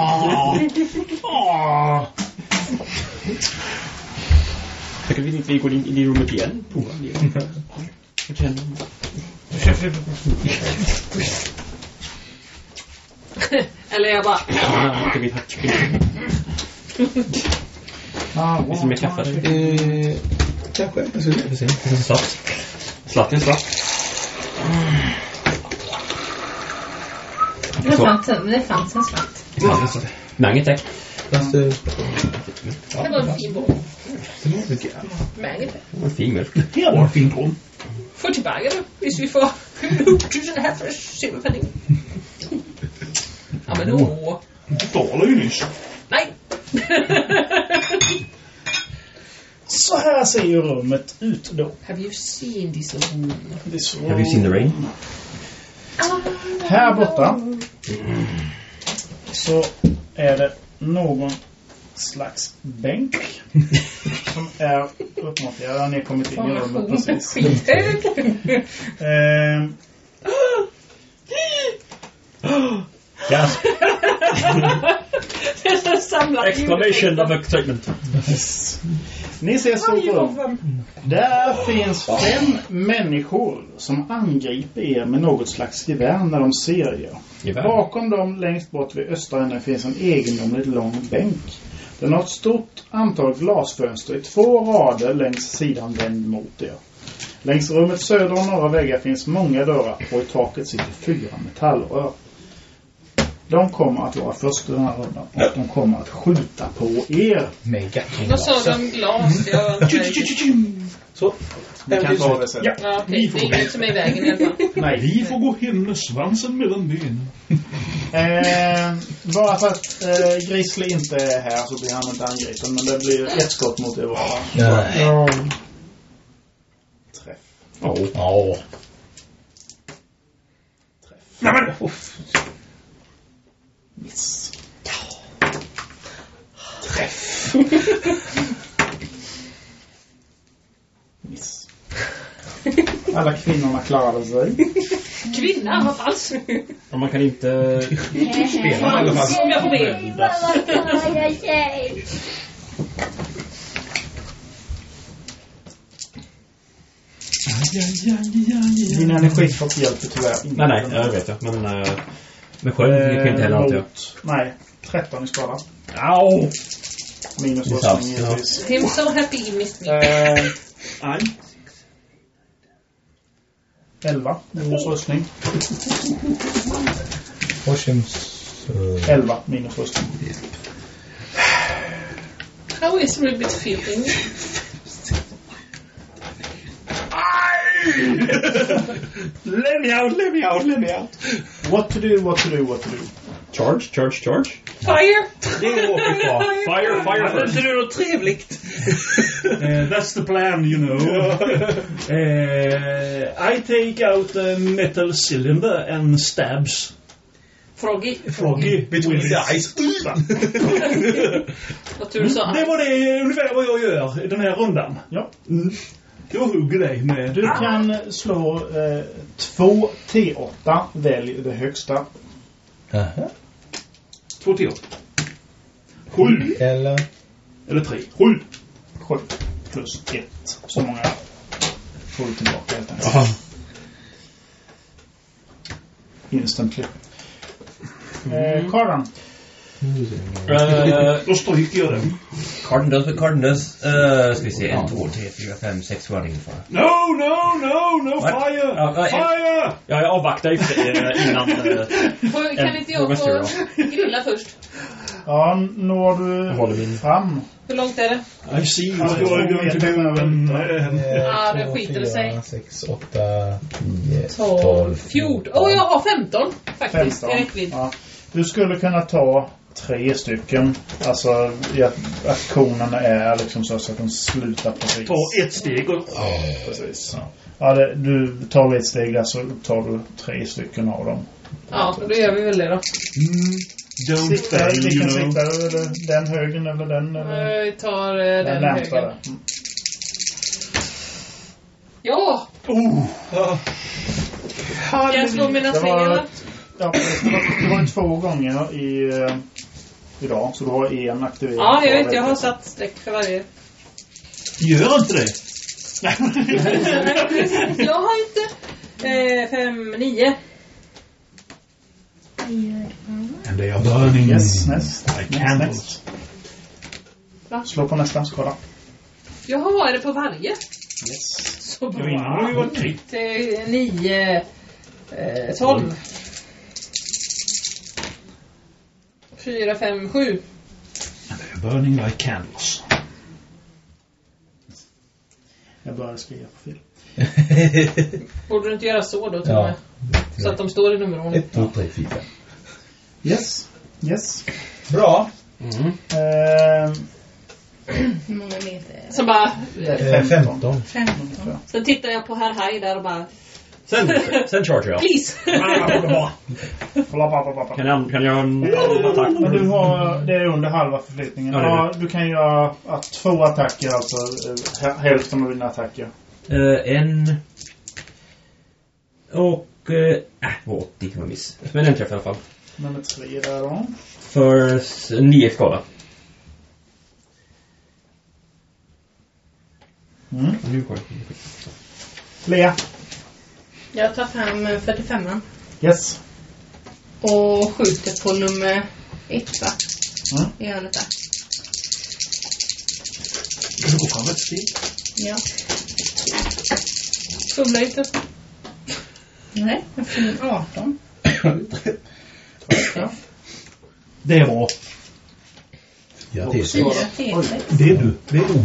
F: Åh. Jag kan inte vi går in in i rummet igen. Prova det. Jag känner-
C: Eller jag bara...
F: Ah, jag vill ha kyckling. Det är som med kaffe.
O: Eh, kanske. Jag ska se.
F: Saft. Slatten saft.
G: Det fanns, en- det fanns en svart.
F: Mange tack.
O: Fast, eh,
C: Det var en fin bok. Mägen.
F: En fin mjölk.
D: Det var en fin korv.
C: 40 baggar då, hvis vi får gjort den här för silverpenning. Ja, men åh.
D: Betalade ju nyss.
C: er Nej!
B: Så här ser ju rummet ut då.
C: Have you seen this room?
B: Det är så-
F: Have you seen the rain?
B: Här borta så är det någon slags bänk som är uppmonterad. Han har kommit in i rummet precis.
C: Skithög!
B: Ehm,
F: Gasp.
C: Det är så samlat
F: Exclamation of excitement.
B: ni ser stort rum. Där finns fem människor som angriper er med något slags gevär när de ser er.
F: Gevär.
B: Bakom dem längst bort vid östra änden finns en egendomligt lång bänk. Den har ett stort antal glasfönster i två rader längs sidan vänd mot er. Längs rummet söder och norra väggar finns många dörrar och i taket sitter fyra metallrör. De kommer att vara först i den här rundan och de kommer att skjuta på er.
E: Med
H: Vad
C: er
H: sa
E: gatlingglasen.
H: de? Glas? Jag...
B: Vi kan ta det sen.
E: Ja.
H: Ja, okej. Det är
C: er
H: inget som är i vägen i alla fall.
B: Nej.
D: Vi får gå hem med svansen mellan benen.
B: Eh, bara för att eh, Grizzly inte är här så blir han inte angripen. Men det blir ett skott mot er bara.
E: Nej.
B: Träff.
E: Ja.
D: Nej men!
B: Miss. Träff. Miss. Alla kvinnorna klarade sig.
C: Kvinna, vad falskt!
F: Och Man kan inte...
E: Spelarna i alla fall.
C: Om jag får be.
B: Din energichock hjälper tyvärr inte.
F: Nej, nej, jag vet jag. Men... eh, Men själv det kan inte heller antar jag.
B: Mot- Nej, 13 i skada.
F: Au!
B: Minus
F: Det är
B: röstning
F: sant, ja.
B: givetvis.
C: I'm so er happy you missed me.
B: Eh,
D: Nej.
B: 11 minus röstning.
E: Forshems...
B: 11 minus röstning.
C: How is Ribbit feeling?
D: Let me out, let me out, let me out.
B: What to do, what to do, what to do.
F: Charge, charge, charge.
C: Fire!
F: Fire, fire first.
D: det något trevligt? Eh, that's the plan, you know. Eh, I take out a metal cylinder and stabs
C: Froggy.
D: Froggy with it.
E: eyes.
C: Vad tur du sa.
D: Mm, Det var det ungefär vad jag gör i den här rundan.
B: Ja.
D: Mm. Jag hugger dig med... Ah.
B: Du kan slå eh, två T8. Välj det högsta.
E: Aha.
D: Två till. Sju.
E: Eller...
D: Eller tre. Sju.
B: 7 plus 1. Så många får du tillbaka helt enkelt.
E: Aha.
B: Instantly. Eh, Karan.
F: Eh,
D: Då stryker jag den.
F: Carden does what Carden does. Uh, ska vi se. 1, 2, 3, 4, 5, 6, 7 ingen fara.
D: No, no, no, no
F: What?
D: fire!
F: Ja, vad är-
D: fire!
F: Ja, jag avvaktar ju för sig eh, innan... eh,
C: Får- Kan inte jag få grilla först?
B: Ja, når du fram.
C: Hur långt är det?
D: I see what you are going to do. And, eh,
C: Ja, det skiter det sig.
E: 6, 8, 10,
C: 12, 14. Åh, jag har 15 faktiskt.
B: 15.
C: I räckvidd.
B: Ja. Du skulle kunna ta tre stycken. Alltså i att aktionerna är liksom så så att de slutar precis.
D: Ta ett steg och...
B: Ja, precis. Ja, det, du tar ett steg där så tar du tre stycken av dem.
C: Ja, då gör vi väl det då.
B: Don't
D: fail, you
B: Vilken
D: know.
B: siktar du? Eller Den högen eller den? Eller?
C: Vi tar eh, den,
B: Den närmsta
C: högen.
B: där. Mm.
C: Ja!
D: Oh!
C: Kan jag slå mina
B: Det var-
C: sniglar?
B: Ja, precis. det var- det var två gånger i, eh, idag, så du har en aktiverad.
C: Ja, jag vet. Jag har satt streck för varje.
D: Gör inte det!
C: jag har inte. Eh, fem, nio.
E: And they are burning.
B: Yes, näst.
E: Like
B: Näst,
E: candles.
C: Va?
B: Slå på nästa skada.
C: Jaha, är det på varje?
B: Yes.
C: Så
D: Jag menar, det har ju varit krig.
C: Det är nio, eh, tolv. Fyra, fem, sju.
D: And they are burning like candles.
B: Jag började skriva på fel.
C: Borde du inte göra så då, tror
E: Ja.
C: jag. Så att de står i nummerordning.
E: Ett, två, tre, fyra.
B: Yes. Yes.
E: Bra.
F: Mm.
B: Ehm,
G: Hur många meter?
C: Sen bara...
B: det är
E: Eh,
B: 15.
E: 15.
G: 15.
C: Sen tittar jag på herr Haj där och bara...
F: Sen, sen charger jag.
C: Please!
B: Bla, bla, bla, bla, bla.
F: Kan jag, kan jag göra en attack?
B: Men du har, det är under halva förflyttningen.
F: Ja, det är
B: Ja, du kan göra ja, två attacker, alltså eh, hä- hälften av dina attacker.
F: Eh, en... Och... eh, Äh, det var 80. Det var miss. Men en träff i alla fall.
B: Nummer tre där då.
F: För s- nio skada.
B: Mm.
F: Nu går det.
B: Lea.
G: Jag tar fram eh, 45
B: Yes.
G: och skjuter på nummer ett va?
B: Mm.
G: I hörnet där.
D: Kan du gå fram ett steg?
G: Ja.
C: Fumla inte.
G: Nej, jag får en 18.
D: Det är bra.
E: Ja, det är så.
G: Fyra T6.
D: Det är du. Det är du.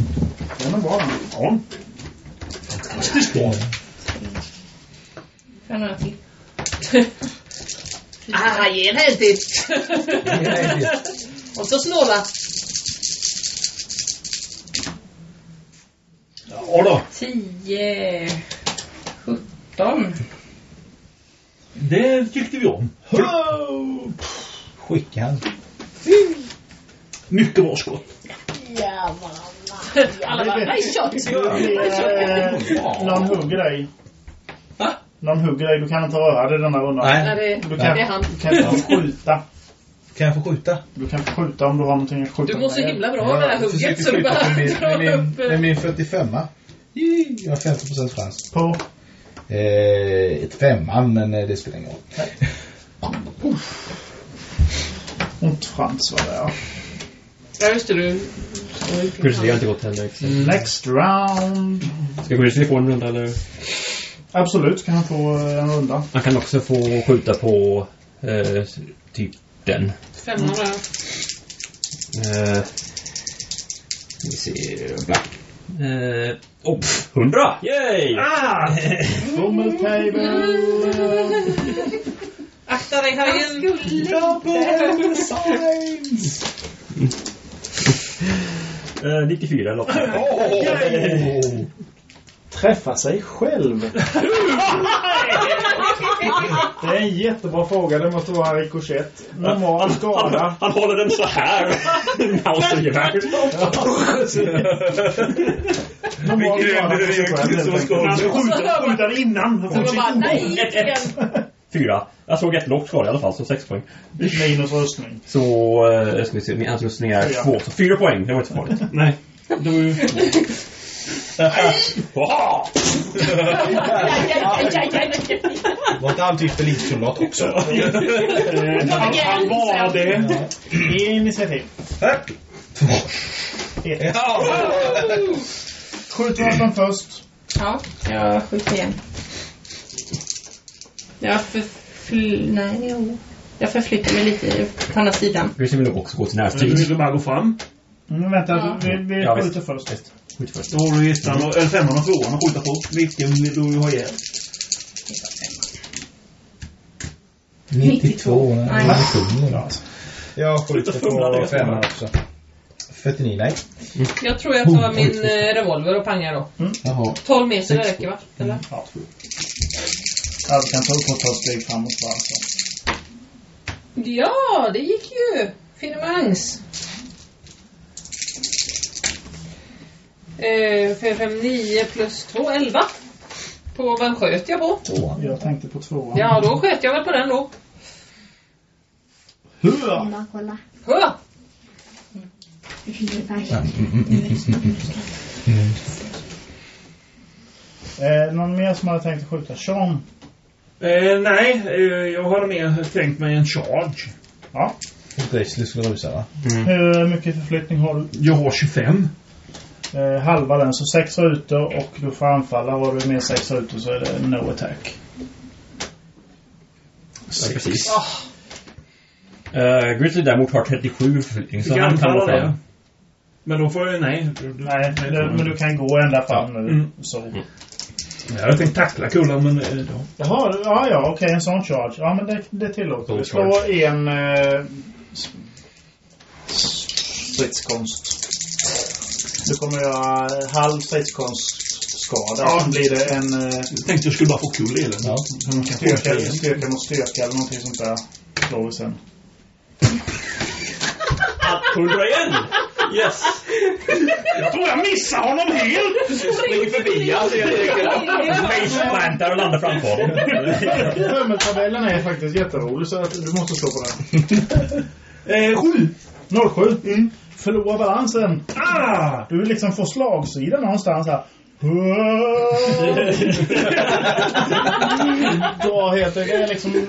B: Den är bra den.
D: Ja. Fantastiskt bra.
G: Får jag några till?
C: Ah, ge en hel till! Och så snåla.
D: Ja då.
G: 10. 17.
D: Det tyckte vi om. Hurra!
E: Skickad.
D: Mycket bra skott.
C: Alla bara, nej, kört!
B: Eh, någon hugger dig.
F: Va?
B: Någon hugger dig. Du kan inte röra dig denna rundan.
C: Nej,
E: Nej.
C: det,
B: Du
C: det är
B: kan,
C: han.
B: du kan inte skjuta.
E: Kan jag få skjuta?
B: Du kan skjuta om du har någonting att skjuta
C: Du mår så
B: med.
C: himla bra med det här
E: jag
C: hugget
E: försöker
C: så du
E: skjuta
C: bara
E: med min,
C: drar
E: med min,
C: upp...
E: med
C: eh,
E: min 45a. Yay, Jag har 50 procents chans.
B: På.
E: Eh, ett femman, men eh, det spelar ingen roll.
B: Ont frans var det ja.
C: Ja, just det, du...
F: Kursen, det har inte gått än. jag Ska
B: Next round.
F: Kursen få en runda eller?
B: Absolut kan han få eh, en runda.
F: Man kan också få skjuta på eh, typ den.
C: Femman där.
F: Eh, vi ser... Black. Eh, oh, pff, 100! Yay!
D: Ah!
C: Mm.
B: Bommel table.
C: Akta dig, Harry.
E: Double signs!
F: Eh, 94 eller något.
E: Åh!
B: Träffa sig själv. Det är en jättebra fråga. Det måste vara en rikoschett. Normal skada.
F: Han håller den så här. Mausergevär.
B: Normal skada på sig själv.
D: Han ska skjuta, skjuta den innan. Han
C: Så
D: får
C: man
D: sin
C: bara, nej,
D: obehag.
C: inte igen.
F: Fyra. Jag såg ett lågt svar i alla fall, så sex poäng.
B: Minus rustning.
F: Så, eh, ska vi se, min anslutning är
B: Fyra.
F: två. Så fyra poäng, det var inte så farligt.
D: Nej.
F: Haha!
C: Aj, aj, aj, aj, aj, aj.
E: Var inte han typ elitsoldat också?
D: Han var det.
B: Initiativ.
E: Ett, två,
B: Ett.
E: ett.
B: Skjut vapen först.
G: Ja, jag skjuter igen. Jag förfly... Nej, jo. Jag förflyttar mig lite på andra sidan.
F: Kursen vill nog också gå till
D: Du
F: närstrid.
D: vill bara gå fram.
B: Mm, vänta,
G: Ja.
B: vi, vi
F: Ja,
B: skjuter först.
F: Skjut först.
D: Då har du ettan, och- eller femman och tvåan att skjuta på. Vilken vill du ha ihjäl?
E: 92. Nej,
G: Nej.
E: alltså. det är sjukt. Jag skjuter på femman också. 49, nej.
H: Jag tror jag tar min eh, revolver och pangar då.
E: Jaha.
H: 12 meter räcker va?
C: Mm.
H: Eller?
B: Ja. Allt Alltså, kan ta upp och ta steg framåt bara. Så.
H: Ja, det gick ju. Finemangs. Eh, 5, 5, 9 plus 2, 11. På vem sköt jag på?
B: Jag tänkte på tvåan.
H: Ja, då sköt jag väl på den då.
B: Hurra!
P: Kolla, kolla.
H: Hö!
P: Det finns en
E: Mm,
B: Eh, någon mer som hade tänkt skjuta? Sean?
D: Eh, nej, eh, jag har mer tänkt mig en charge.
B: Ja.
E: Grizzly skulle rusa, va?
B: Hur mycket förflyttning har du?
D: Jag har 25.
B: Eh, halva den, så sex rutor och du får anfalla. Har du mer sex rutor så är det no attack.
F: Ja, precis. Uh, Grizzly däremot har 37 förflyttning, så
D: Vilka
F: han kan gå
D: anfall är det?
F: fram.
D: Men då får jag... Nej. Du, du,
B: Nej, du, men du kan gå ända fram nu.
D: Mm.
B: Så.
D: Jag hade tänkt tackla kullan, men... eh, Ja.
B: Jaha, du- ja, ja, okej, en sån charge. Ja, men det, det tillåter.
D: Full
B: Du slår
D: charge.
B: en eh, s- stridskonst. Du kommer göra halv stridskonstskada.
D: Ja.
B: Ja. blir det en eh,
D: Jag tänkte jag skulle bara få kul i den. Ja.
B: styrka, styrka mot styrka eller någonting sånt där. Slår vi sen.
D: 101! Yes! Jag tror jag missar honom helt! Springer förbi alltså, jag
F: Plantar och landar framför honom.
B: Tabellen är faktiskt jätterolig så att du måste slå på den.
D: Eh, sju!
B: 07. Mm. Förlora balansen.
D: Ah!
B: Du liksom får slagsida någonstans här. Dra helt enkelt. Det är liksom...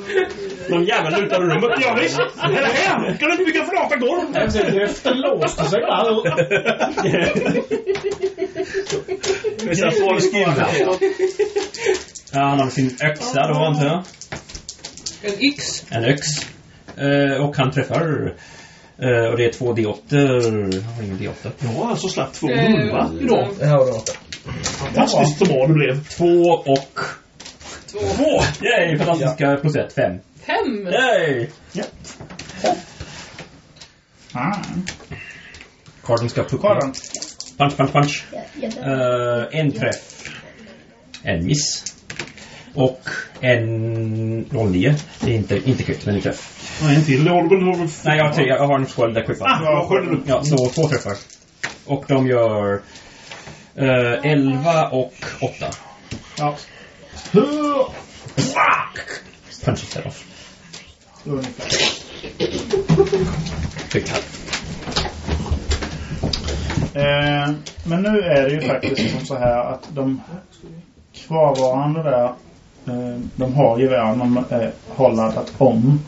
F: Någon jävel lutar ur rummet.
D: Ja, visst! Det här! Kan du inte bygga flata golv?
E: Det låste sig bara.
F: Det är så här falsk gilla. Ja, han har sin yxa då, antar jag.
H: En yx.
F: En yx. Eh, och han träffar. Eh, och det är två D8. Han har ingen D8.
D: Ja, alltså slapp två
H: Eh,
D: hundra idag.
O: Ja, då.
D: Fantastiskt så bra det blev.
F: Två och...
H: Två.
F: Två! Yay! Fantastiska plus ett, fem.
H: Fem.
F: Yay!
B: Fan.
F: Karten ska pucka.
B: Karan.
F: Punch, punch, punch.
P: Jag dör.
F: Eh, en träff. En miss. Och en roll 9. Det är inte, inte kvitt, men en träff.
D: Ja, en till. Har du väl- har du...
F: Nej, jag har, tre, jag har en skål där kvitt. va?
D: Ah, vad skördade du?
F: Ja, så två träffar. Och de gör eh, 11 och 8.
B: Ja,
F: Punch it off.
B: ungefär.
F: Big time.
B: Eh, men nu är det ju faktiskt som så här att de kvarvarande där, eh, de har gevären de eh, har laddat om.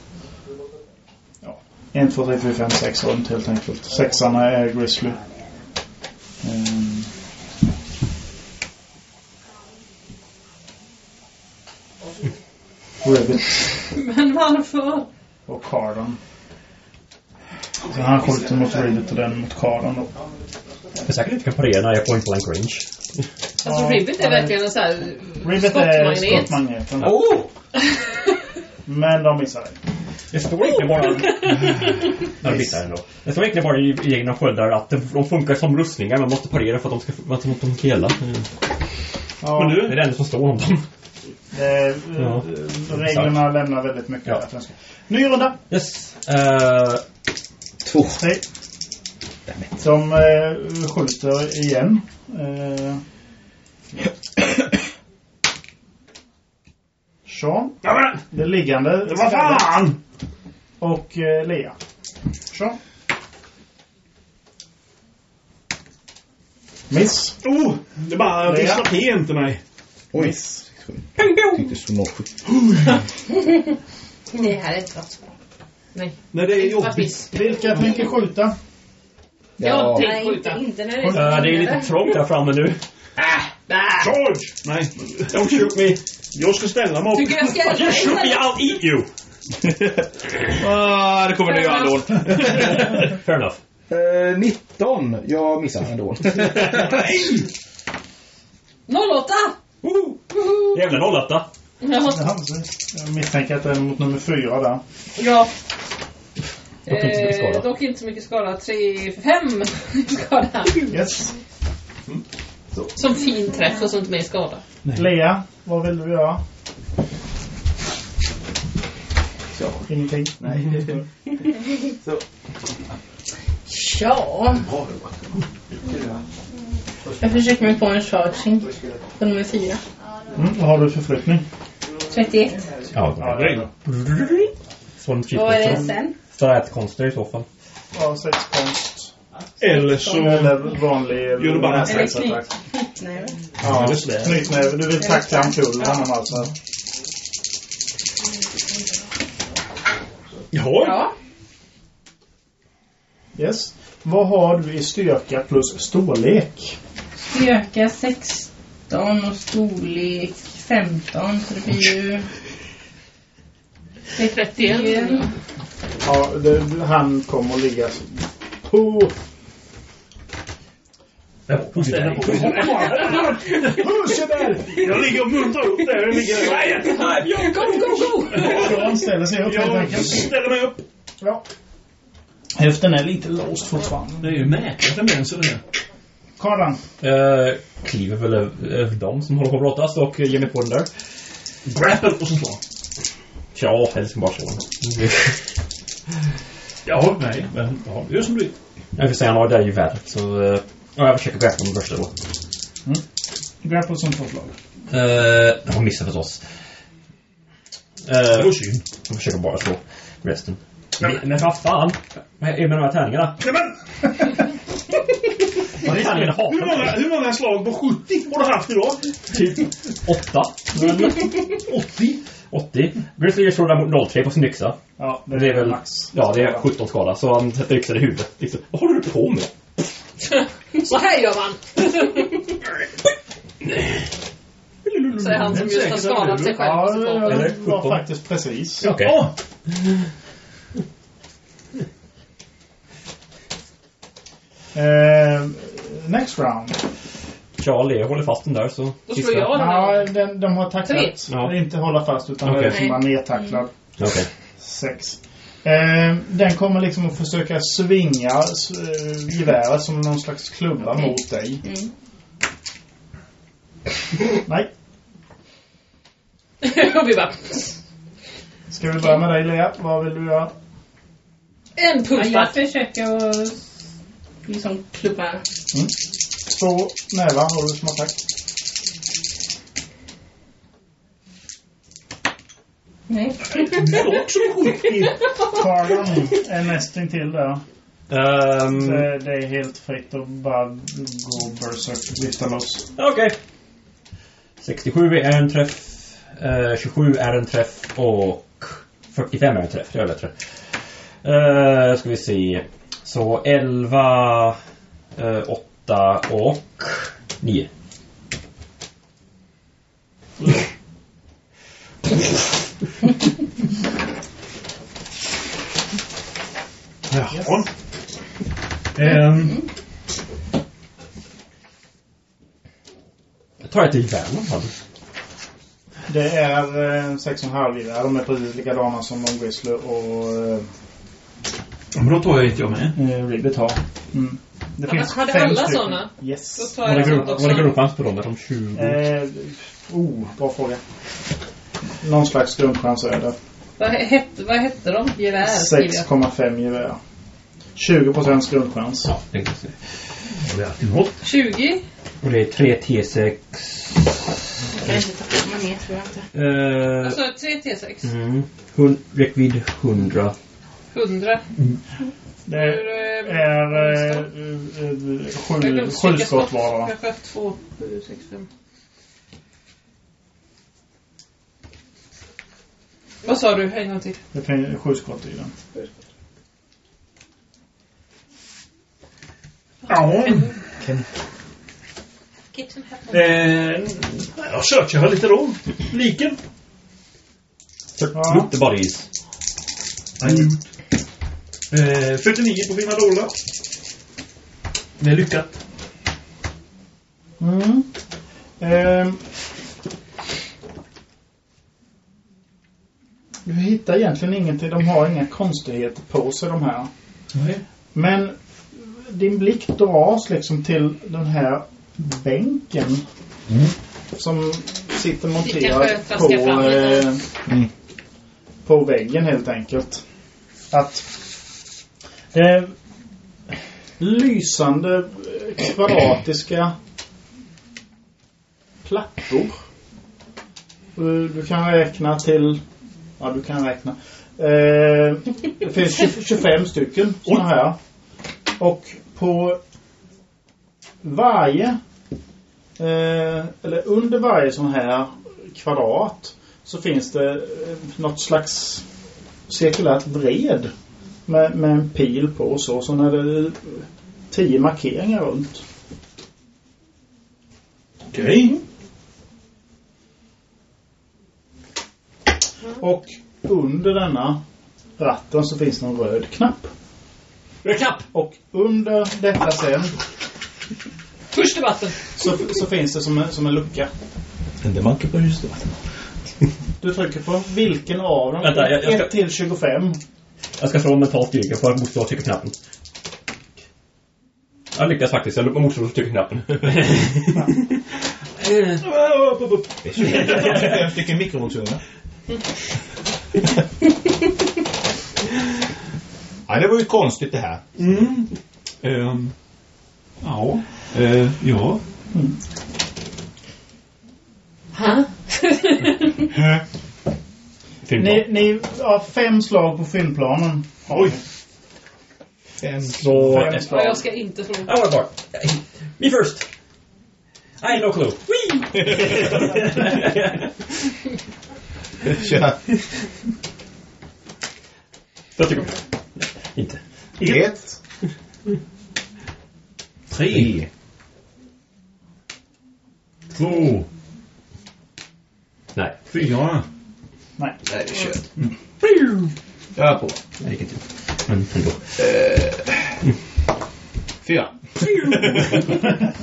B: Ja, 1, 2, 3, 4, 5, 6 runt helt enkelt. Sexarna är Grizzly. Ehm. Ribbit
H: Men varför?
B: och Cardon. Så han skjuter mot Ribbit och den mot Cardon då.
F: Jag säkert inte kan parera när jag är point blank range.
H: Alltså
B: Ja,
H: Ribbit är
B: nej.
H: verkligen en sån här
B: Ribbit är
H: skottmagnet.
B: skottmagneten.
F: Oh!
B: Men de missar dig.
F: Det står egentligen bara... Ja, det missar jag ändå. Det står egentligen bara i i egna sköldar att de- de funkar som rustningar. Man måste parera för att de ska, för att de ska gälla.
B: Ja,
F: Men nu är det enda som står om dem.
B: eh,
F: Ja.
B: Reglerna lämnar väldigt mycket
F: Ja.
B: att önska. Ny runda.
F: Yes. Eh,
O: Två.
B: Hej. De eh, skjuter igen. Eh. Sean,
D: Jajamän!
B: det liggande.
D: Vad fan!
B: Och eh, Lea. Sean. Miss.
D: Oh! Det bara visslar till inte mig.
O: Oj. Tyckte det stod 07.
H: Nej, här är inte något.
D: Nej, det är
H: Vad
D: jobbigt.
H: finns?
B: Vilka tänker skjuta?
H: Jag
O: Ja.
H: tänker skjuta.
P: inte när
F: eh, det är lite trångt där framme nu.
H: Där.
D: Charge! Nej, don't shoot me. Jag ska ställa mig upp.
H: Tycker jag ska hjälpa dig?
F: Shoot me, I'll eat you!
D: Ah,
H: Det kommer du göra då.
F: Fair enough.
O: Eh, 19. Jag missade ändå.
H: 08!
F: Woho! Jävla 08.
H: Jaha.
B: Jaha, precis. Jag misstänker att det är mot nummer fyra där.
H: Ja.
E: Dock inte så mycket skada.
H: Eh, dock inte så mycket skada. 3, 5 skada.
B: Yes.
C: Som fin träff och sånt med skada.
B: Lea, vad vill du göra? Ingenting. Nej.
Q: Så.
G: Ja. Jag försöker mig på en charging. På nummer fyra.
B: Mm, vad har du för flyttning?
G: 31.
F: Ja,
B: det är bra.
F: Sånt
G: Vad är det sen?
F: Så är det konster i så fall.
B: Ja, sex konst.
D: Eller så-
B: Eller vanlig...
D: Gör Mm. du bara en
B: nästa
D: sex attack.
G: Nej.
B: Ja, knytnäve. Du vill tackla ampullen honom alltså.
D: Jaha.
G: Ja.
B: Yes. Vad har du i styrka plus storlek?
G: Styrka 16 och storlek 15. Så det blir ju...
C: Det är 31.
B: Ja, det, han kommer att ligga så- på...
D: Jag ligger och muntrar upp där. Jag ligger där. Go, go, go!
B: John ställer sig upp helt
D: Jag
B: enkelt.
D: ställer mig upp.
B: Ja. Höften är lite låst fortfarande.
F: Det är ju mäklat med en sån här.
B: Kardan.
F: Eh, kliver väl över över dem som håller på att brottas och eh, ger mig på den där. Grapple och så Mm. slå. Ja, helst bara slå. Jag har nej, men ja, gör som du vill. Jag vill säga, han har det där ju värre. Så eh, ja, jag försöker grapple med första då.
B: Grapple som två slag.
F: Eh, hon missar förstås. Eh, Vad synd. Jag försöker bara slå resten. Men, men vad fan? Vad är det med de här tärningarna? Tärningarna
D: Hur
F: hatar
D: många,
F: mig.
D: hur många slag på 70 har du haft idag?
F: Typ åtta. 80. 80. Grizzly slår 03 på sin yxa.
B: Ja,
F: det, är väl Ja, det är 17 skada. Så han sätter yxan i huvudet. Liksom. Vad håller du på med?
C: Så här gör man. Säger han som just har skadat sig själv.
B: Ja, det
F: Eller
B: det var
F: sjutton.
B: faktiskt precis.
F: Okej.
B: Åh! Eh, next round.
F: Charlie, jag håller fast den där så...
C: Då slår jag den.
B: Ja, den, de har
C: Tre.
B: tacklat.
F: Ja.
B: Det är Inte hålla fast utan
F: Okej.
B: det är liksom bara
C: Nej.
B: nedtacklad.
F: Okej.
B: Sex. Eh, den kommer liksom att försöka svinga eh, geväret som någon slags klubba
G: Okej.
B: mot dig.
G: Mm.
B: Nej.
C: och vi bara...
B: Ska vi börja med dig Lea? Vad vill du göra?
C: En
G: Ja,
C: puff
G: jag försöker att liksom klubba.
B: Mm. Två nävar har du som attack.
G: Nej.
B: Kardan är nästintill där.
F: Ehm,
B: Så det är helt fritt att bara gå berserk lyfta loss.
F: Okej. 67 är en träff. eh, 27 är en träff. Och 45 är en träff. Det är bättre. Uh, ska vi se. Så 11, eh, 8 och 9.
D: Jaha. Ehm,
F: Jag tar ett i världen.
B: Det är eh, sex och en halv gevär. De är precis likadana som de Grizzly och eh,
D: ja, men då tar jag ett jag med.
B: eh, Ribbit har. Mm. Det
C: Ja,
B: finns
C: men hade
B: fem
C: alla
B: stycken.
C: såna? Då
B: Yes.
C: tar jag Var det grupp- också. var det
F: gruppchans på dem? Är de 20?
B: Eh, oh, bra fråga. Någon slags grundchans är det.
C: Vad hette, vad hette de? Gevär skriver jag.
B: 6,5 gevär. 20 procents grundchans.
F: Ja, det kan jag se.
C: 20?
F: Och det är 3 T6.
G: Jag kan inte ta med mer tror jag inte.
F: eh,
C: Alltså 3 T6.
F: mm, hun- Räckvidd 100.
C: 100.
B: Det är eh, eh, sju, sju skott var. va?
C: Kanske 2, 7, 6, 5. Vad sa du? En gång till.
B: Det finns sju skott i den.
D: Ja.
C: Kitchen happen.
D: Eh, jag searchar lite då. Liken.
B: Ja.
F: Inte bara is.
D: Eh, 49 på fina dollar. Det är lyckat.
B: Mm. Ehm. Du hittar hittar egentligen ingenting. De har inga konstigheter på sig de här. Men din blick dras liksom till den här bänken. Som sitter monterad
H: kanske
B: på,
H: traskar fram lite.
B: eh, på väggen helt enkelt. Att det är lysande eh, kvadratiska plattor. Eh, Du kan räkna till... Ja, du kan räkna. Eh, det finns 20 25 stycken såna här. Och på varje... Eh, eller under varje sån här kvadrat så finns det eh, något slags cirkulärt vred med, med en pil på och så. Sen är det tio markeringar runt. Mm. Okej. Och under denna ratten så finns det en röd knapp. Röd knapp! Och under detta sen... Först i vatten! Så, så finns det som en, som en lucka.
E: Händemanke på huset.
B: Du trycker på vilken av dem?
F: Vänta, jag- jag ska-
B: 1 till 25.
F: Jag ska slå mental styrka för att motståndaren trycker knappen. Jag lyckas faktiskt. Jag motståndaren trycker knappen.
E: Fem stycken mikrovågsugnar. Ja, det var ju konstigt det här.
D: Mm. Ehm, ja. Eh, ja.
C: Ha?
B: Ni, ni har fem slag på fyndplanen. Oj! Fem
F: Så...
B: Fem
C: Ja,
B: slag.
C: jag ska inte fråga.
F: I want more. Me first. I have no clue.
E: Tjena.
F: Jag tycker inte.
E: Ett. Tre.
D: Två.
F: Nej. Mm.
D: Fyra.
B: Nej.
D: Nej, vi kör.
E: Jag är på.
F: Det gick inte. Men ändå.
E: Fyra.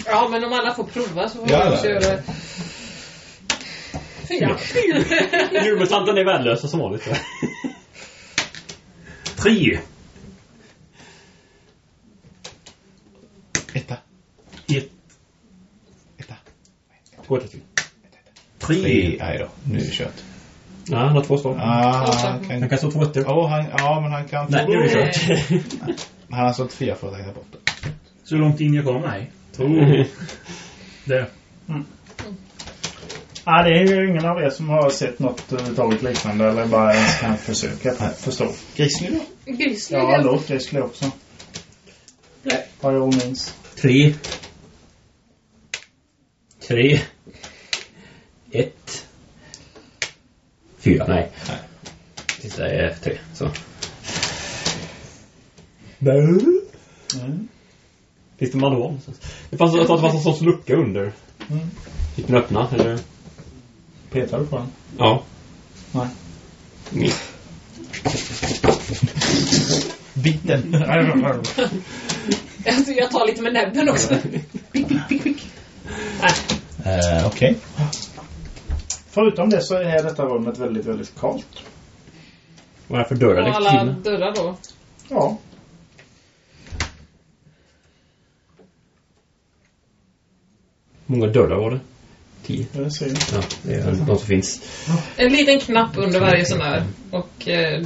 C: Ja, men om alla får prova så får
F: Ja,
C: vi också
F: ja.
C: göra... Fyra.
F: Djurmutanten är värdelösa som vanligt. Tre.
E: Etta.
F: Ett. Två till.
E: Tre. Nej då, nu är det kört.
F: Nej, han har två slag.
E: Ah, han kan-
F: Han kan slå två ettor.
E: Ja, han, ja, men han kan...
F: Nej, nu är det kört.
E: Han har slått fyra för att räkna bort det.
D: Så långt in jag kom? Nej. Två. Där.
B: Ja, det är ju ingen av er som har sett något överhuvudtaget liknande eller bara ens kan försöka förstå. Grizzly då?
C: Grizzly.
B: Ja, låt Grizzly också.
C: Nej.
B: Vad jag minns.
F: Tre. Tre. Ett. Fyra. Nej. Det är tre. Så.
B: Mm.
F: Finns det manual någonstans? Det fanns, jag tror att det fanns en sorts lucka under.
B: Mm.
F: Fick den öppna, eller?
B: Petar du på den?
F: Ja.
B: Nej.
F: Mm.
E: Biten.
C: Jag- Jag tar lite med näbben också.
E: Eh, Okej.
B: Förutom det så är detta rummet väldigt, väldigt kallt.
F: Vad är det för dörrar?
C: Och alla dörrar då.
B: Ja.
F: många dörrar var det? Tio.
B: Det ser jag.
F: Ja, det är de som finns.
C: En liten knapp under varje sån här. Och... Eh,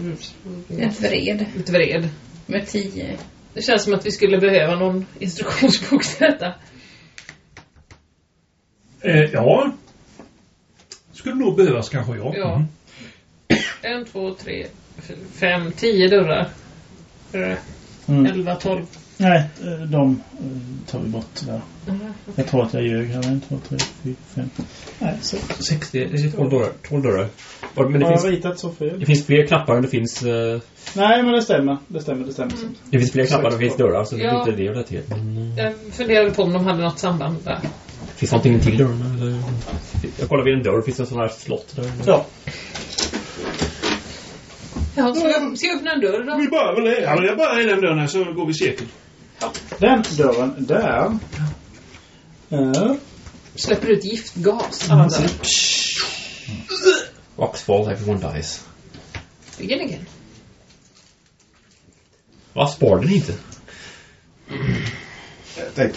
G: Ett vred.
C: Ett vred.
G: Med tio.
C: Det känns som att vi skulle behöva någon instruktionsbok till detta.
D: Eh, ja. Skulle nog behövas kanske jag.
C: Ja. En, två, tre, f- fem, tio dörrar. Eh,
B: Mm.
C: Elva, tolv.
B: Nej, eh, de eh, tar vi bort där. Jag tror att jag ljög här. En, två, tre, fyra, fem. Nej, sex.
F: Sex, det är tolv dörrar. Tolv dörrar. Var- Men det,
B: Har jag
F: finns,
B: ritat så fel?
F: det finns fler knappar än det finns... eh,
B: Nej, men det stämmer. Det stämmer, det stämmer.
F: Det finns fler knappar än det finns dörrar, så det är
C: Ja.
F: inte det jag till. Men, eh,
C: Jag funderade på om de hade något samband där.
F: Finns någonting till dörrarna? Eller? Jag kollar vid en dörr. Finns det en sån här slott där?
B: Ja.
C: Ja, ska, jag, ska jag öppna en dörr då?
D: Vi börjar väl det. Alltså, jag börjar i den dörren här så går vi säkert.
B: Den dörren där. eh, är
C: Släpper ut giftgas.
B: Alltså.
C: Alla dörrar.
F: Rocks fall everyone dies.
C: beginning.
F: Vad spar den inte?
G: Eh,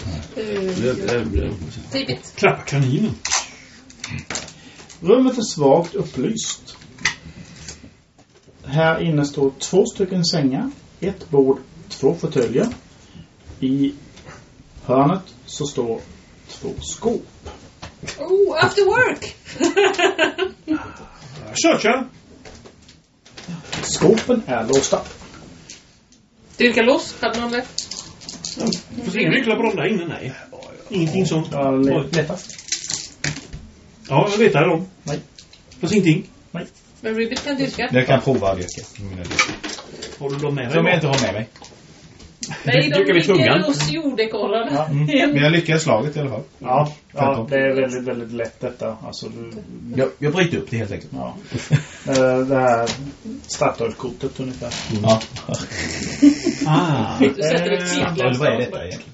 C: Typ it.
D: Klappa kaninen.
B: Rummet är svagt upplyst. Här inne står två stycken sängar, ett bord, två fåtöljer. I hörnet så står två skåp.
C: Oh, after work!
D: Kör, kör!
B: Skåpen är låsta.
C: Dyrka loss, hade någon lätt.
D: Finns inga nycklar på dem där inne? Nej. Ingenting sånt.
B: Ja, lättast.
D: Ja, jag letar i dem.
B: Nej.
D: Fast ingenting.
C: Men Ribbit kan dyrka.
E: Jag kan prova det. Mina dukar.
D: Har du dem med dig?
E: Som jag inte har med mig.
C: Nej, de
E: Dyrkar vi
C: ligger
E: tungan?
C: loss i jordekorrarna.
E: Mm. Men jag lyckades slaget i alla fall.
B: Ja, ja
E: Femton.
B: det är väldigt, väldigt lätt detta. Alltså, du,
E: Jag, jag bryter upp det helt enkelt.
B: ja. Eh, det här Statoil-kortet ungefär.
E: Ja.
D: Ah.
C: Du sätter ett
E: Eller Eh, vad är
C: cirkelstånd.
E: detta egentligen?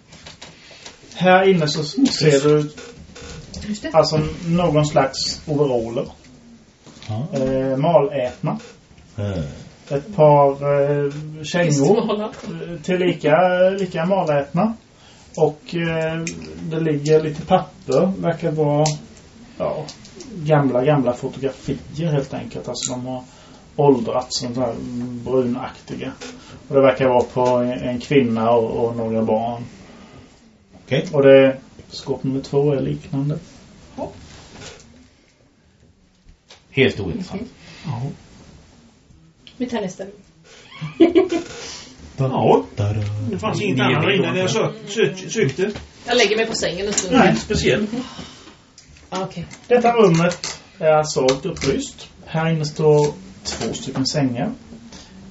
B: Här inne så ser du alltså någon slags overaller.
E: Ja.
B: Eh, malätna.
E: Eh,
B: Ett par eh, kängor.
C: Smala.
B: eh, Till lika, lika malätna. Och eh, det ligger lite papper. Verkar vara ja, gamla, gamla fotografier helt enkelt. Alltså de har åldrats sånt här brunaktiga. Och det verkar vara på en, en kvinna och, och några barn.
E: Okej.
B: Och det skåp nummer två är liknande.
E: Helt ointressant.
P: Vi tar nästa.
D: Ja,
E: Da-da.
D: det fanns inget annat där inne när jag sö sö sökte. Eh,
C: Jag lägger mig på sängen en stund.
D: Nej, speciellt.
C: Ah, Okej.
B: Detta rummet är svagt upplyst. Här inne står två stycken sängar.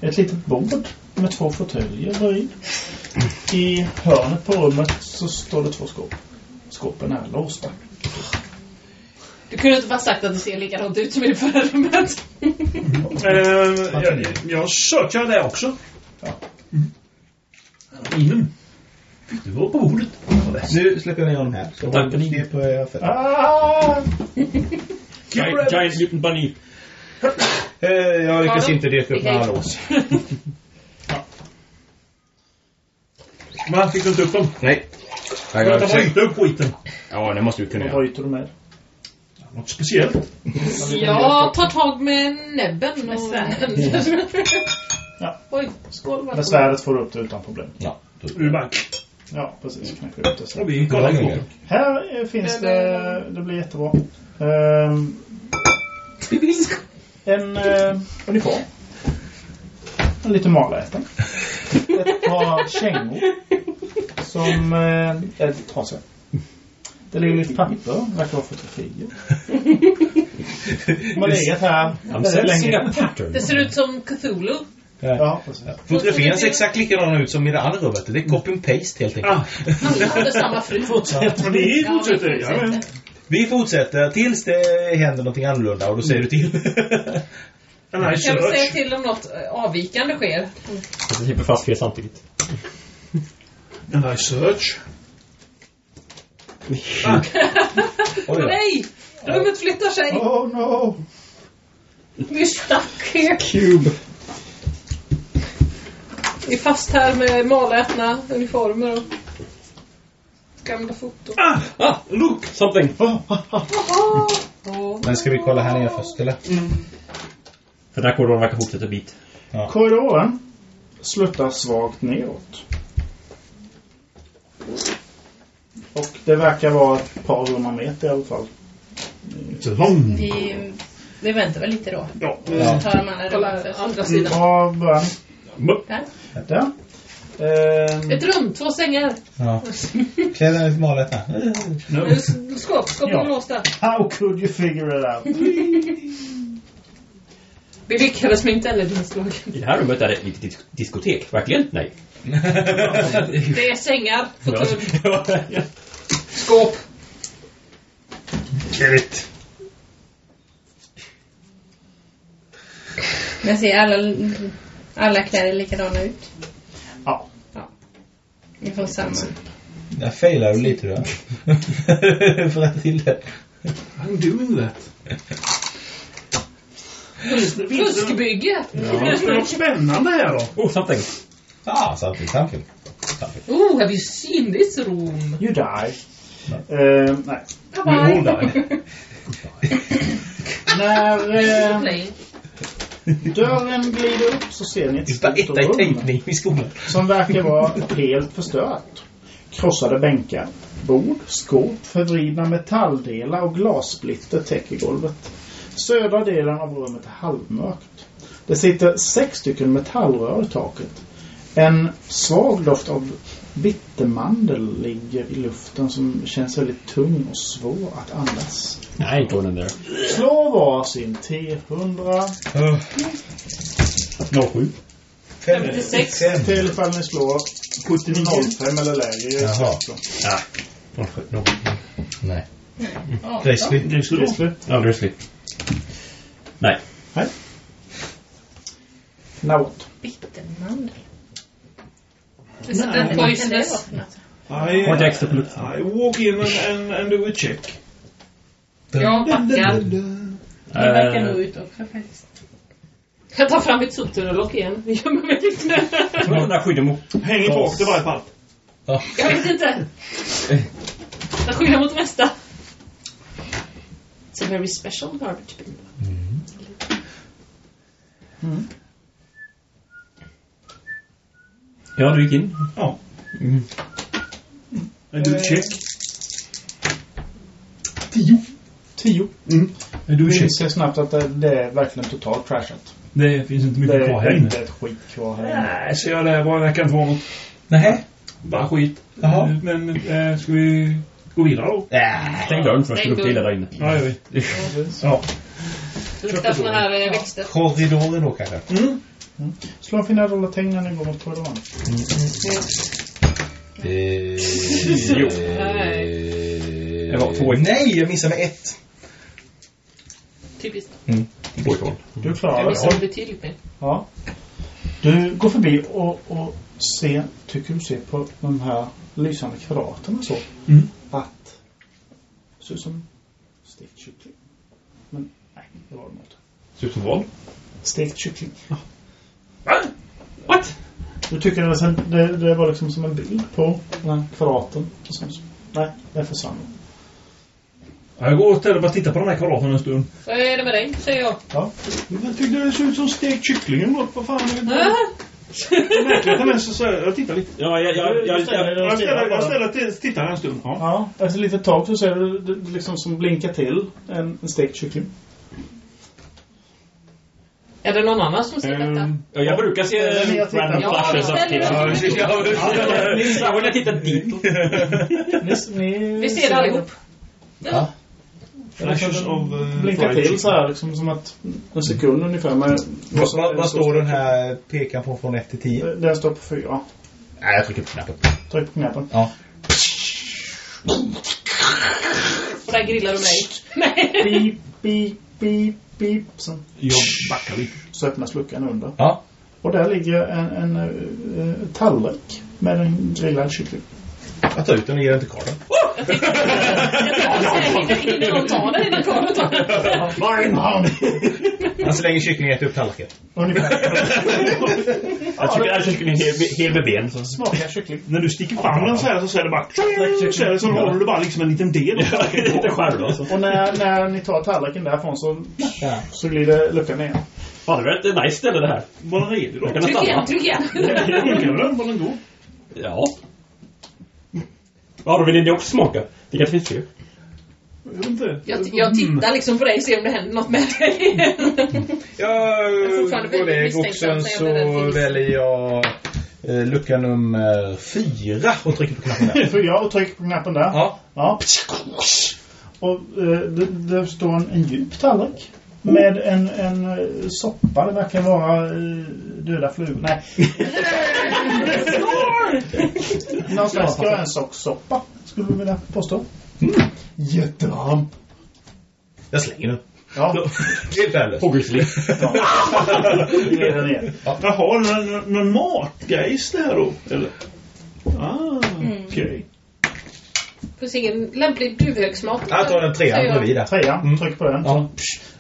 B: Ett litet bord med två fåtöljer i. I hörnet på rummet så står det två skåp. Skåpen är låsta.
C: Du kunde inte bara sagt att det ser likadant ut som i det förra rummet.
D: Eh, jag, jag söker det också.
B: Ja.
D: Mm. Fick du vara på bordet?
E: Nu släpper jag ner honom här. Så
F: Tack, Benny.
E: det på eh, era fötter.
B: Ah!
F: Giant, giant Mutant Bunny.
E: Eh, Jag lyckas
C: Har du?
E: inte leta upp några
C: Okej.
E: lås.
D: Va, fick du inte upp dem?
O: Nej. Jag
D: Vänta, var
O: försöker-
D: inte upp skiten.
O: Ja, det måste vi kunna
B: Vad
O: göra.
B: bryter du med?
D: Något speciellt.
C: Jag tar tag med näbben och svärden.
B: Ja.
C: Oj, skål.
B: Med
C: Vad
B: svärdet får du upp det utan problem.
E: Ja.
D: Ur bank.
B: Ja, precis. Knäcker upp det så.
D: Och vi kollar
E: Ja,
D: på.
B: Här eh, finns det... Det blir jättebra. Ehm, en eh, uniform. En lite maläten. Ett par kängor. Som eh, är lite trasiga. Det ligger lite papper. Verkar vara fotografier. De har legat här
F: I'm
B: väldigt
F: sensing
B: länge.
F: a pattern.
C: Det ser ut som Cthulhu.
B: Ja, precis.
E: Fotografierna ser exakt likadana ut som i det andra rummet. Det är copy and paste helt enkelt.
D: Ah,
C: Alla hade samma fru.
D: men det fortsätter. Ja, men.
E: Vi fortsätter tills det händer någonting annorlunda och då säger du till.
D: En nice
C: Kan vi säga
D: search.
C: till om något eh, avvikande sker?
F: Jag klipper fast fler samtidigt.
D: En nice search.
E: Oj då.
C: Nej! Rummet flyttar sig!
B: Oh no!
C: Vi är stuck here. Vi är fast här med malätna uniformer och gamla foton.
D: Ah, ah, look! Ah,
F: Something.
C: Åh.
E: Men ska vi kolla här nere först eller?
F: Den här korridoren verkar fortsätta bit.
B: Korridoren slutar svagt neråt. Och det verkar vara ett par hundra meter i alla fall.
D: It's a long.
G: Vi, vi väntar väl lite då.
D: Ja.
E: Ja.
G: Tar de andra
C: Kolla
G: rummen först.
C: andra sidan.
B: Ja, början.
G: Där.
B: Där. Ehm,
C: Ett rum, två sängar.
E: Ja. Kläderna är lite malet här.
C: Eh, Skåp, skåp
B: Ja.
C: och låsta.
B: how could you figure it out?
C: Vi lyckades med intelligenslag.
F: I det här rummet är det lite dis- diskotek. Verkligen? Nej.
C: Det är sängar, fåtölj,
F: Ja.
C: skåp.
G: Men ser alla, alla kläder likadana ut?
B: Ja.
G: Vi får samma.
E: Jag failar du lite då. För att till det.
D: I'm doing that.
C: Fuskbygge!
D: Finns det något spännande här då?
F: Oh, something.
E: Ah, something, something.
C: Oh, have you seen this room?
B: You die. Eh, nej.
C: Bye-bye. You all
B: När eh,
C: Play.
B: dörren glider upp så ser ni ett stort
E: Etta i
B: rum
E: tänkning i skolan.
B: som verkar vara helt förstört. Krossade bänkar, bord, skåp, förvridna metalldelar och glassplitter täcker golvet. Södra delen av rummet är halvmörkt. Det sitter sex stycken metallrör i taket. En svag doft av bittermandel ligger i luften som känns väldigt tung och svår att andas.
F: Nej, inte den där.
B: Slå varsin T100
F: 07.
B: 56. Till ifall ni slår 05 eller lägre.
E: Jaha.
F: Ah, 07. 07.
E: Nej.
G: Ja,
F: Grizzly.
B: Grizzly. Grizzly.
F: Ja, Grizzly. Nej.
B: Nej. Något.
C: Bittermandel.
D: Nej.
C: Vad kan det vara för något?
D: I, uh,
F: Har inte extra på
D: I walk in and, and, and do a check.
C: Jag backar.
G: Det verkar nog ut också faktiskt.
C: Jag tar fram mitt soptunnelock igen. Vi gömmer mig lite.
F: Eh, Den där skydden mot...
D: Hänger bak i varje fall.
C: Jag vet inte. Typ. Jag skyddar mot det mesta. It's a very special typ. garbage bin.
F: Ja, du gick in.
D: Ja.
F: Mm.
D: And do a check.
B: Tio.
D: Mm.
F: Du
B: Du
F: ursäkta.
B: inser snabbt att det, det är verkligen totalt crashat.
F: Det finns
B: Det
F: inte mycket kvar här
B: är
F: inne.
B: inte ett skit kvar här inne.
D: Nej, så jag det var verkar inte vara något.
F: Nej.
D: Bara skit.
F: Jaha.
D: Men eh, ska vi gå vidare då?
F: Stäng dörren först.
C: Stäng
F: Det luktar illa där inne.
D: Ja, jag vet.
B: Ja.
C: Det luktar såna här eh, växter.
E: Korridoren då kanske?
D: Mm.
B: Slå en fina rolla tänk när ni går mot korridoren.
E: Jo. Eh,
F: Det var två i-
E: Nej, jag missade med ett.
C: Typiskt.
F: Två ifrån.
B: Du
C: Jag
B: klarar
C: missade
B: det.
C: betydligt mer.
B: Ja. Du går förbi och, och ser, tycker du ser på de här lysande kvadraterna så
D: Mm.
B: att det ser ut som stekt kyckling. Men nej, det var det nog inte.
F: Ser ut som vad?
B: Stekt kyckling.
D: Va? What?
B: Du tycker det, var sen- det, det var liksom som en bild på den här kvadraten. Och sen så- Nej, det försvann.
D: Ja, Jag går och ställer bara titta på den här kvadraten en stund.
C: Vad är det med dig? Säger jag.
D: Jag tyckte det såg ut som stekt kyckling eller något. Vad fan är
C: Äh?
D: det? Verkligheten är så, så jag tittar lite.
F: Ja, jag... jag, jag, jag,
D: Jag ställer, jag ställer till, tittar en stund. Ja.
B: Ja, efter lite tag så ser du det- det liksom som blinkar till en, en stekt kyckling.
C: Är det någon annan som
D: Ehm,
C: ser detta?
F: jag, jag brukar se
C: Eh,
B: Eller jag tittar.
F: random
C: Ja,
F: flashes av
C: ställer
F: killar.
C: du-
F: Ja, precis. Ja, precis. Särskilt när jag tittar ditåt.
B: Ni, ni
C: Vi ser Mm, det allihop.
D: Flashes of... eh,
B: Blinkar
D: fried
B: till så här liksom som att en sekund ungefär. Men,
E: Vad, vad, vad står den här pekan på från 1 till 10?
B: Den står på fyra.
E: Nej, jag trycker på knappen.
B: Tryck på knappen.
E: Ja.
C: Och där grillar du mig. Nej.
B: Beep, beep, beep, beep. Sen,
D: Jag backar lite.
B: så öppnas luckan under.
E: Ja.
B: Och där ligger en, en eh, eh, tallrik med en grillad kyckling.
E: Jag tar ut den och ger den till karln.
C: Jag hinner- Hinner någon ta den innan karlen tar den?
B: Mine hand!
E: Han slänger kycklingen och äter upp tallriken.
B: Ungefär.
F: Jag tycker jag tycker det är en hel- hel med ben. så-
B: Smakar kyckling.
D: När du sticker fram den så här så är det bara... Så, är det, så håller du bara liksom en liten del.
F: Lite skärv alltså.
B: Och när, när ni tar tallriken därifrån så,
E: Ja.
B: så glider luckan ner.
F: Fan, det var ett nice ställe det här.
D: Var den redig då?
F: Jag kan
C: Tryck
F: stanna.
C: igen, tryck igen.
D: Funkar den? Var den god?
F: Ja. Ja, då vill ni också smaka. Det kanske finns fler.
D: Jag vet inte.
C: Jag, jag tittar liksom på dig och ser om det händer något med dig.
E: Jag
C: är fortfarande
E: går
C: väldigt
E: iväg och
C: misstänksam,
E: sen
C: säger
E: så
C: jag det där till.
E: väljer jag eh, lucka nummer fyra och trycker på knappen där.
B: Fyra och tryck på knappen där.
E: Ja.
B: Ja. Och eh, det, det står en, en djup tallrik. Med en, en eh, soppa. Det verkar vara eh, döda flugor. Nej. Någon slags grönsakssoppa. Skulle du vilja påstå. Mm. Jättebra.
E: Jag slänger den.
B: Ja,
E: Helt värdelöst.
F: Obviously.
B: det är den igen.
D: Jaha, någon, någon- någon
C: Mm.
D: matgeist där då? Eller? Ah, okej.
C: Finns ingen lämplig duvhögsmat.
E: Jag tar den trean
C: Säger jag.
E: bredvid där.
B: Trean, tryck på den. Ja.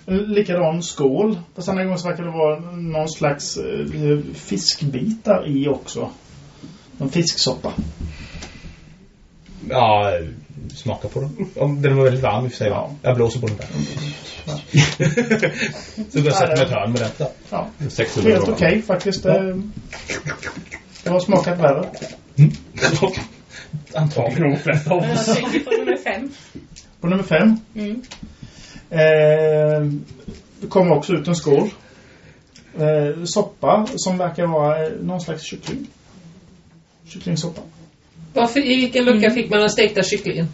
B: Likadan skål. Fast den här gången så verkar det vara någon slags eh, fiskbitar i också. En fisksoppa.
E: Ja, smaka på den. Om Den var väldigt varm i och för sig. va? Jag blåser på den där. Så jag sätter mig ett hörn med detta.
B: Ja.
E: Sexhundra
B: Helt okej
E: dollar.
B: faktiskt. Eh, Det har smakat värre.
E: Antagligen de flesta av
G: Jag tänker på nummer fem.
B: På nummer fem.
G: Mm.
B: Eh, det kommer också ut en skål. Eh, soppa som verkar vara eh, någon slags kyckling. Kycklingsoppa.
C: Varför, I vilken lucka fick man den stekta kycklingen?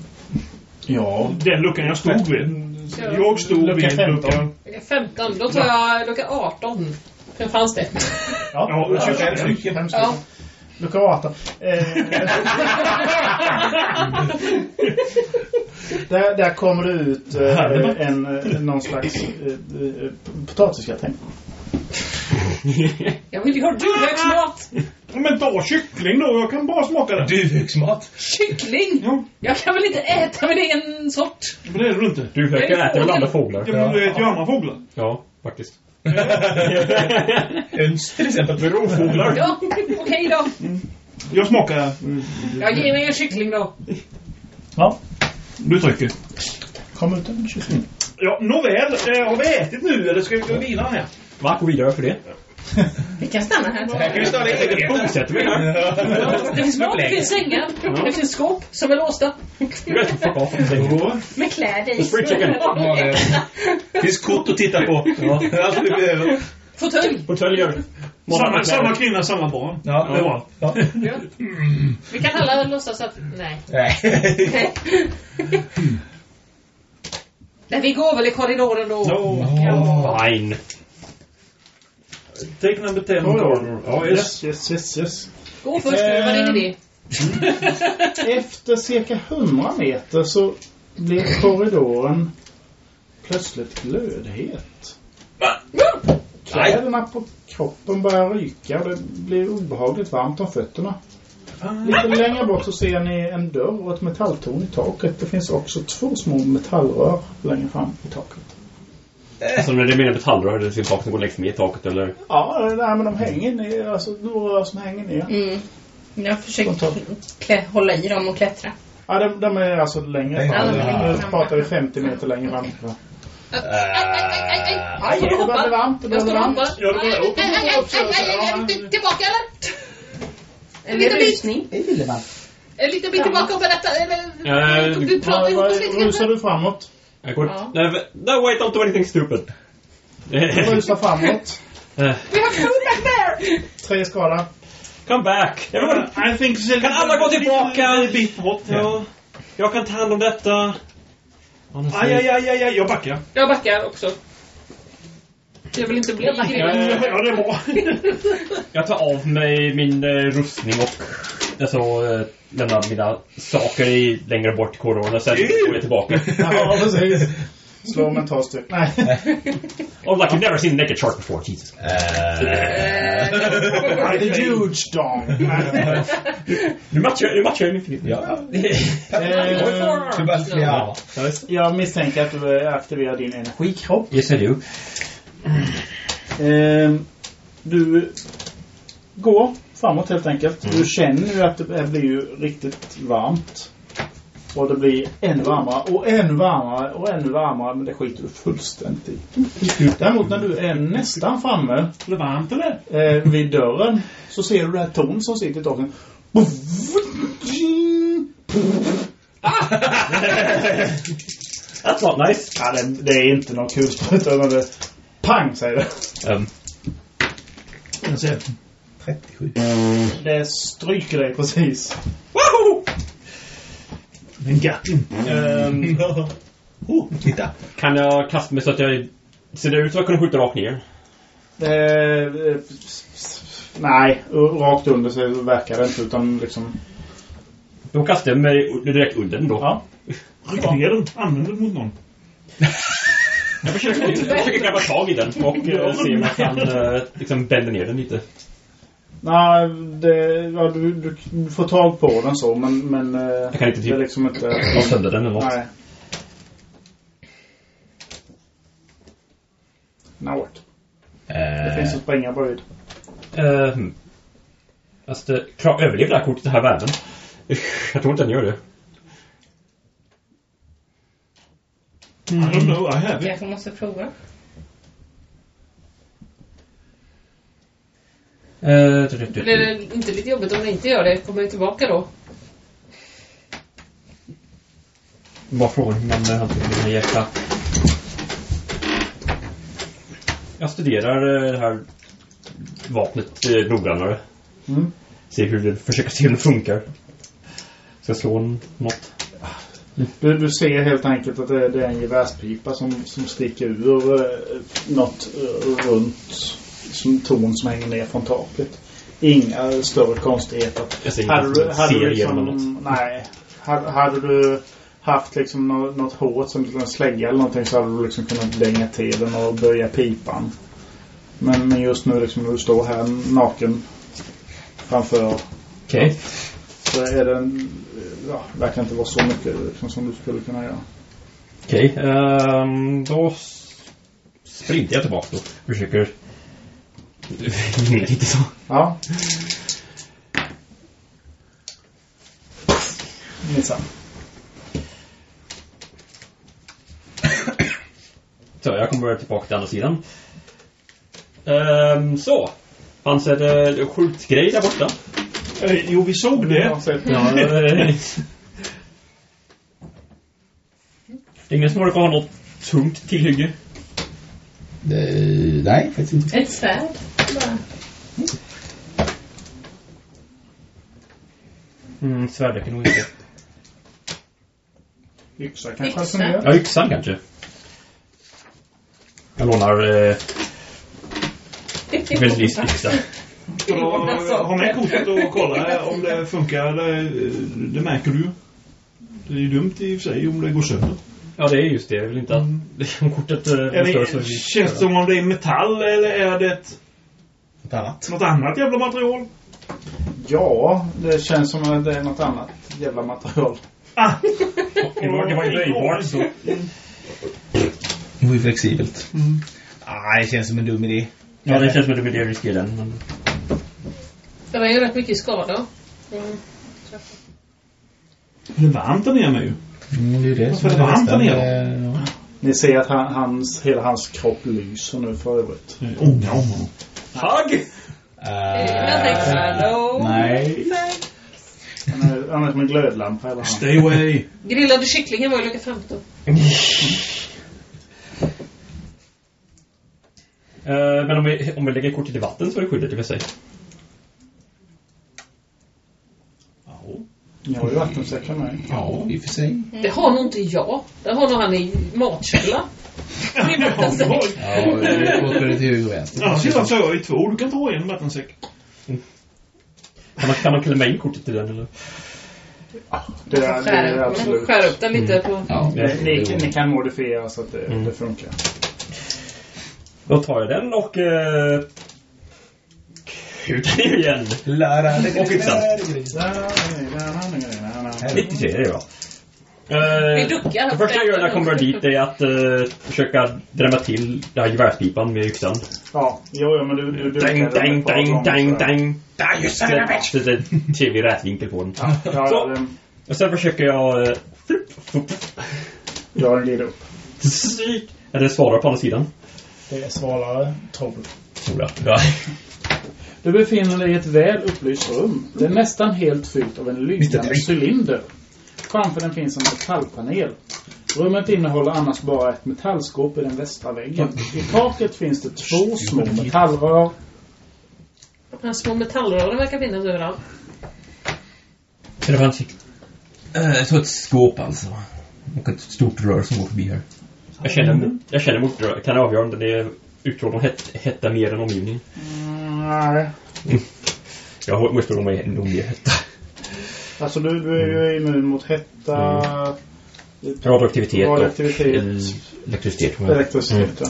B: Ja.
D: Den luckan jag stod vid. Jag stod
B: Lucka
D: vid
B: 15.
D: luckan.
C: Lucka 15. Då tar jag lucka 18. För fanns det.
B: Ja,
D: Ja,
B: ja,
D: fem
B: stycken. Fem stycken.
C: Ja.
B: Lucka 18. Eh, där, där kommer det ut eh, en, eh, någon slags eh, eh, potatisgratäng.
C: Jag vill ju ha duvhögsmat!
D: Men ta kyckling då, jag kan bara smaka den.
E: Duvhöksmat.
C: Kyckling! Jag kan väl inte äta min egen sort?
D: Men det är det väl inte?
F: Du försöker äta väl andra fåglar?
D: Ja, men du äter ju andra fåglar.
F: Ja, faktiskt.
E: Öns till exempel.
D: Med rovfåglar.
C: Ja, okej då.
D: Jag smakar.
C: Jag ger mig en kyckling då.
B: Ja.
D: Du trycker.
B: Kom ut en kyckling.
D: Ja, nåväl. Eh, har vi ätit nu eller ska vi gå vidare här?
F: Va? Gå vidare för det.
G: Vi kan stanna här.
D: Kan vi stanna i
F: Bosätter mig här.
C: Det finns mat, det finns sängar, det finns skåp som är låsta.
F: Du vet inte fuck off.
G: Med kläder i.
F: Free chicken.
E: Det finns kort att titta på. Alltså, det blir över.
C: Fåtölj.
F: Fåtöljer.
D: Samma, samma kvinna, samma barn.
E: Ja,
D: Det var
E: Ja.
C: Vi kan alla låtsas att... Nej.
E: Nej.
C: Nej, vi går väl i korridoren då.
F: Oh, fine.
D: Take number 10. Ja,
B: Yes,
D: yes.
B: yes, yes, yes.
C: Gå först nu, vad ringer det?
B: Efter cirka 100 meter så blev korridoren plötsligt glödhet. Kläderna på kroppen börjar ryka och det blir obehagligt varmt om fötterna. Lite längre bort så ser ni en dörr och ett metalltorn i taket. Det finns också två små metallrör längre fram i taket.
F: Alltså när det menar metallrör, det är sin sak som går längst ner i taket eller?
B: Ja, nej, men de hänger ner. Alltså några rör som hänger ner.
G: Mm. Jag försöker klä, hålla i dem och klättra.
B: Ja, de, de är alltså längre fram.
G: Ja, de är längre
B: Nu
G: fram.
B: pratar vi 50 meter längre fram. Äh.
C: Äh, Jag står och
B: Det börjar bli varmt, det
C: Jag
B: börjar bli
C: står och
B: varmt.
C: hoppar.
D: Ja, det var-
C: Aj, aj, aj, aj, aj, aj, en bit Tillbaka eller?
G: En
C: liten bit.
G: rusning.
C: En liten bit tillbaka och berätta.
F: Eh,
C: eller- Du pratar
B: Vad-
C: ihop oss lite
B: vad- Rusar
C: grann.
B: du framåt?
F: Jag går...
G: Ja.
F: Nej, vä- no, wait, don't do anything stupid.
B: Du rusar framåt.
F: Eh,
C: We have food back there!
B: Tre skada.
F: Come back! Everyone,
D: I think so.
F: Kan alla gå tillbaka?
D: Lite bit hot. Ja.
F: ja, jag kan ta hand om detta.
D: Aj, aj, aj, aj, aj, jag backar.
C: Jag backar också. Jag vill inte bli grinig.
F: Eh,
D: Ja, det är bra.
F: Jag tar av mig min eh, rustning och alltså, eh, lämnar mina saker i, längre bort i korridoren och sen går jag tillbaka.
B: Ja, precis. Slå om en tolvstryck. Nej.
F: Oh, like you've never seen a naked shark before, Jesus.
E: Eh,
C: Eh.
B: The huge dong. Nej.
F: Nu matchar jag- nu matchar jag min film.
E: Ja.
B: Eh,
E: Du bara, ja.
B: Jag misstänker att du aktiverar din energikropp.
F: Yes, I do.
B: Eh, Du går framåt helt enkelt.
F: Mm.
B: Du känner ju att det blir ju riktigt varmt. Och det blir ännu varmare och ännu varmare och ännu varmare. Men det skiter du fullständigt i. Däremot när du är nästan framme
D: Är det varmt eller?
B: eh, vid dörren så ser du det här torn som sitter i taket.
F: That's not nice.
B: Ja, det, det är inte någon kulspruta utan det pang säger det.
F: Um,
D: Jag ser.
E: 37.
B: Det stryker dig precis.
F: Wahoo!
D: Men Gatlin.
B: Ehm,
E: Oh, titta.
F: Kan jag kasta mig så att jag... Ser det ut som att jag kunde skjuta rakt ner?
B: eh, nej, rakt under så verkar det inte utan liksom...
F: Då kastar jag mig u- direkt under den då.
B: Ja.
D: Ryck ner den. Använd den mot någon.
F: Jag försöker, jag försöker grabba tag i den och eh, se om jag kan eh, liksom bända ner den lite.
B: Nej, det, ja, du, du, du får tag på den så, men... men eh,
F: Jag kan inte
B: det är
F: typ
B: liksom inte...
F: slå sönder den eller något.
B: Nej. Now what? Det finns en springa bredvid.
F: Eh, hmm. Fast eh, klar, överlever det här kortet den här världen? Usch, Jag tror inte den gör det.
D: Mm. I don't know, I have
G: Jag
D: it.
G: kanske måste prova.
F: Eh, du, du, du,
H: Blir
F: du.
H: det inte lite jobbigt om det inte gör det? Kommer jag tillbaka då?
F: Bara frågan hur man eh, hanterar mina hjärta. Jag studerar eh, det här vapnet eh, noggrannare.
B: Mm.
F: Ser hur det, försöker se hur det funkar. Ska jag slå en, något?
B: Du, du ser helt enkelt att det, det är en gevärspipa som, som sticker ur eh, något eh, runt som torn som hänger ner från taket. Inga större konstigheter.
F: Jag ser inget som ser igenom
B: liksom- Nej. Hade, hade du haft liksom något, något hårt som en slägga eller någonting så hade du liksom kunnat dänga till den och böja pipan. Men, men just nu liksom när du står här naken framför
F: Okej.
B: så är den, ja, verkar inte vara så mycket liksom, som du skulle kunna göra.
F: Okej, ehm, då s- sprintar jag tillbaka då. Försöker ner lite så.
B: Ja. Minsann.
F: Så, jag kommer tillbaka till andra sidan. Ehm, så. Fanns det skjutgrej där borta?
D: Eh, Jo, vi såg det.
F: Ja, eh, det är ingen som orkar ha något tungt tillhygge.
O: nej, faktiskt inte.
G: Ett svärd. bara.
F: Mm, svärd räcker nog inte.
B: Yxa kanske
G: Yxa.
B: fungerar?
F: Ja, yxan kanske. Jag lånar eh, Veldis yxa.
D: Ja, ha med kortet och kolla om det funkar. Eller, eh, det märker du ju. Det är ju dumt i och för sig om det går sönder.
F: Ja, det är just det. Jag vill inte att om kortet eh,
D: Är
F: blir större
D: det, känns det som om det är metall eller är det ett,
E: Något annat.
D: något annat jävla material?
B: Ja, det känns som att det är något annat jävla material.
D: Ah!
F: Det var, det var ju löjbart så.
E: Det var ju flexibelt. Mm. Ah, det känns som en dum idé.
F: Ja, det känns som att du vill riskera den. Men...
H: Det var ju rätt mycket skada.
D: Det är varmt där nere med ju.
E: Mm, det är ju det
D: Varför är det varmt där nere?
B: Ni ser att han, hans, hela hans kropp lyser nu för övrigt.
D: Eh, Ånga om honom.
F: Hugg!
E: Eh, Nej.
B: Han är, han är som en glödlampa eller han.
D: Stay away.
H: Grillade kycklingen var ju lucka 15.
F: Eh, men om vi, om vi lägger kortet i vatten så är det skyddet i och för sig.
B: Ni har ju vattensäckar med er.
E: Ja, i och för sig.
C: Mm.
H: Det har nog inte jag. Det har nog han i matkällan.
E: Ja, det går åt både till höger och vänster.
D: Annars sitter han så jag i två. Du kan ta en vattensäck.
F: Kan man, kan man klämma in kortet i den eller?
B: Det är, det är
H: Skär,
B: absolut.
H: skär upp den lite på...
E: Ja,
B: Det- Ni, ni kan modifiera så att det, det funkar.
F: Då tar jag den och... Eh, kutar ner igen. Och yxan. 93 är det bra.
H: Vi
F: Eh,
H: duckar.
F: det första jag gör när jag kommer dit är att eh, försöka drämma till den här gevärspipan med yxan.
B: Ja, jo, jo men du... du, du
F: Dang, dang, dang, dang, dang.
E: Där, just det, där, bitch.
F: Sätter trevlig rätvinkel på den.
B: Ja, ja,
F: Så.
B: det-
F: Och sen försöker jag... eh, flipp, flipp,
B: ja, den glider upp.
F: flipp. Är det svarar på andra sidan?
B: Det är svalare torv.
F: Tror jag. Ja.
B: Du befinner dig i ett väl upplyst rum. Det är nästan helt fyllt av en lysande cylinder. Framför den finns en metallpanel. Rummet innehåller annars bara ett metallskåp i den västra väggen. I taket finns det två små metallrör.
H: De här små metallrören verkar finnas överallt.
F: Är det vansinnigt?
O: Eh, Jag tror ett skåp alltså. Och ett stort rör som går förbi här.
F: Jag känner, mot- Mm. jag känner mot, kan jag avgöra om den är utrådd om het, hetta mer än omgivningen.
B: Mm, nej.
F: Jag måste nog med nog mer hetta.
B: Alltså du, du är ju immun mot hetta,
F: Radioaktivitet och
B: Radioaktivitet.
F: el- elektricitet. tror jag.
B: elektricitet.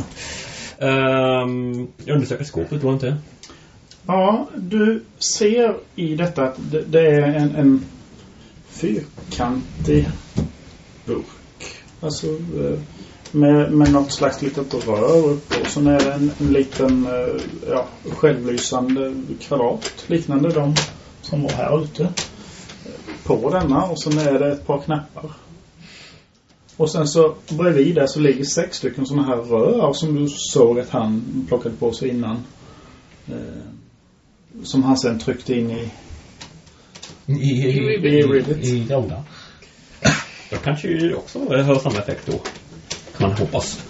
B: ja.
F: Ehm, jag undersöker skåpet, tror jag inte.
B: Ja, du ser i detta att det, det är en, en fyrkantig burk. Alltså eh, med, med något slags litet rör upp och sen är det en, en liten eh, ja, självlysande kvadrat liknande de som var här ute. På denna och sen är det ett par knappar. Och sen så bredvid där så ligger sex stycken sådana här rör som du såg att han plockade på sig innan. Eh, som han sen tryckte in i...
E: I, i, i, i,
B: ribbit.
E: i grodan.
F: Då kanske ju också har samma effekt då. Kan man hoppas.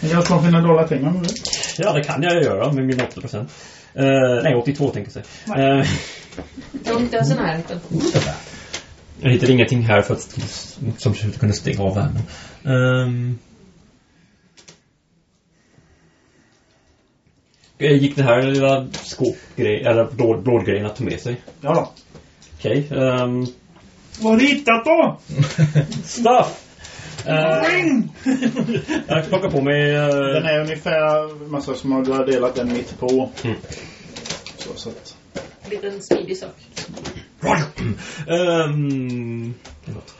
B: Men jag slår fina dolda pengar med det.
F: Ja, det kan jag ju göra med mina 80 procent. Eh, nej, 82 tänker jag säga. Eh,
C: Jag inte ens i närheten.
F: jag hittade ingenting här för att, som kunde stänga av värmen. Ehm. Eh, gick det här lilla skåpgrejen, eller blå- blådgrejen att ta med sig?
B: Ja då.
F: Okej. ehm,
B: Vad har du hittat då?
F: stuff! Eh, jag plockar på mig... eh,
B: Den är ungefär massa som du har delat den mitt på. Så, så att...
C: Liten smidig sak.
F: Ehm, förlåt.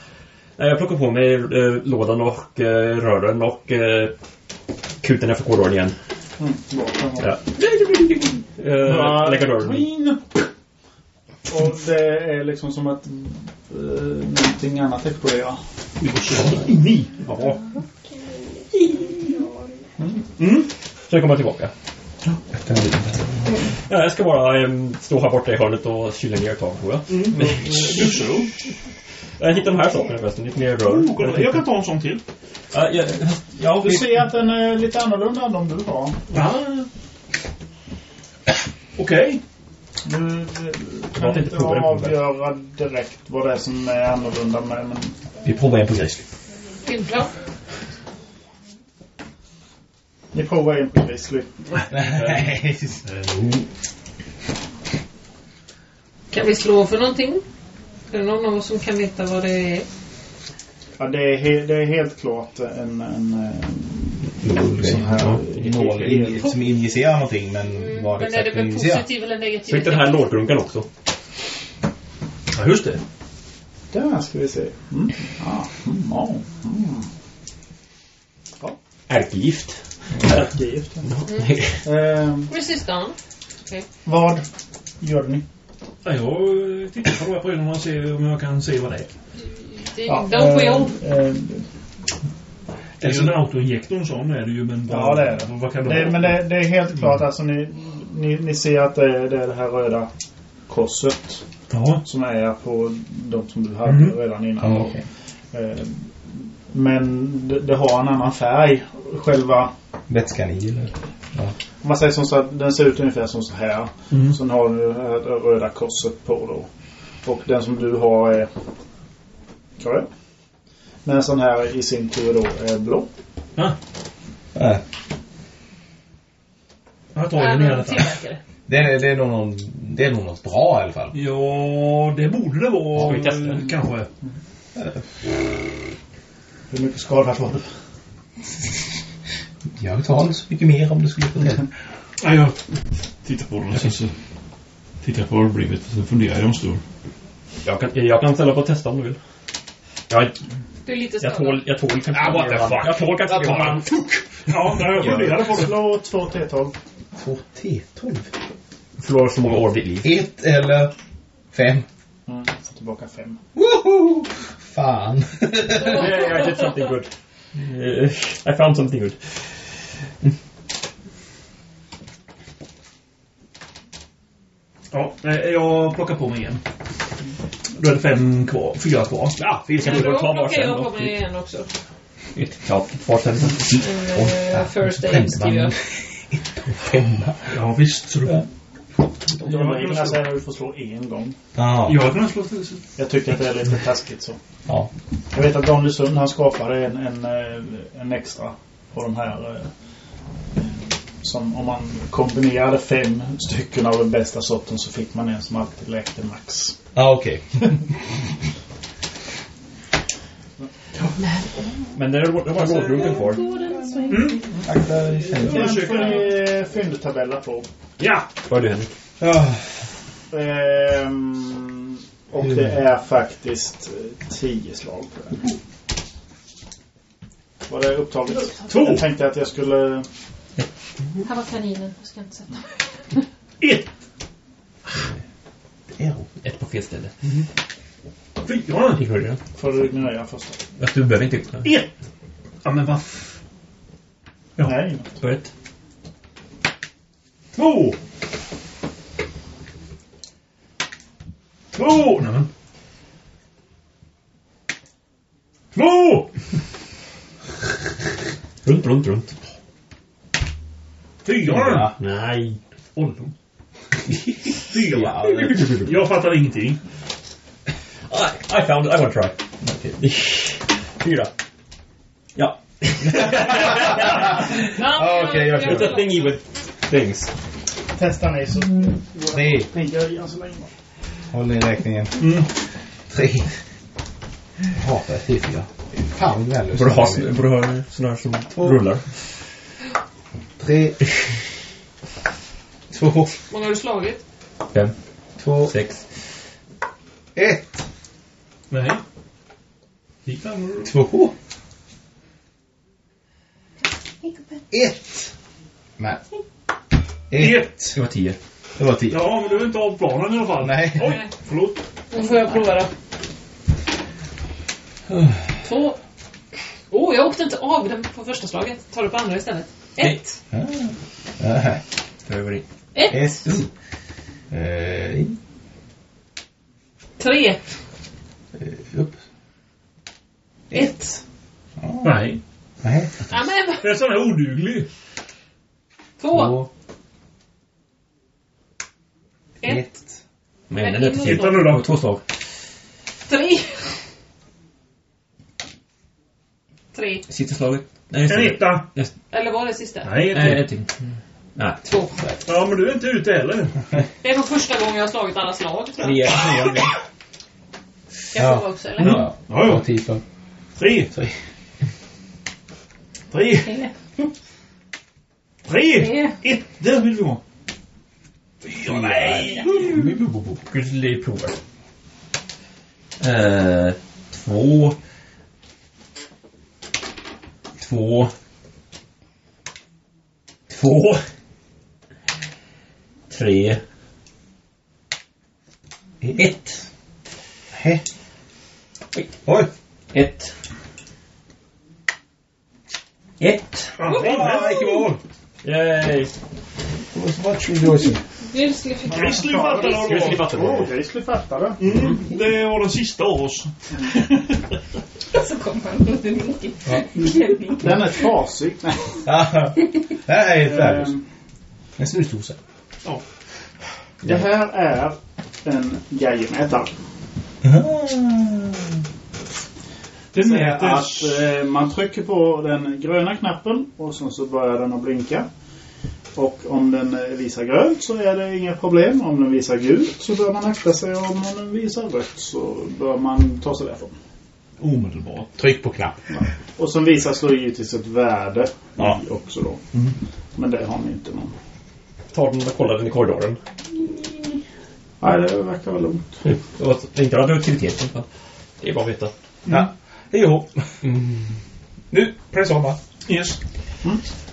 F: Nej, jag plockar på mig eh, lådan och eh, rören och eh, kuten efter korridoren igen.
B: Mm, bra.
F: Ja. Eh, lägger dörren.
B: Och det är liksom som att uh, någonting annat exploderar.
F: Ni! Ja. Mm.
D: Eh,
F: Så jag kommer tillbaka. Ja, jag ska bara ehm, stå här borta i hörnet och kyla ner ett tag, tror jag.
D: Mm. Mm.
F: jag hittade de här sakerna förresten, lite mer rör.
D: Oh, kolla, jag kan ta en sån till.
F: Ja, jag, jag,
B: Du ser att den är lite annorlunda än de du har.
D: Ja. Okej.
B: Du eh,
E: Jag
B: kan
E: tänkte
B: inte
E: prova det på mig.
B: avgöra direkt vad det är som är annorlunda med men
E: Vi provar en på Grizzly.
C: Filmplan.
B: ni provar en på Grizzly.
E: Nej.
C: Kan vi slå för någonting? Är det någon av oss som kan veta vad det är?
B: Ja, det är, he- det är helt klart en, en, eh, en sån
E: Ja,
B: här...
E: Nål in- som injicerar någonting, men vad
C: Mm. Men är det
E: exakt
C: väl
E: injicerar.
C: positiv eller
F: så
C: negativ?
F: hittade den här lådgrunkan också.
E: Ja, just det.
B: Där ska vi se. Mm. Ja, mm, ja, mm.
F: Ärkegift.
B: Ärkegift, ja. Ehm,
C: Precis då. Okej.
B: Vad gör ni?
D: Ja, jag tittar på de här prylarna och ser om jag kan se vad det är.
C: Det
B: Ja,
C: är de på
B: eh,
C: jobb.
B: eh,
D: Det är ju en autoinjektor och sån är det ju, men
B: Ja, det är det.
D: vad kan det
B: det,
D: vara?
B: men det, det är helt klart, alltså ni, ni, ni ser att det är, det är det här röda korset
D: Ja.
B: som är på de som du hade
D: Mhm.
B: redan innan. Eh, Men det, det har en annan färg. Själva,
E: Vätskan i eller?
B: om man säger som så att den ser ut ungefär som så här.
E: Mm.
B: Sen har du det här röda korset på då. Och den som du har är grön. Men sån här i sin tur då är blå.
E: Ja.
D: Jag tar
C: Ja,
D: den i alla
C: men
D: fall.
C: tillverkare.
E: Det är, det, är nog någon, det är nog något bra i alla fall.
D: Ja, det borde det vara. eh,
F: Ska vi testa den?
D: Kanske.
B: Hur mycket skada får du?
E: Jag tar inte så mycket mer om det skulle gå till.
D: Ja, jag tittar på den och sen så tittar jag på vad det blivit. Sen funderar jag en stund.
F: Jag kan, jag kan ställa på att testa om du vill. Jag,
C: Du är lite
F: jag
C: skadad.
F: tål, jag tål kanske
D: Ah, what the
F: mer än-
D: fuck.
F: Jag tål kanske
D: Jag tar
F: mer än-
D: den. Ja, nej, jag funderar på det.
B: Slå två T12.
E: Två T12.
F: Förlorar så många år av ditt liv.
E: Ett eller fem.
B: Mm, får tillbaka fem.
E: Woho! Fan.
F: Yeah, I did something good. Eh, I found something good.
D: Ja, eh, jag plockar på mig igen. Då är det fem kvar. Fyra kvar.
F: Ja, vi
C: Ja,
F: ska
C: då
F: börja ta
C: plockar
F: varsin
C: jag på
F: då.
C: mig en också.
F: Ett klart varsin.
C: Eh, First aid skriver jag.
E: Femma.
D: Ja, visst. Så då.
B: De reglerna säger att du får slå en gång.
E: Ja.
D: Jag har kunnat slå till.
B: Jag tycker att det är lite taskigt så.
E: Ja.
B: Jag vet att Daniel Sund han skapade en, en, eh, en extra på de här eh, som om man kombinerade fem stycken av den bästa sorten så fick man en som alltid läkte max.
E: Ja, okej.
F: Men där var, där var lådrunken kvar.
B: Mm.
F: Akta i
B: Jag försöker fyndtabella på.
F: Ja! Vad är det Henrik?
B: Ja. Ehm, och det är faktiskt eh, tio slag på det. Var det upptaget?
C: Två.
B: Jag tänkte att jag skulle...
C: Här var kaninen. Jag ska inte sätta mig.
F: Ett på fel ställe. Fyra! Det Mm-hmm. hörde jag.
B: Får du nöja först?
F: Att du behöver inte öppna.
B: Ett!
F: Ja, men vad... Ja.
B: Nej.
F: Börja ett. Två! Två! Nämen. Två! runt, runt, runt.
D: Fyra!
F: Nej.
D: Ollon. Fyra. Jag fattar ingenting.
F: I, I found it. I want to try. Okay. Fyra. Ja.
B: Okej, jag kör.
F: It's a thingy with things.
B: Testa ni så...
E: Nej.
B: Nej, jag alltså, gör så länge.
E: Håll i räkningen.
F: Mm.
E: Tre. Jag hatar fyra. Fan, väl.
F: Borde ha, borde ha sådana här som rullar.
E: Tre. Två.
C: många har du slagit?
F: Fem.
E: Två.
F: Sex.
E: Ett.
D: Nej.
E: Två. Ett. Nej. Ett.
F: Det var tio.
E: Det var tio.
D: Ja, men du är inte av planen i alla fall.
E: Nej.
D: Oj, förlåt.
C: Då får jag prova då. Två. Oh, jag åkte inte av den på första slaget. Tar det på andra istället. Ett.
F: Över i.
C: Ett.
E: Äh, S. Eh, in.
C: Tre.
E: Eh, upp.
C: Ett.
D: Nej.
E: Nej.
C: Ja, men.
D: Det är sån här oduglig.
C: Två. Ett.
E: Ett.
F: Men den är till
C: Titta nu
D: då.
F: Det var Två slag.
C: Tre. Tre.
F: Sista slaget. Nej, just
D: En
F: det.
D: etta.
F: Nästa.
C: Eller var det sista?
D: Nej,
F: Nej,
D: ett
F: ett till. Nej.
C: Två.
D: Ja, men du är inte ute heller.
C: Det är nog första gången jag har slagit alla slag, tror
F: Tre.
C: jag. Jag får vara också, eller?
E: Ja.
D: Ja, ja.
E: Tio.
D: Tre.
E: Tre.
D: Tre. Tre.
C: Tre.
D: Ett. Där vill vi ha. Fyra. Nej.
F: Grizzly provar. Eh, två. Två. Två. Tre. Ett.
E: Hä? Oj.
F: Ett. Ett.
D: Ja, icke mål.
F: Yay.
E: Det var så vart rejoicing.
C: Grizzly fick
D: Grizzly fattar vad det
F: Grizzly
D: var.
F: fattar
B: Åh,
F: det.
B: jag skulle fatta det.
D: Mm, det var den sista av oss.
G: Så kom han och det mycket.
B: Den är trasig. Nej.
E: Det här är färdigt.
B: Ehm,
E: En snusdosa.
B: Det här är en jajemätare.
E: Ah.
B: Det
D: Det
B: är
D: mäter...
B: att eh, man trycker på den gröna knappen och sen så börjar den att blinka. Och om den eh, visar grönt så är det inga problem. Om den visar gult så bör man akta sig. Och Om den visar rött så bör man ta sig därifrån.
D: Omedelbart.
E: Tryck på knapp.
B: Och sen visar slår givetvis ett värde
F: Ja.
B: i också då. Men det har ni inte någon.
F: Tar den och kollar den i korridoren.
B: Nej, det verkar väl lugnt.
F: Och inte radioaktiviteten. Det är bara att veta.
E: Ja. Jo. Nu, press on va?
D: Yes.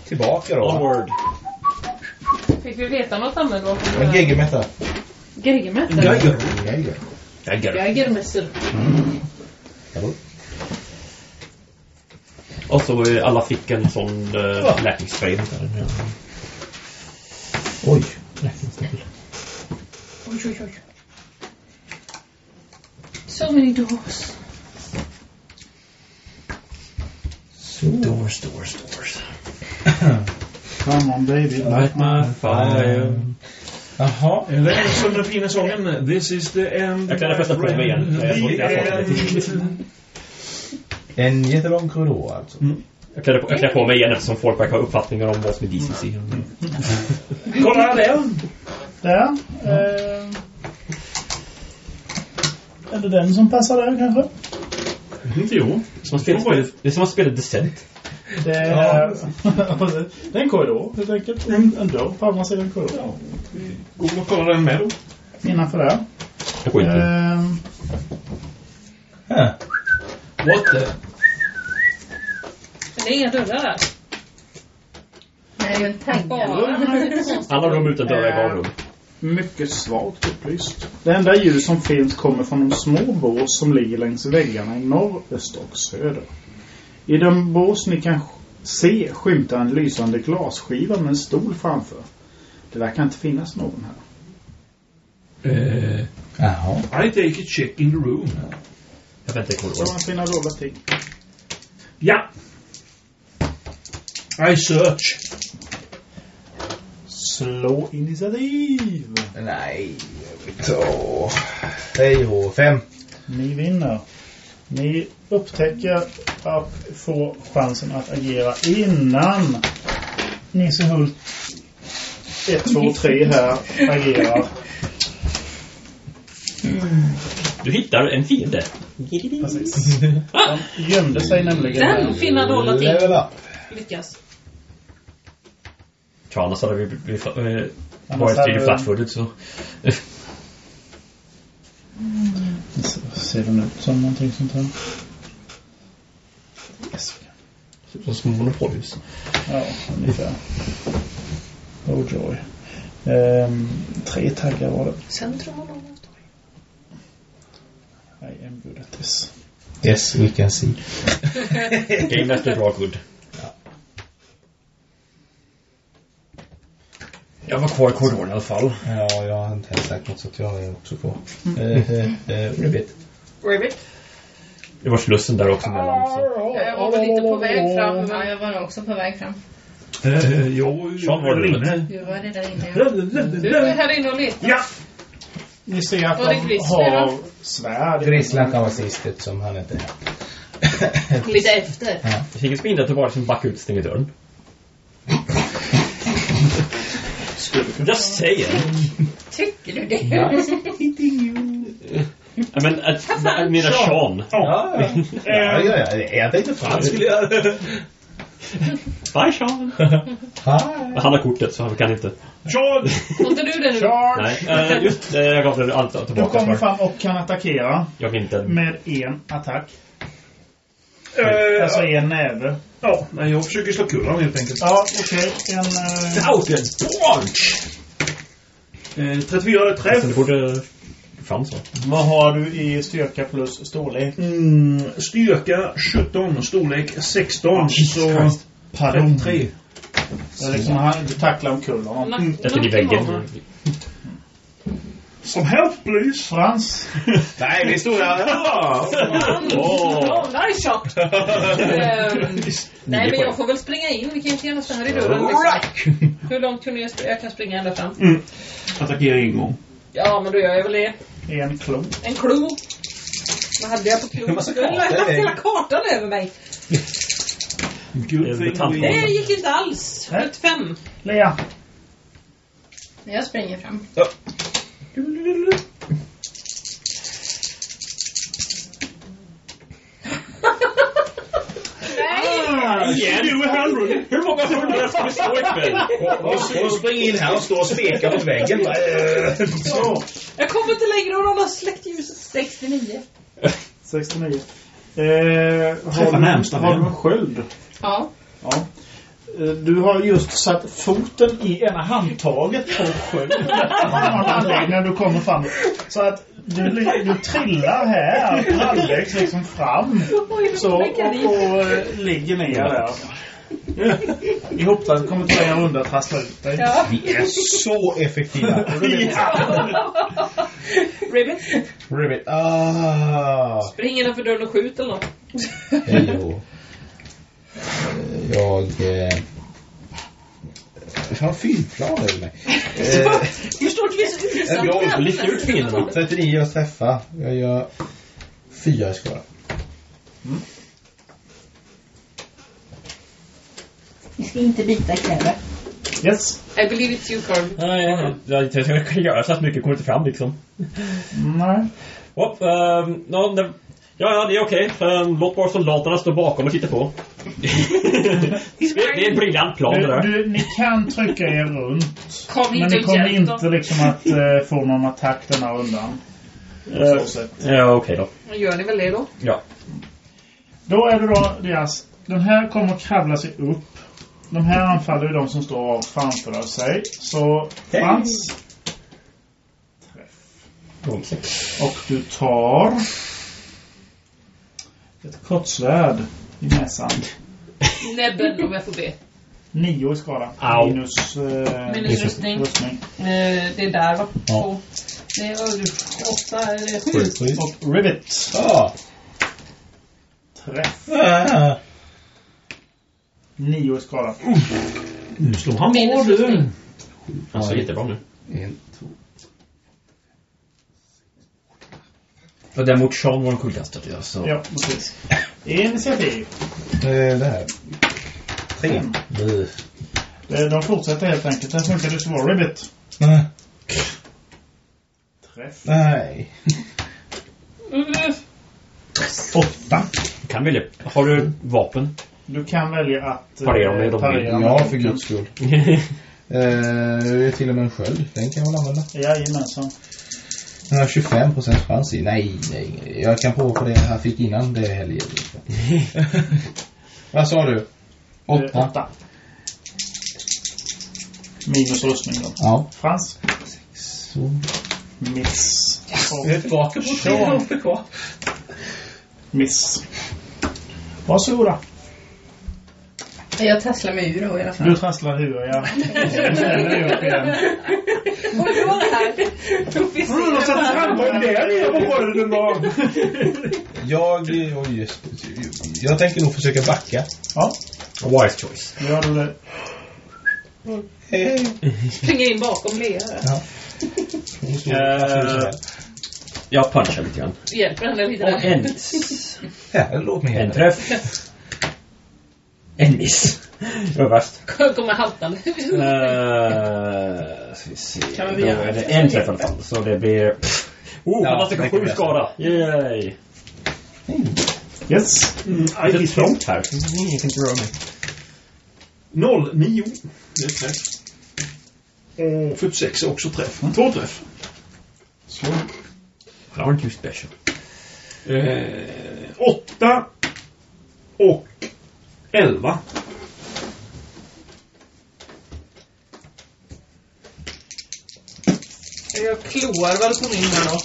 E: Tillbaka då. va?
F: Onward.
C: Fick vi veta något användbart?
E: Men geggemätta.
C: Geigermätare?
E: Gegger.
F: Jaggar.
C: Geigermässor.
E: Hallå?
F: Och så eh, alla fick en sån uh, läkningsspray. heter den, ja.
E: Oj.
G: Oj, oj, oj. So many doors.
F: Doors, doors, doors.
B: Come on baby.
D: eh,
F: Light my fire.
E: Jaha.
D: Det är som den fina sången. This is the end.
F: Jag kan nästan prova igen. Jag har fått- jag har fått
D: The end.
E: En jättelång korridor alltså.
F: Jag klär, på, jag klär på mig igen eftersom folk verkar ha uppfattningar om vad som är DCC.
D: Kolla där!
B: Där. Eh, är det den som passar där kanske?
D: Inte jag.
F: Som har spelat, det är som att spela Descent.
B: Det
D: Ja.
B: är, det är en korridor helt enkelt. En, en dörr på andra sidan korridoren.
D: Går man och kollar den med då?
B: Innanför där.
F: Jag går inte.
B: Ehm,
E: What the?
H: Men det är inga dörrar där.
G: Nej, en
H: Bara några konstigt.
F: Alla rum utan dörrar gav rum.
B: Mycket svagt upplyst. Det enda ljus som finns kommer från de små bås som ligger längs väggarna i norr, öster och söder. I de bås ni kan se skymtar en lysande glasskiva med en stol framför. Det verkar inte finnas någon här.
E: Eh, Jaha.
D: I take a check in the room.
F: Jag väntar i
B: Så
F: korridoren.
B: man finner dolda ting.
D: Ja! I search.
B: Slå initiativ!
E: Nej. Så. Hej och fem.
B: Ni vinner. Ni upptäcker att få chansen att agera innan Nisse Hult 1, 2, 3 här agerar.
F: Du hittar en fiende.
B: Precis. Han gömde sig nämligen.
C: Den finna dolda ting
E: Level up.
C: lyckas.
F: Ja, annars hade vi blivit... Eh,
B: Annars
F: varit
B: hade
F: i
B: vi-
F: flatfoodet så...
B: Ser den ut som någonting sånt här?
F: Som små monopolhus.
B: Ja, ungefär. Oh joy. Ehm, tre taggar var det.
C: Centrum och något.
B: I am good at this.
E: Yes, we can see.
F: Game master bra good. Jag var kvar i korridoren i alla fall.
E: Ja, jag har inte ens sagt något så att jag är också på. Eh, eh, eh, Ribbit.
C: Ribbit.
F: Det var slussen där också mellan. Så.
G: Jag var väl lite på väg fram. Ja, jag var också på väg fram.
D: Eh, jag
F: Sean var det väl?
G: Du var redan inne. ja.
C: Du är här inne och letar.
D: Ja!
B: Ni ser att
C: Var det
B: de
C: Grizzly,
B: har
C: va?
B: svärd.
E: Grisslan kan vara sist eftersom han inte är här.
C: Lite efter.
F: Jag fick ett minne att det var som backa ut stänger dörren. Jag säger.
C: Tycker du det?
F: Ja, Men att, jag menar Sean.
E: Ja, ja, ja, ja. Jag tänkte fan skulle göra det.
F: Bye Sean.
E: Hi.
F: Han har kortet så han kan inte.
B: Charge!
C: Får inte du det nu?
B: Charge!
F: Nej, eh, just det. Jag gav det allt
B: Du
F: tillbaka.
B: kommer
F: för
B: fram och kan attackera
F: Jag vill inte.
B: med en attack.
D: Eh,
B: Alltså en näve.
D: ja, nej, jag försöker slå kul honom helt enkelt.
B: Ja, okej. En... eh,
F: Outed Bunch!
D: Eh, 34 är träff.
F: Alltså, Det borde... Fanns så.
B: Vad har du i styrka plus storlek?
D: Mm, styrka 17, storlek 16. så Eh,
F: Christ.
D: 33.
B: Det är liksom han, du tacklar omkull honom.
C: Nacken
F: Jag står i
C: och
F: väggen.
C: knarna.
D: Som help please.
B: Frans.
E: Nej, vi stod där.
C: Mm. Ja, nice shot! Ehm, Nej, men jag får väl springa in. Vi kan ju inte gärna stanna i dörren. Liksom. Hur långt kunde jag springa? Jag kan springa ända fram.
D: Attackera en gång.
C: Ja, men då gör jag väl det.
B: En klo.
C: En klo. Vad hade jag på klon?
E: massa
C: Jag har
E: kartor,
C: haft
E: det är-
C: hela kartan över mig.
F: Det är
D: Good thing
F: bekant.
D: we...
C: Det gick inte alls. 75.
B: Lea.
G: Men Jag springer fram.
D: Igen! Du är handrull.
F: Hur många hundra ska vi slå ikväll?
E: Hon springer in här och står och spekar mot väggen. Eh,
B: Så.
C: Jag kommer inte längre och de har släckt ljuset. 69.
B: 69. Eh, har,
D: Träffa
B: du,
D: närmsta
B: har
D: vän.
B: du en sköld?
G: Ja.
B: Ja. Eh, Du har just satt foten i ena handtaget på skölden. Av någon anledning när du kommer fram. Så att du, li- du trillar här halvvägs liksom fram. Så, och, och eh, ligger ner där. Ihoptrassad kommer tre runda att trassla ut dig.
E: Vi är så effektiva.
C: Ribbit.
E: Ribbit. Ah.
C: Spring innanför dörren och skjut eller något.
E: Hej då. Eh, Jag... eh, Jag har en filmplan över mig. Eh,
C: Förstår du? Vi är så utsatta.
E: Jag har
F: lyft ut kvinnorna.
E: 39 jag träffar. Jag gör fyra i skada.
P: Vi ska inte byta kläder.
B: Yes.
C: I believe it's you, Carl.
F: Nej, jag- jag tror jag kan göra så att mycket kommer inte fram liksom.
B: Nej.
F: Hopp, ehm, ja, det- Ja, ja, det är okej. Ehm, Låt bara soldaterna stå bakom och titta på. det, det är en briljant plan det
B: Du,
F: där.
B: du, ni kan trycka er runt.
C: Kom
B: men
C: inte
B: ni
C: och
B: kommer
C: hjälp
B: inte
C: dem.
B: liksom att eh, få någon attack den här rundan.
F: Eh, Ja, okej då.
C: Gör ni väl det då?
F: Ja.
B: Då är det då deras... Den här kommer att kravla sig upp. De här anfaller ju de som står av framför sig. Så
F: Hej!
B: Frans. Träff. Och du tar... Ett kortsvärd i näsan.
C: Näbben om jag får
R: Eh,
C: be.
B: Nio i skada.
F: Au.
B: Minus... Eh,
R: Minus rustning.
B: rustning.
R: Eh, det är där va?
B: Ja.
R: Två. Det är ö, åtta eller sju.
B: Och rivet.
E: Ja.
B: Träff.
E: Ah.
B: Nio i skada.
F: Nu slår han
R: Minus
F: på du.
R: rustning.
F: Han ser jättebra nu.
S: En, två.
T: Och den mot Sean var den coolaste att göra så...
B: Ja, precis. Initiativ.
E: Eh, Det här. Tre.
B: Fem. Eh, De fortsätter helt enkelt. Den funkar ju svår rivet.
E: Nej.
B: Träff.
E: Nej.
B: Åtta.
F: Kan välja. Har du vapen?
B: Du kan välja att... eh,
F: Parera om det är de
B: parera
F: vill.
B: med
E: Ja,
B: boken.
E: för guds skull. Eh, det är till och med en sköld. Den kan jag väl använda.
B: Jajamensan. Eh,
E: Den har 25 chans i. Nej, nej. nej. Jag kan prova på det jag fick innan. Det är helgen. Vad sa du? Åtta.
B: Eh, åtta. Minus rustning då.
E: Ja.
B: Frans.
E: Så.
B: Miss.
E: Vi är tillbaka på tre
B: Sean. Miss. Varsågoda.
G: Jag trasslar mig ur då i alla
B: Du
G: fall.
B: trasslar huvudet, ja. Ställer dig upp igen.
G: Och då det här.
B: Mm, och sätter framgång där. Vad var det du la?
E: Jag, oj, just, jag tänker nog försöka backa.
B: Ja.
F: Wise choice.
B: Gör du det?
E: Eh,
C: Springa in bakom Lea.
F: Eh, jag punchar lite grann.
C: Hjälper henne lite
F: Och
C: där.
F: en.
E: Ja, låt mig
F: En träff. En miss. Det var värst.
C: Kommer haltande.
F: Eh, ska vi se.
C: Kan vi
F: Då
C: göra
F: är det
C: det?
F: en träff i alla fall. Så det blir... Oh,
E: Ja,
F: han måste gå
E: det kan
F: sju
E: vi
F: skada. Yay!
B: Yes.
D: Mm,
F: Det är
D: I
F: trångt här. Jag tänkte röra mig.
D: 0, 9. Det är träff. Och 46 är också träff. Två träff.
B: Så.
F: Det var inte ju special.
D: Eh, 8 och 11.
C: Jag kloar väl på min här då.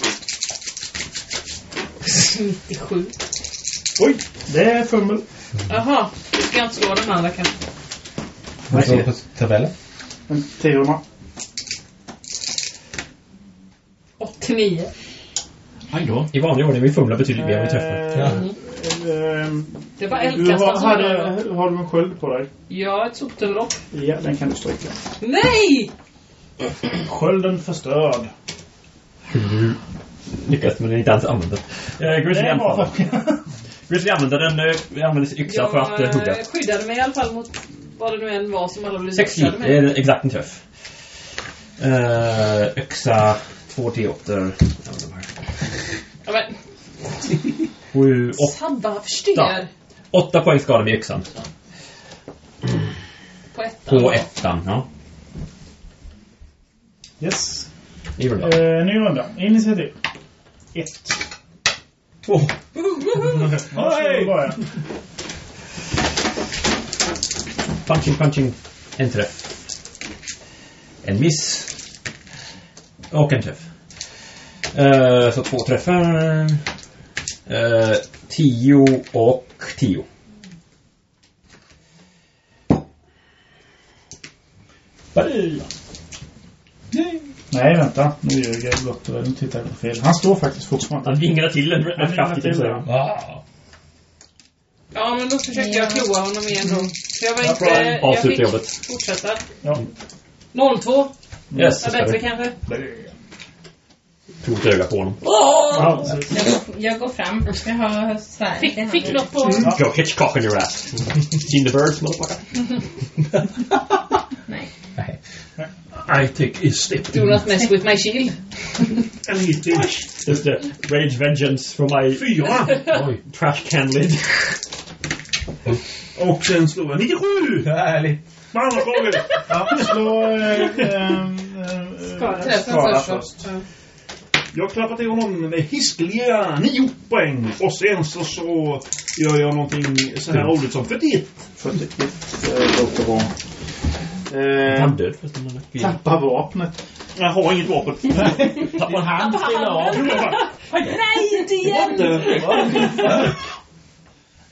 C: 97.
D: Oj,
B: det är fummel.
C: Jaha, du ska jag inte slå den andra kanske.
E: Vad står det på tabellen?
B: En tiorna.
C: 89.
F: Aj då. I vanlig ordning, vi fumlar betydligt mer än vi
B: Eh,
F: träffar. Ja.
B: ehm,
C: Det var
B: Du har,
C: eldkastaren som var
B: hade, har du en sköld på dig?
C: Ja, ett soptunnelopp.
B: Ja, den kan du stryka.
C: Nej!
B: Skölden förstörd.
F: Hur lyckas men inte ens använda den. Eh, Grizzly
B: Det är bra.
F: anfaller. Grizzly använder den, eh, använder sin yxa för att eh, hugga.
C: Jag skyddade mig i alla fall mot vad det nu än var som alla blev
F: Sex hit,
C: hotade
F: det
C: med.
F: är exakt en träff. Eh, yxa, två T8.
C: Ja, men,
F: Sju, åtta.
C: sabba, förstör!
F: Åtta poäng skada med yxan.
C: På ettan.
F: På ettan, ja.
B: Yes.
F: Det gjorde det.
B: Eh, ny runda. Initiativ. Ett.
F: Två.
B: Varsågod bara.
F: Punching, punching. En träff. En miss. Och en träff. Eh, så två träffar. Eh, tio och tio.
B: Nej, vänta. Nu ljuger jag blott och nu tittar jag på fel. Han står faktiskt fortfarande.
F: Han vinglar till den
B: Han
F: rätt
B: vinglar
F: kraftigt.
B: till
F: också.
B: den.
F: Ja.
C: Ja, men då försökte jag kloa honom igen då. Så jag var
B: Ja,
C: inte...
B: bra.
C: Jag
F: Avsluta
C: fick
F: jobbet.
C: fortsätta.
B: Ja.
C: 02.
F: Yes,
C: Var
F: så ska
C: bättre
F: vi
C: kanske.
F: prova ett öga på honom.
C: Åh!
B: Ja, precis.
G: Jag går, jag går fram. Jag har svärd i
C: Fick,
G: handen.
C: fick något på...
F: Go Hitchcock in your ass. Seen the birds, motherfucker.
G: Nej.
F: I take a step.
C: Do not mess with my shield.
Q: En hit till. Just det. Rage Vengeance från my...
D: Fyra.
Q: Trash can lid.
D: Och sen slår jag 97!
E: Härligt.
D: Man har slagit!
B: Ja, eh, slå...
D: Skada.
B: eh,
D: Skada först. Jag klappar till honom med hiskeliga nio poäng. Och sen så, så gör jag någonting så här roligt som 41.
B: 41 eh, låter bra. Eh,
Q: Han död förresten. den där.
B: Tappa vapnet.
D: Jag har inget vapen.
B: Tappa en hand.
D: Stilla av.
C: Nej, inte igen!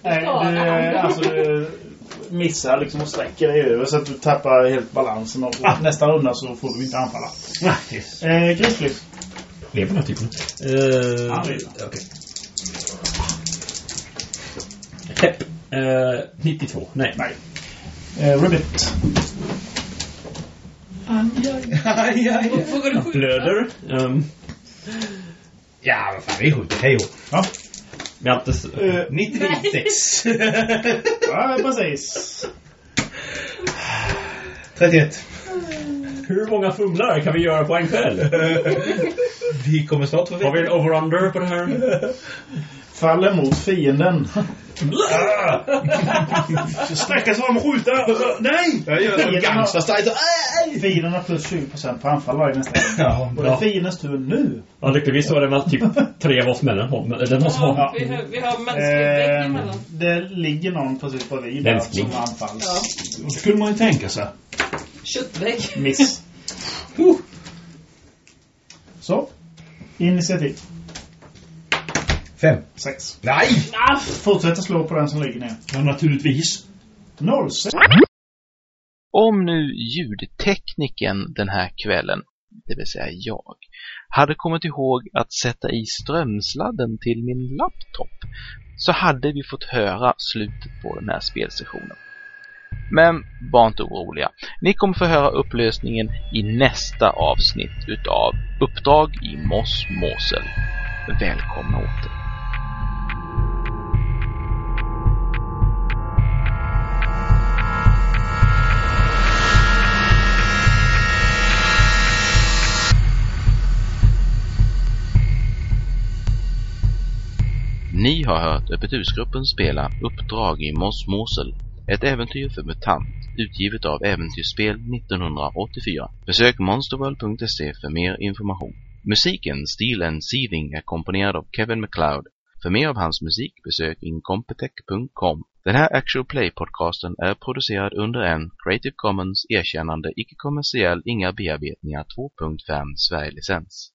B: Nej, du eh, alltså, eh, missar liksom och sträcker dig över så att du tappar helt balansen. Och och nästa runda så får du inte anfalla.
Q: Nej.
B: Eh, Grizzlys.
Q: Lever den här typen?
B: Han
Q: Uh,
B: vill.
Q: Okej. Hepp. Eh, 92. Nej.
B: Nej. Eh, Ribbit.
E: Aj, aj, aj.
C: Vågar du skjuta?
Q: Blöder. Um,
E: Ja, vad fan, vi skjuter. Hej då.
B: Ja.
Q: jag har inte... s-
B: Eh,
E: 96.
B: ja, precis.
E: 31.
Q: Hur många fumlar kan vi göra på en kväll?
E: Vi kommer snart få
Q: Har vi en over-under på det här?
B: Faller mot fienden.
E: Ah!
D: Sträcka sig fram och skjuta. Och så, nej! Jag gör det.
B: Gangsterstyle. Fienden har plus 20% på anfall varje nästa gång.
E: Ja,
B: Och det är
Q: Ja.
B: fiendens tur nu.
Q: Ja, lyckligtvis så var det väl typ tre av oss männen. Den måste ha...
C: Ja, vi, har, vi har mänsklig
F: Eh,
C: vägg
B: Ehm,
C: emellan.
B: det ligger någon precis bredvid där
Q: Mänsklig.
B: som anfalls.
C: Ja.
D: Det skulle man ju tänka sig.
C: Köttvägg.
B: Miss. Så. Initiativ.
E: Fem.
B: Sex.
E: Nej!
B: Fortsätter slå på den som ligger ner.
D: Ja, naturligtvis.
B: 06.
A: Om nu ljudtekniken den här kvällen, det vill säga jag, hade kommit ihåg att sätta i strömsladden till min laptop så hade vi fått höra slutet på den här spelsessionen. Men var inte oroliga. Ni kommer få höra upplösningen i nästa avsnitt utav Uppdrag i Moss Måsel. Välkomna åter! Ni har hört Öppet husgruppen spela Uppdrag i Mos Mosel, ett äventyr för MUTANT, utgivet av Äventyrsspel 1984. Besök monsterworld.se för mer information. Musiken Steel and Seething är komponerad av Kevin MacLeod. För mer av hans musik besök incompetech.com. Den här Actual Play-podcasten är producerad under en Creative Commons erkännande icke-kommersiell inga bearbetningar 2.5 Sverige-licens.